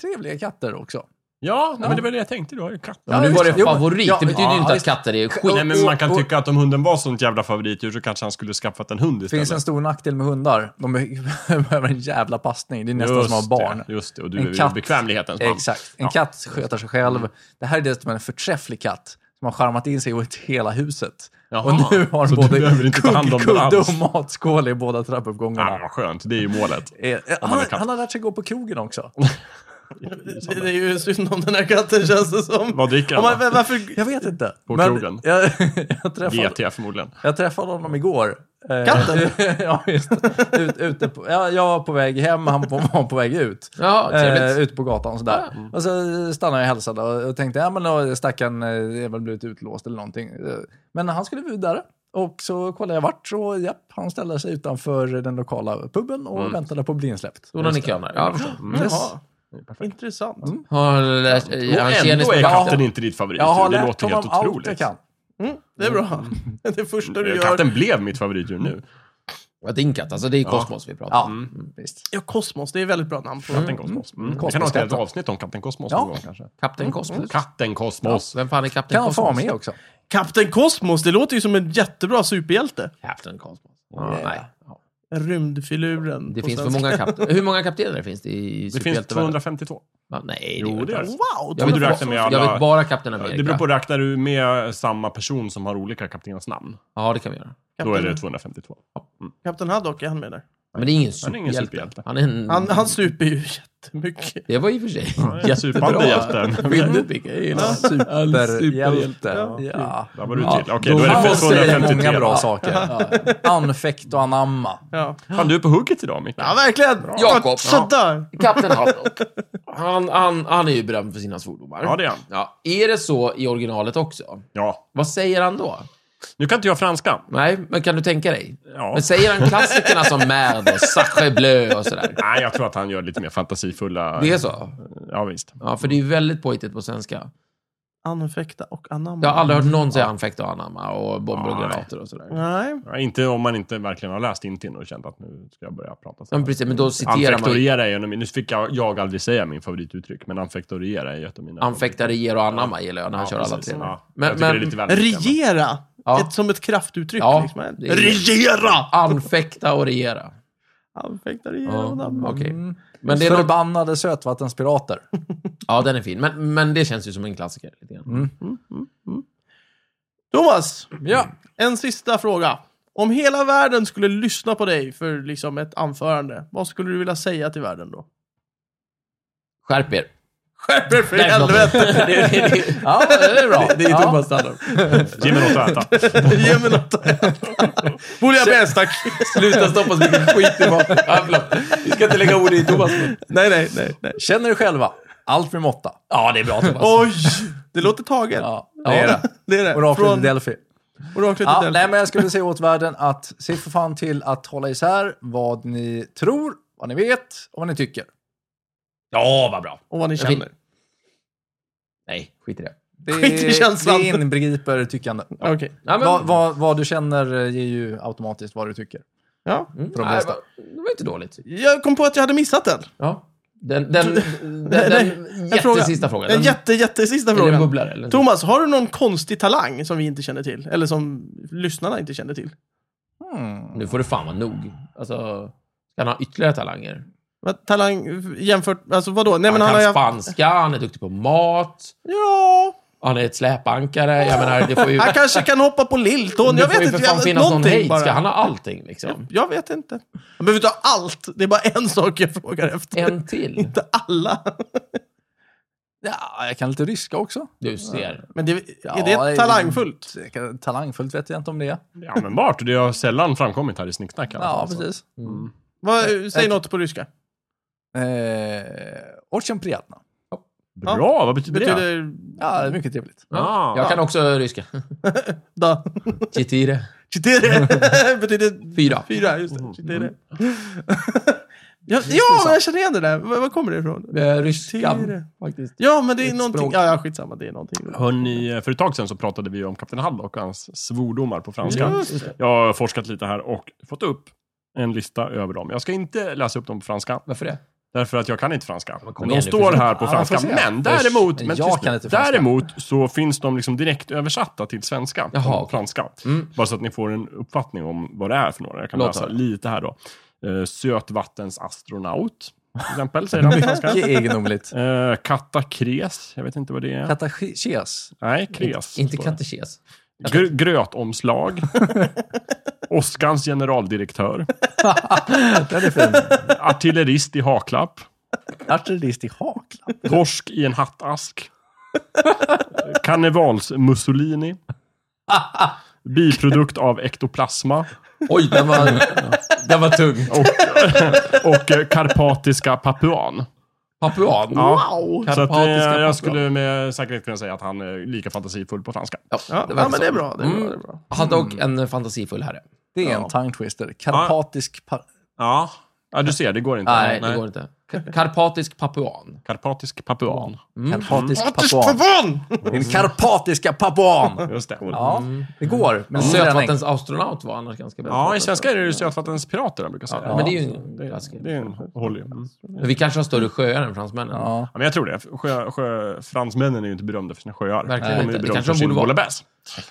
[SPEAKER 2] trevliga katter också.
[SPEAKER 3] Ja, men det var det jag tänkte. Du har ju katt.
[SPEAKER 4] Men nu var det
[SPEAKER 2] Jo,
[SPEAKER 4] favorit,
[SPEAKER 2] ja,
[SPEAKER 4] det betyder ju
[SPEAKER 2] ja,
[SPEAKER 4] inte att
[SPEAKER 2] visst.
[SPEAKER 4] katter är skit.
[SPEAKER 3] Nej, men man kan
[SPEAKER 2] och-
[SPEAKER 3] tycka att om hunden var sånt jävla favoritdjur så kanske han skulle skaffat en hund
[SPEAKER 2] Det
[SPEAKER 3] istället.
[SPEAKER 2] finns en stor nackdel med hundar. De be- behöver en jävla passning. Det är nästan som att ha barn.
[SPEAKER 3] Det, just det, och du
[SPEAKER 2] En
[SPEAKER 3] är
[SPEAKER 2] katt.
[SPEAKER 3] ju bekvämlighetens man.
[SPEAKER 2] Exakt. En
[SPEAKER 3] Ja. Mm.
[SPEAKER 2] katt sköter sig själv. Det här är dessutom en förträfflig katt som har charmat in sig i hela huset.
[SPEAKER 3] Jaha.
[SPEAKER 2] Och nu har
[SPEAKER 3] Så
[SPEAKER 2] den
[SPEAKER 3] du behöver
[SPEAKER 2] både
[SPEAKER 3] inte ta hand om den
[SPEAKER 2] kudde
[SPEAKER 3] alls.
[SPEAKER 2] och matskål i båda trappuppgångarna.
[SPEAKER 3] Ja, vad skönt. Det är ju målet.
[SPEAKER 2] Eh, eh,
[SPEAKER 3] Om
[SPEAKER 2] han,
[SPEAKER 3] man är katt.
[SPEAKER 2] han har lärt sig gå på krogen också.
[SPEAKER 1] Det, det är ju synd om den här katten känns det som.
[SPEAKER 3] Vad dricker
[SPEAKER 1] Om man,
[SPEAKER 3] han då?
[SPEAKER 1] varför...
[SPEAKER 2] Jag vet inte.
[SPEAKER 3] På krogen?
[SPEAKER 2] Jag, jag, träffade,
[SPEAKER 3] GT förmodligen.
[SPEAKER 2] jag träffade honom igår. Eh,
[SPEAKER 1] Katten?
[SPEAKER 2] ja, just det. ut, ute på, ja, Jag var på väg hem, han på, var på väg ut.
[SPEAKER 4] Ja,
[SPEAKER 2] Eh,
[SPEAKER 4] trevligt.
[SPEAKER 2] ute på gatan och sådär. Och så stannade jag och hälsade och och tänkte, ja men då stackaren eh, är väl blivit utlåst eller någonting. Eh, Men han skulle vidare. Och så kollade jag vart och japp, han ställde sig utanför den lokala puben och väntade på att bli insläppt.
[SPEAKER 4] Stod han i kön där? Ja, jag förstår. Mm.
[SPEAKER 1] Jaha. Intressant.
[SPEAKER 4] Har lärt- eh,
[SPEAKER 3] Och
[SPEAKER 4] han
[SPEAKER 3] ändå
[SPEAKER 4] tjenis
[SPEAKER 3] är
[SPEAKER 4] med
[SPEAKER 3] katten
[SPEAKER 4] katten.
[SPEAKER 3] inte ditt
[SPEAKER 2] Jag har
[SPEAKER 3] favoritdjur. Det
[SPEAKER 2] lärt
[SPEAKER 3] låter helt
[SPEAKER 2] honom allt jag
[SPEAKER 3] otroligt. Eh,
[SPEAKER 2] kan.
[SPEAKER 1] Mm, det är bra. Det första
[SPEAKER 4] Eh,
[SPEAKER 1] du gör.
[SPEAKER 3] Katten blev mitt favoritdjur nu.
[SPEAKER 4] Ja, din katt, alltså det är kosmos vi pratar
[SPEAKER 2] Ja,
[SPEAKER 4] om.
[SPEAKER 2] visst.
[SPEAKER 1] Ja, Kosmos, det är väldigt bra namn på den.
[SPEAKER 3] Katten Kosmos. Mm. Vi kan ha ett
[SPEAKER 2] Kosmoskatten.
[SPEAKER 3] helt avsnitt om Katten Kosmos
[SPEAKER 2] Ja.
[SPEAKER 3] någon gång kanske.
[SPEAKER 4] Kapten Kosmos.
[SPEAKER 3] Katten Kosmos.
[SPEAKER 4] Vem fan är Kapten
[SPEAKER 2] Kan han
[SPEAKER 4] Kosmos?
[SPEAKER 2] få vara med också?
[SPEAKER 1] Kapten Kosmos, det låter ju som en jättebra superhjälte.
[SPEAKER 4] Kapten Kosmos. Ja,
[SPEAKER 2] Yeah.
[SPEAKER 4] nej. Ja.
[SPEAKER 1] Rymdfiluren.
[SPEAKER 4] Det
[SPEAKER 1] på
[SPEAKER 4] finns för
[SPEAKER 1] svenska.
[SPEAKER 4] många kaptener. Hur många kaptener finns det i
[SPEAKER 3] Det finns
[SPEAKER 4] superhjältevärlden?
[SPEAKER 3] 252.
[SPEAKER 4] Ja, nej,
[SPEAKER 3] Jo,
[SPEAKER 4] det
[SPEAKER 3] det
[SPEAKER 4] gör
[SPEAKER 3] är
[SPEAKER 4] det
[SPEAKER 1] Wow!
[SPEAKER 3] det.
[SPEAKER 4] Jag
[SPEAKER 3] Om
[SPEAKER 4] vet,
[SPEAKER 3] du räknar med alla...
[SPEAKER 4] Jag vet bara Kapten Amerika.
[SPEAKER 3] Det beror på, räknar du med samma person som har olika kaptenens namn?
[SPEAKER 4] Ja, det kan vi göra.
[SPEAKER 3] Då är det
[SPEAKER 1] Kapten,
[SPEAKER 3] 252.
[SPEAKER 1] Kapten Haddock är han med där.
[SPEAKER 4] Men det är ingen
[SPEAKER 3] Han är ingen
[SPEAKER 4] superhjälte.
[SPEAKER 3] superhjälte.
[SPEAKER 4] Han är en...
[SPEAKER 1] Han, han super ju jättemycket.
[SPEAKER 4] Det var i och för sig
[SPEAKER 3] Supande hjälten.
[SPEAKER 2] Mm.
[SPEAKER 4] Bildet fick jag gillar.
[SPEAKER 2] Superhjälte.
[SPEAKER 1] Ja.
[SPEAKER 2] Ja.
[SPEAKER 3] Där var du till. Okej, då
[SPEAKER 2] Då
[SPEAKER 3] är det
[SPEAKER 2] får säga många
[SPEAKER 3] 253.
[SPEAKER 2] bra saker.
[SPEAKER 4] Ja.
[SPEAKER 2] Anfäkt och anamma.
[SPEAKER 1] Ja,
[SPEAKER 3] Fan, du är på hugget idag, Micke.
[SPEAKER 1] ja verkligen!
[SPEAKER 4] Jakob.
[SPEAKER 1] Sådär!
[SPEAKER 4] Kapten Haddock. Han, han, han är ju berömd för sina svordomar.
[SPEAKER 3] Ja, det är han.
[SPEAKER 4] Ja, är det så i originalet också?
[SPEAKER 3] Ja.
[SPEAKER 4] Vad säger han då?
[SPEAKER 3] Nu kan inte jag franska.
[SPEAKER 4] Nej, men kan du tänka dig?
[SPEAKER 3] Ja.
[SPEAKER 4] Men säger han klassikerna som Mad och Sacre Bleu och sådär?
[SPEAKER 3] Nej, jag tror att han gör lite mer fantasifulla...
[SPEAKER 4] Det är så?
[SPEAKER 3] Ja, visst.
[SPEAKER 4] Ja, för det är ju väldigt påhittigt på svenska.
[SPEAKER 1] Anfäkta och anamma.
[SPEAKER 4] Jag har aldrig hört någon säga anfäkta och anamma och bomber och
[SPEAKER 3] Nej.
[SPEAKER 4] granater och sådär.
[SPEAKER 1] Nej.
[SPEAKER 3] Ja, inte om man inte verkligen har läst Tintin och känt att nu ska jag börja prata. så
[SPEAKER 4] Ja,
[SPEAKER 3] här.
[SPEAKER 4] men precis, men då citerar man ju.
[SPEAKER 3] Anfektoriera är ju en av mina... Nu fick jag, jag aldrig säga min favorituttryck, men anfektoriera är ju ett av mina...
[SPEAKER 4] Anfäkta, regera och anamma gillar jag när han
[SPEAKER 3] Ja,
[SPEAKER 4] kör alla
[SPEAKER 3] precis.
[SPEAKER 4] tre.
[SPEAKER 3] Ja.
[SPEAKER 4] Men-
[SPEAKER 3] jag tycker
[SPEAKER 4] men-
[SPEAKER 3] det är lite väl mycket,
[SPEAKER 1] Regera!
[SPEAKER 4] Ja.
[SPEAKER 1] Ett, som ett kraftuttryck.
[SPEAKER 4] Ja,
[SPEAKER 1] liksom.
[SPEAKER 4] det är-
[SPEAKER 1] Regera!
[SPEAKER 4] Anfäkta och regera.
[SPEAKER 1] Han fäktar
[SPEAKER 4] Ja,
[SPEAKER 1] igenom den.
[SPEAKER 4] okej.
[SPEAKER 2] Mm.
[SPEAKER 4] Men det är väl-
[SPEAKER 2] Förbannade sötvattenspirater.
[SPEAKER 4] Ja, den är fin. Men, men det känns ju som en klassiker. Lite grann.
[SPEAKER 1] Mm. Thomas,
[SPEAKER 2] Ja.
[SPEAKER 1] en sista fråga. Om hela världen skulle lyssna på dig för liksom ett anförande, vad skulle du vilja säga till världen då?
[SPEAKER 4] Skärp er.
[SPEAKER 1] Skärp er för
[SPEAKER 4] Nej,
[SPEAKER 1] helvete!
[SPEAKER 4] det, det, det,
[SPEAKER 2] ja, det är bra.
[SPEAKER 1] Det är
[SPEAKER 2] ja.
[SPEAKER 1] Thomas standard.
[SPEAKER 3] Ge mig något att äta.
[SPEAKER 1] Ge mig något att äta. Bouillabaisse, tack.
[SPEAKER 4] sluta stoppa så mycket skit i maten. Ja, förlåt. Vi ska inte lägga ord i Thomas mun.
[SPEAKER 1] Nej, nej, nej. nej.
[SPEAKER 2] Känner du själva? Allt med måtta.
[SPEAKER 4] Ja, det är bra Thomas.
[SPEAKER 1] Oj! Det låter taget.
[SPEAKER 2] Ja, det är det.
[SPEAKER 1] Det är det.
[SPEAKER 2] Oraklet i
[SPEAKER 1] Från
[SPEAKER 2] Delphi.
[SPEAKER 1] Oraklet i
[SPEAKER 2] Ja,
[SPEAKER 1] Delphi.
[SPEAKER 2] nej, men jag skulle säga åt världen att se för fan till att hålla isär vad ni tror, vad ni vet och vad ni tycker.
[SPEAKER 4] Ja, vad bra.
[SPEAKER 1] Och vad ni
[SPEAKER 4] Jag fin-
[SPEAKER 1] känner.
[SPEAKER 4] Nej, skit i det.
[SPEAKER 2] Det,
[SPEAKER 1] Skit i känslan.
[SPEAKER 2] det inbegriper tyckande.
[SPEAKER 1] Okej.
[SPEAKER 4] Ja, men,
[SPEAKER 2] Vad, vad, vad du känner eh, ger ju automatiskt vad du tycker.
[SPEAKER 1] Ja.
[SPEAKER 4] Mm,
[SPEAKER 2] för de
[SPEAKER 4] nej,
[SPEAKER 2] flesta.
[SPEAKER 4] va- det var inte dåligt.
[SPEAKER 1] Jag kom på att jag hade missat den.
[SPEAKER 4] Ja. Den, den, den,
[SPEAKER 1] Nej, nej.
[SPEAKER 4] den
[SPEAKER 1] En fråga.
[SPEAKER 4] jättesista frågan.
[SPEAKER 1] En jätte, jättesista
[SPEAKER 4] Eller en
[SPEAKER 1] fråga.
[SPEAKER 4] bubblare. Eller?
[SPEAKER 1] Thomas, har du någon konstig talang som vi inte känner till? Eller som lyssnarna inte känner till?
[SPEAKER 2] Hmm.
[SPEAKER 4] Nu får det fan vara nog. Alltså, ska han ha ytterligare talanger?
[SPEAKER 1] Vad talang jämfört... Alltså vadå? Nej, men
[SPEAKER 4] han
[SPEAKER 1] han har
[SPEAKER 4] kan
[SPEAKER 1] ju... haft-
[SPEAKER 4] spanska, han är duktig på mat,
[SPEAKER 1] Ja...
[SPEAKER 4] han är ett släpankare. Jag menar, det får ju...
[SPEAKER 1] Han kanske kan hoppa på lilltån.
[SPEAKER 4] det
[SPEAKER 1] Jag
[SPEAKER 4] får
[SPEAKER 1] vet
[SPEAKER 4] ju
[SPEAKER 1] inte.
[SPEAKER 4] för fan
[SPEAKER 1] jag-
[SPEAKER 4] finnas någon
[SPEAKER 1] någonting
[SPEAKER 4] hejd.
[SPEAKER 1] bara.
[SPEAKER 4] Ska han ha allting liksom?
[SPEAKER 1] Jag vet inte. Han behöver inte ha allt. Det är bara en sak jag frågar efter.
[SPEAKER 4] En till.
[SPEAKER 1] Inte alla.
[SPEAKER 2] Ja, jag kan lite ryska också.
[SPEAKER 4] Du ser.
[SPEAKER 1] Men det, är
[SPEAKER 2] Ja,
[SPEAKER 1] det talangfullt?
[SPEAKER 2] Jag kan- Talangfullt vet jag inte om det är.
[SPEAKER 3] Det är användbart och det har sällan framkommit här i Snicksnack i alla
[SPEAKER 2] Ja,
[SPEAKER 3] fall, så.
[SPEAKER 2] precis.
[SPEAKER 3] Mm.
[SPEAKER 1] Vad, säg något på ryska.
[SPEAKER 2] Eh, Очень приятно.
[SPEAKER 1] Ja.
[SPEAKER 3] Bra, vad betyder, det?
[SPEAKER 1] Betyder...
[SPEAKER 2] Ja, det är mycket trevligt.
[SPEAKER 3] Ah.
[SPEAKER 4] Jag kan också ryska.
[SPEAKER 1] Da.
[SPEAKER 4] Chitire.
[SPEAKER 1] Chitere. Betyder
[SPEAKER 4] Fyra. Mm.
[SPEAKER 1] fyra. Just det. Chitere. Ja, ja men jag känner igen det där. Var, var kommer det ifrån?
[SPEAKER 4] Eh, Ryska,
[SPEAKER 1] Chitire.
[SPEAKER 4] faktiskt.
[SPEAKER 1] Ja, men det är
[SPEAKER 4] Ett
[SPEAKER 1] någonting.
[SPEAKER 4] språk.
[SPEAKER 1] Ja, ja, skitsamma. Det är någonting.
[SPEAKER 3] Hörrni, för ett tag sedan så pratade vi om Kapten Hall och hans svordomar på franska.
[SPEAKER 1] Just det.
[SPEAKER 3] Jag har forskat lite här och fått upp en lista över dem. Jag ska inte läsa upp dem på franska,
[SPEAKER 4] Varför det?
[SPEAKER 3] därför att jag kan inte franska.
[SPEAKER 4] Men kom
[SPEAKER 3] Men
[SPEAKER 4] igen
[SPEAKER 3] de
[SPEAKER 4] nu,
[SPEAKER 3] står
[SPEAKER 4] försök.
[SPEAKER 3] här på
[SPEAKER 2] Ja,
[SPEAKER 3] franska.
[SPEAKER 2] men får se.
[SPEAKER 3] Men däremot,
[SPEAKER 2] Men
[SPEAKER 3] men
[SPEAKER 2] jag
[SPEAKER 3] tyst
[SPEAKER 2] kan
[SPEAKER 3] nu.
[SPEAKER 2] inte franska.
[SPEAKER 3] däremot så finns de liksom direkt översatta till svenska.
[SPEAKER 4] Jaha,
[SPEAKER 3] från
[SPEAKER 4] okej.
[SPEAKER 3] franska.
[SPEAKER 4] Mm.
[SPEAKER 3] Bara så att ni får en uppfattning om vad det är för några. Jag kan
[SPEAKER 4] Låt
[SPEAKER 3] läsa
[SPEAKER 4] höra.
[SPEAKER 3] lite här då. Eh, Sötvattens astronaut, till exempel, säger de på franska.
[SPEAKER 2] Mycket egendomligt.
[SPEAKER 3] Eh, katakres, jag vet inte vad det är.
[SPEAKER 2] Katachias.
[SPEAKER 3] Nej, kres.
[SPEAKER 4] Inte
[SPEAKER 3] står det.
[SPEAKER 4] katekes.
[SPEAKER 3] Gr- grötomslag. Oskans generaldirektör.
[SPEAKER 2] Den är fin.
[SPEAKER 3] Artillerist i haklapp.
[SPEAKER 2] Artillerist i Hakla.
[SPEAKER 3] Torsk i en hattask. Karnevals-Mussolini. Biprodukt av ektoplasma.
[SPEAKER 4] Oj, den var, den var tung.
[SPEAKER 3] Och eh, karpatiska papuan.
[SPEAKER 4] Papuan.
[SPEAKER 1] Wow!
[SPEAKER 3] Så att, eh,
[SPEAKER 4] Karpatiska papuan.
[SPEAKER 3] jag skulle med säkerhet kunna säga att han är lika fantasifull på franska.
[SPEAKER 4] Ja,
[SPEAKER 1] Ja,
[SPEAKER 4] verkar
[SPEAKER 1] ja, men det är
[SPEAKER 4] så.
[SPEAKER 1] bra. Det är bra,
[SPEAKER 4] Mm.
[SPEAKER 1] det är bra.
[SPEAKER 4] Han dock en fantasifull herre.
[SPEAKER 2] Det är
[SPEAKER 1] Ja.
[SPEAKER 2] en tongue twister. Karpatisk... Pa-
[SPEAKER 3] Ja. ja, du ser, det går inte.
[SPEAKER 4] Nej, det går inte. Ka- Karpatisk papuan.
[SPEAKER 3] Karpatisk papuan.
[SPEAKER 2] Karpatisk
[SPEAKER 1] Artis
[SPEAKER 2] papuan.
[SPEAKER 1] Pavon!
[SPEAKER 2] Din karpatiska papuan!
[SPEAKER 3] Just det.
[SPEAKER 2] Ja, det går.
[SPEAKER 4] Mm.
[SPEAKER 2] Men det är en
[SPEAKER 4] Sötvattens astronaut var annars ganska bra.
[SPEAKER 3] Ja, i svenska är det ju sötvattenspirater, brukar säga.
[SPEAKER 4] Men det är ju en klassiker.
[SPEAKER 3] Det är en, håller ju. Mm.
[SPEAKER 4] Men vi kanske har större sjöar än fransmännen.
[SPEAKER 2] Ja.
[SPEAKER 3] Ja, men jag tror det. Sjö, sjö, fransmännen är ju inte berömda för sina sjöar.
[SPEAKER 4] Verkligen
[SPEAKER 3] de är
[SPEAKER 4] inte.
[SPEAKER 3] ju
[SPEAKER 4] Det
[SPEAKER 3] berömda
[SPEAKER 4] kanske
[SPEAKER 3] för
[SPEAKER 4] de
[SPEAKER 3] sin
[SPEAKER 4] borde vara.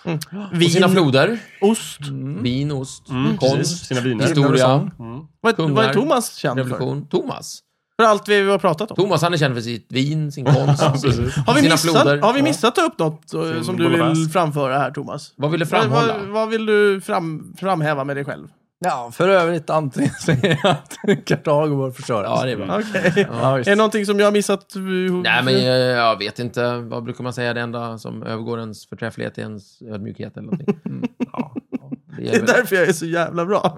[SPEAKER 3] bouillabaisse.
[SPEAKER 4] Och sina floder.
[SPEAKER 1] Ost.
[SPEAKER 4] Vin, ost,
[SPEAKER 1] Mm,
[SPEAKER 3] precis.
[SPEAKER 4] konst,
[SPEAKER 3] Sina viner.
[SPEAKER 4] historia,
[SPEAKER 1] Vad vad är
[SPEAKER 4] Kungar.
[SPEAKER 1] Thomas känd för?
[SPEAKER 4] revolution. Thomas.
[SPEAKER 1] För allt vi har pratat om.
[SPEAKER 4] Thomas, han är känd för sitt vin, sin konst, sin,
[SPEAKER 1] Har vi,
[SPEAKER 4] sina
[SPEAKER 1] missat,
[SPEAKER 4] floder.
[SPEAKER 1] har vi
[SPEAKER 4] Ja.
[SPEAKER 1] missat att ta upp något eh,
[SPEAKER 3] Sin
[SPEAKER 1] som du vill
[SPEAKER 3] bouillabaisse.
[SPEAKER 1] framföra här, Thomas?
[SPEAKER 4] Vad vill du
[SPEAKER 1] Vad,
[SPEAKER 4] framhålla?
[SPEAKER 1] vad, vad vill du fram, framhäva med dig själv?
[SPEAKER 2] ja, för övrigt antingen säger jag att Kartago bör
[SPEAKER 4] Ja,
[SPEAKER 2] förstöras.
[SPEAKER 4] det är bra.
[SPEAKER 1] Okej.
[SPEAKER 2] Ja,
[SPEAKER 1] Är det någonting som jag har missat?
[SPEAKER 4] Nej, men eh, jag vet inte. Vad brukar man säga? Det enda som övergår ens förträfflighet är ens ödmjukhet eller någonting. Mm. Ja, ja. Det
[SPEAKER 1] Det är
[SPEAKER 4] gäller,
[SPEAKER 1] därför jag är så jävla bra.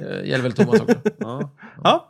[SPEAKER 4] eh, gäller väl Thomas också.
[SPEAKER 3] Ja.
[SPEAKER 1] Ja,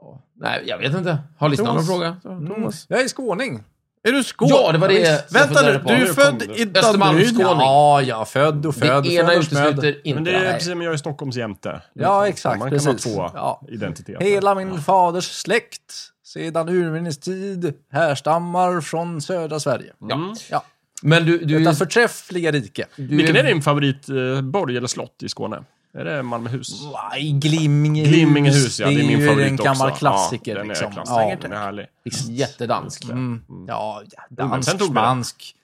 [SPEAKER 4] Ja. Nej, jag vet inte. Har lyssnarna någon
[SPEAKER 1] Thomas.
[SPEAKER 4] fråga?
[SPEAKER 1] Thomas.
[SPEAKER 2] Mm. Jag är skåning.
[SPEAKER 1] Är du skål?
[SPEAKER 4] Ja, det var det jag
[SPEAKER 1] Vänta
[SPEAKER 4] funderade
[SPEAKER 1] nu,
[SPEAKER 4] på.
[SPEAKER 1] du är
[SPEAKER 3] Nu
[SPEAKER 1] född
[SPEAKER 3] kom det.
[SPEAKER 1] i
[SPEAKER 4] Östermalmsskåning.
[SPEAKER 1] Danderyd.
[SPEAKER 2] Ja, ja, född och född.
[SPEAKER 4] det ena
[SPEAKER 2] född och född.
[SPEAKER 4] utesluter inte
[SPEAKER 3] Men det
[SPEAKER 4] det
[SPEAKER 3] är
[SPEAKER 4] andra.
[SPEAKER 3] precis som jag är Stockholms jämte. Liksom.
[SPEAKER 2] Ja, exakt.
[SPEAKER 3] Man kan
[SPEAKER 2] precis.
[SPEAKER 3] ha två
[SPEAKER 2] ja.
[SPEAKER 3] identiteter.
[SPEAKER 2] Hela min faders släkt sedan urminnes tid härstammar från södra Sverige.
[SPEAKER 4] Ja.
[SPEAKER 2] Ja.
[SPEAKER 4] Men du, du,
[SPEAKER 2] Detta förträffliga rike.
[SPEAKER 4] du
[SPEAKER 3] Vilken är din favoritborg eller slott i Skåne? Är det Malmöhus?
[SPEAKER 2] Nej, Glimmingehus.
[SPEAKER 3] Glimmingehus, ja. Det är min
[SPEAKER 2] Mm. ju
[SPEAKER 3] favorit
[SPEAKER 2] en
[SPEAKER 3] också.
[SPEAKER 2] gammal
[SPEAKER 3] Ja,
[SPEAKER 2] klassiker.
[SPEAKER 3] den är
[SPEAKER 2] liksom.
[SPEAKER 3] klassiker. Den är härlig.
[SPEAKER 4] jättedansk.
[SPEAKER 2] Mm. Ja, ja,
[SPEAKER 3] men
[SPEAKER 2] dansk,
[SPEAKER 3] sen tog vi det.
[SPEAKER 2] spansk.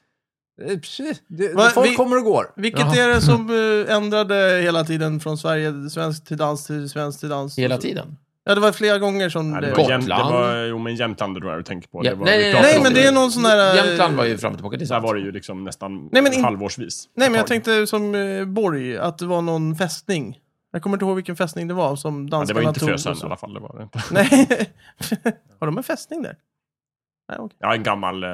[SPEAKER 2] Eh, precis. Det,
[SPEAKER 1] Va,
[SPEAKER 2] folk
[SPEAKER 1] vi-
[SPEAKER 2] kommer och går.
[SPEAKER 1] Vilket
[SPEAKER 4] Jaha.
[SPEAKER 1] är det som eh, ändrade hela tiden från Sverige, svensk till dans till svensk till dans?
[SPEAKER 4] Hela tiden.
[SPEAKER 1] Ja, det var flera gånger som
[SPEAKER 3] Nej,
[SPEAKER 1] det...
[SPEAKER 3] det var jäm, det
[SPEAKER 4] Gotland.
[SPEAKER 3] var, jo men Jämtland tror jag du tänker på.
[SPEAKER 4] Ja,
[SPEAKER 3] det var,
[SPEAKER 4] nej,
[SPEAKER 3] vi
[SPEAKER 4] nej,
[SPEAKER 3] pratade
[SPEAKER 1] Nej,
[SPEAKER 3] om
[SPEAKER 1] men
[SPEAKER 3] det.
[SPEAKER 1] det är någon sån här... eh,
[SPEAKER 4] Jämtland var ju fram och tillbaka, det är
[SPEAKER 3] Där
[SPEAKER 4] sant.
[SPEAKER 3] var det ju liksom nästan
[SPEAKER 1] Nej, men in-
[SPEAKER 3] halvårsvis.
[SPEAKER 1] Nej, men jag
[SPEAKER 3] Ett tag.
[SPEAKER 1] tänkte som eh, Borg, att det var någon fästning. Jag kommer inte ihåg vilken fästning det var som
[SPEAKER 3] Ja, det var
[SPEAKER 1] danskarna
[SPEAKER 3] inte
[SPEAKER 1] tog.
[SPEAKER 3] Frösön
[SPEAKER 1] och
[SPEAKER 3] i
[SPEAKER 1] så.
[SPEAKER 3] alla fall. Det var det inte.
[SPEAKER 1] Nej. har de en fästning där? Nej, okej.
[SPEAKER 3] Ja, en gammal eh,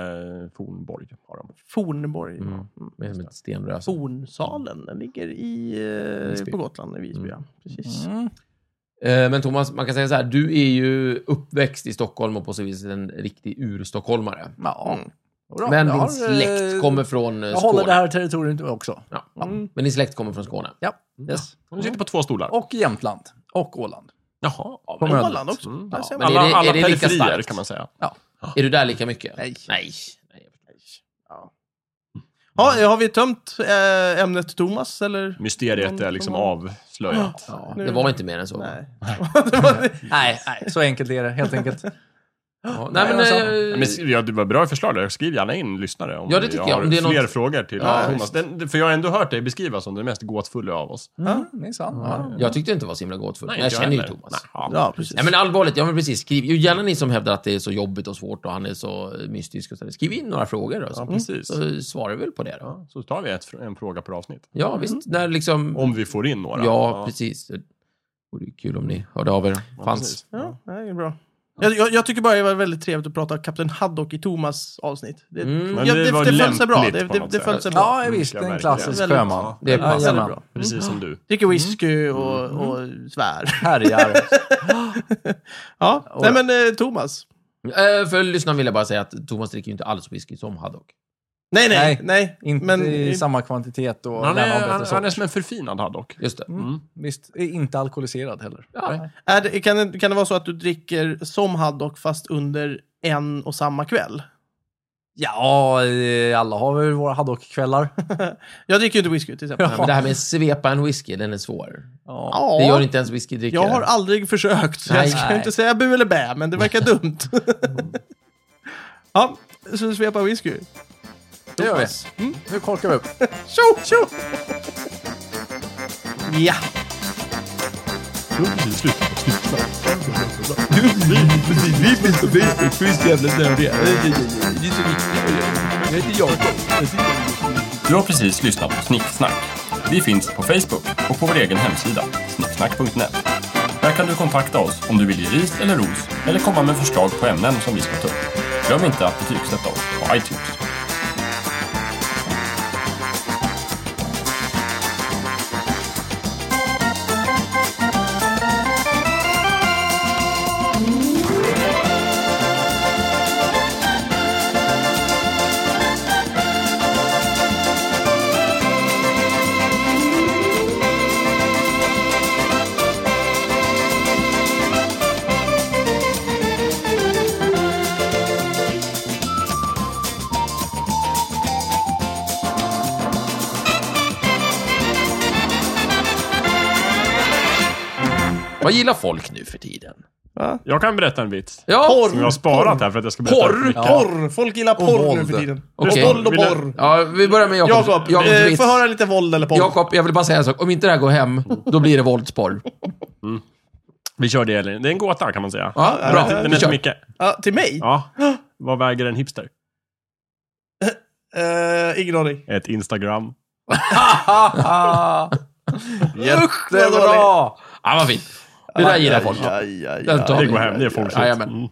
[SPEAKER 3] fornborg har de.
[SPEAKER 1] Fornborg.
[SPEAKER 4] Mm. Med som ett stenröse.
[SPEAKER 1] Fornsalen, den ligger i, eh,
[SPEAKER 4] Visby.
[SPEAKER 1] på Gotland, i Visby.
[SPEAKER 4] Mm.
[SPEAKER 1] Ja. Precis.
[SPEAKER 2] Mm.
[SPEAKER 4] Eh, Men Thomas, man kan säga så här, du är ju uppväxt i Stockholm och på så vis en riktig urstockholmare.
[SPEAKER 2] Ja.
[SPEAKER 1] Mm.
[SPEAKER 2] Jodå,
[SPEAKER 4] Men
[SPEAKER 2] jag har,
[SPEAKER 4] din
[SPEAKER 2] eh,
[SPEAKER 4] släkt kommer från eh,
[SPEAKER 2] Jag håller det
[SPEAKER 4] Skåne.
[SPEAKER 2] här territoriet också.
[SPEAKER 4] Ja,
[SPEAKER 1] Mm.
[SPEAKER 4] men din släkt kommer från Skåne. Mm.
[SPEAKER 2] Ja.
[SPEAKER 4] Yes.
[SPEAKER 3] De sitter på två stolar.
[SPEAKER 2] Och Jämtland. Och Åland.
[SPEAKER 3] Jaha.
[SPEAKER 4] Ja,
[SPEAKER 2] Kommer
[SPEAKER 4] men,
[SPEAKER 2] jag-
[SPEAKER 1] Åland också.
[SPEAKER 3] Mm.
[SPEAKER 1] Där ser
[SPEAKER 4] Ja,
[SPEAKER 1] man.
[SPEAKER 4] men
[SPEAKER 3] alla
[SPEAKER 4] är det-
[SPEAKER 3] alla
[SPEAKER 4] är det lika
[SPEAKER 3] periferier
[SPEAKER 4] starkt?
[SPEAKER 3] kan man säga.
[SPEAKER 4] är du där lika mycket?
[SPEAKER 2] Nej.
[SPEAKER 4] Nej. Nej.
[SPEAKER 1] Ja. Ja, har vi tömt eh, ämnet Thomas, eller?
[SPEAKER 3] Mysteriet är liksom avslöjat.
[SPEAKER 4] Ja,
[SPEAKER 1] Nu-
[SPEAKER 4] det var inte mer än så.
[SPEAKER 1] Nej. Det var-
[SPEAKER 4] nej. nej.
[SPEAKER 2] Så enkelt är det, helt enkelt.
[SPEAKER 4] Ja, nej, men,
[SPEAKER 2] alltså.
[SPEAKER 4] eh,
[SPEAKER 3] Ja, Men, sk- ja, det var bra förslag. där. Skriv gärna in lyssnare om
[SPEAKER 4] Ja, det tycker
[SPEAKER 3] har
[SPEAKER 4] jag. Om det är
[SPEAKER 3] fler
[SPEAKER 4] något-
[SPEAKER 3] frågor till
[SPEAKER 1] Ja,
[SPEAKER 3] Thomas. Den, för jag har ändå hört dig beskrivas som den mest gåtfulla av oss.
[SPEAKER 2] Mm, minsann. Ja.
[SPEAKER 4] jag tyckte det inte det var så himla gåtfullt. men jag
[SPEAKER 3] inte
[SPEAKER 4] känner ju
[SPEAKER 3] heller.
[SPEAKER 4] Thomas.
[SPEAKER 3] Nej, ja.
[SPEAKER 1] Ja, precis.
[SPEAKER 4] Nej, men allvarligt, ja men precis. Skriv ju gärna ni som hävdar att det är så jobbigt och svårt och han är så eh, mystisk och så. där. Skriv in några frågor då,
[SPEAKER 3] Ja,
[SPEAKER 4] så,
[SPEAKER 3] precis.
[SPEAKER 4] så eh, svarar vi väl på det då.
[SPEAKER 3] Ja, så tar vi ett, fr- en fråga per avsnitt.
[SPEAKER 4] Ja, visst. När liksom...
[SPEAKER 3] Om vi får in några.
[SPEAKER 4] Ja, precis. Det vore ju kul om ni hörde av er. Fanns.
[SPEAKER 3] precis.
[SPEAKER 1] Ja, det är bra. Jag, jag, jag tycker bara det var väldigt trevligt att prata Kapten Haddock i Thomas avsnitt. Det,
[SPEAKER 4] Mm.
[SPEAKER 1] ja,
[SPEAKER 3] Men det
[SPEAKER 1] det,
[SPEAKER 3] var
[SPEAKER 1] det, föll sig bra.
[SPEAKER 3] lämpligt
[SPEAKER 1] Det,
[SPEAKER 3] på
[SPEAKER 1] det,
[SPEAKER 3] något
[SPEAKER 1] det föll
[SPEAKER 3] sätt.
[SPEAKER 1] sig bra.
[SPEAKER 2] Ja, visst.
[SPEAKER 3] Mm,
[SPEAKER 2] En
[SPEAKER 3] jag
[SPEAKER 2] klassisk
[SPEAKER 1] verkligen.
[SPEAKER 2] sjöman.
[SPEAKER 4] Det är
[SPEAKER 2] Ja,
[SPEAKER 4] passande.
[SPEAKER 1] Väldigt
[SPEAKER 2] jajamän.
[SPEAKER 1] bra.
[SPEAKER 3] Precis som du.
[SPEAKER 1] Dricker whisky och, och svär.
[SPEAKER 2] Härjar.
[SPEAKER 1] Ja, nej men eh, Thomas.
[SPEAKER 4] Eh, För lyssnarna vill jag bara säga att Thomas dricker ju inte alls whisky som Haddock.
[SPEAKER 1] Nej, nej,
[SPEAKER 2] Nej,
[SPEAKER 1] nej.
[SPEAKER 2] Inte
[SPEAKER 1] men,
[SPEAKER 2] i samma kvantitet och
[SPEAKER 3] Han
[SPEAKER 2] gärna av
[SPEAKER 3] är,
[SPEAKER 2] bättre
[SPEAKER 3] han,
[SPEAKER 2] sort.
[SPEAKER 3] han är som en förfinad haddock.
[SPEAKER 4] Just det.
[SPEAKER 2] Mm. Visst, är inte alkoholiserad heller.
[SPEAKER 4] Ja.
[SPEAKER 1] är det, kan, det- kan det vara så att du dricker som Haddock fast under en och samma kväll?
[SPEAKER 2] Ja, eh, alla har väl våra haddock-kvällar.
[SPEAKER 1] Jag dricker ju inte whisky till exempel.
[SPEAKER 4] Ja, men det här med att svepa en whisky, den är svår.
[SPEAKER 2] Ja.
[SPEAKER 1] Ja,
[SPEAKER 4] Det gör inte ens whiskydrickare.
[SPEAKER 1] jag har aldrig försökt. Så jag
[SPEAKER 4] Nej.
[SPEAKER 1] ska
[SPEAKER 2] Nej.
[SPEAKER 1] inte säga bu eller bä, men det verkar dumt. ja, så svepa whisky.
[SPEAKER 2] Det gör vi.
[SPEAKER 1] Thomas.
[SPEAKER 2] Mm. Nu korkar vi upp.
[SPEAKER 1] Tjo, tjo! Ja.
[SPEAKER 3] Du har precis slutat på slutknapp.
[SPEAKER 5] Du, vi, precis, vi finns på Facebook. Finns jävla nördiga. Det är så viktigt. Jag heter Jakob. Jag sitter i-
[SPEAKER 6] Du har precis lyssnat på Snicksnack. Vi finns på Facebook och på vår egen hemsida, snicksnack.net. Där kan du kontakta oss om du vill ge ris eller ros eller komma med förslag på ämnen som vi ska ta upp. Glöm inte att betygsätta oss på iTunes.
[SPEAKER 4] Vad gillar folk nu för tiden?
[SPEAKER 3] Jag kan berätta en vits.
[SPEAKER 4] Ja,
[SPEAKER 3] Som jag har sparat här för att jag ska berätta. för
[SPEAKER 1] Porr!
[SPEAKER 3] mycket.
[SPEAKER 1] Porr! Folk gillar porr nu för
[SPEAKER 2] våld.
[SPEAKER 1] tiden.
[SPEAKER 4] Okej.
[SPEAKER 1] Våld och
[SPEAKER 3] Vill du-
[SPEAKER 1] porr.
[SPEAKER 4] ja vi börjar med Jakob.
[SPEAKER 1] Jakob,
[SPEAKER 4] Jakobs
[SPEAKER 1] eh,
[SPEAKER 4] vits.
[SPEAKER 1] få höra lite våld eller porr.
[SPEAKER 4] Jakob, jag vill bara säga en sak. Om inte det här går hem, då blir det våldsporr.
[SPEAKER 3] Vi kör det, Elin. Det är en gåta kan man säga.
[SPEAKER 4] Ja,
[SPEAKER 3] Den
[SPEAKER 4] bra.
[SPEAKER 3] heter- Den
[SPEAKER 4] Vi
[SPEAKER 3] heter
[SPEAKER 4] kör.
[SPEAKER 3] Micke.
[SPEAKER 1] Ja, till mig?
[SPEAKER 3] Ja. Vad väger en hipster?
[SPEAKER 1] Eh, ingen aning.
[SPEAKER 3] Ett Instagram.
[SPEAKER 2] Ah,
[SPEAKER 1] Usch, vad
[SPEAKER 2] det är
[SPEAKER 1] dåligt.
[SPEAKER 2] bra!
[SPEAKER 4] Ja, vad fint. Det där gillar folk.
[SPEAKER 1] Aj, aj, aj,
[SPEAKER 4] Den tar vi.
[SPEAKER 3] Det går hem. Det är folkligt.
[SPEAKER 4] Jajamän.
[SPEAKER 3] Mm.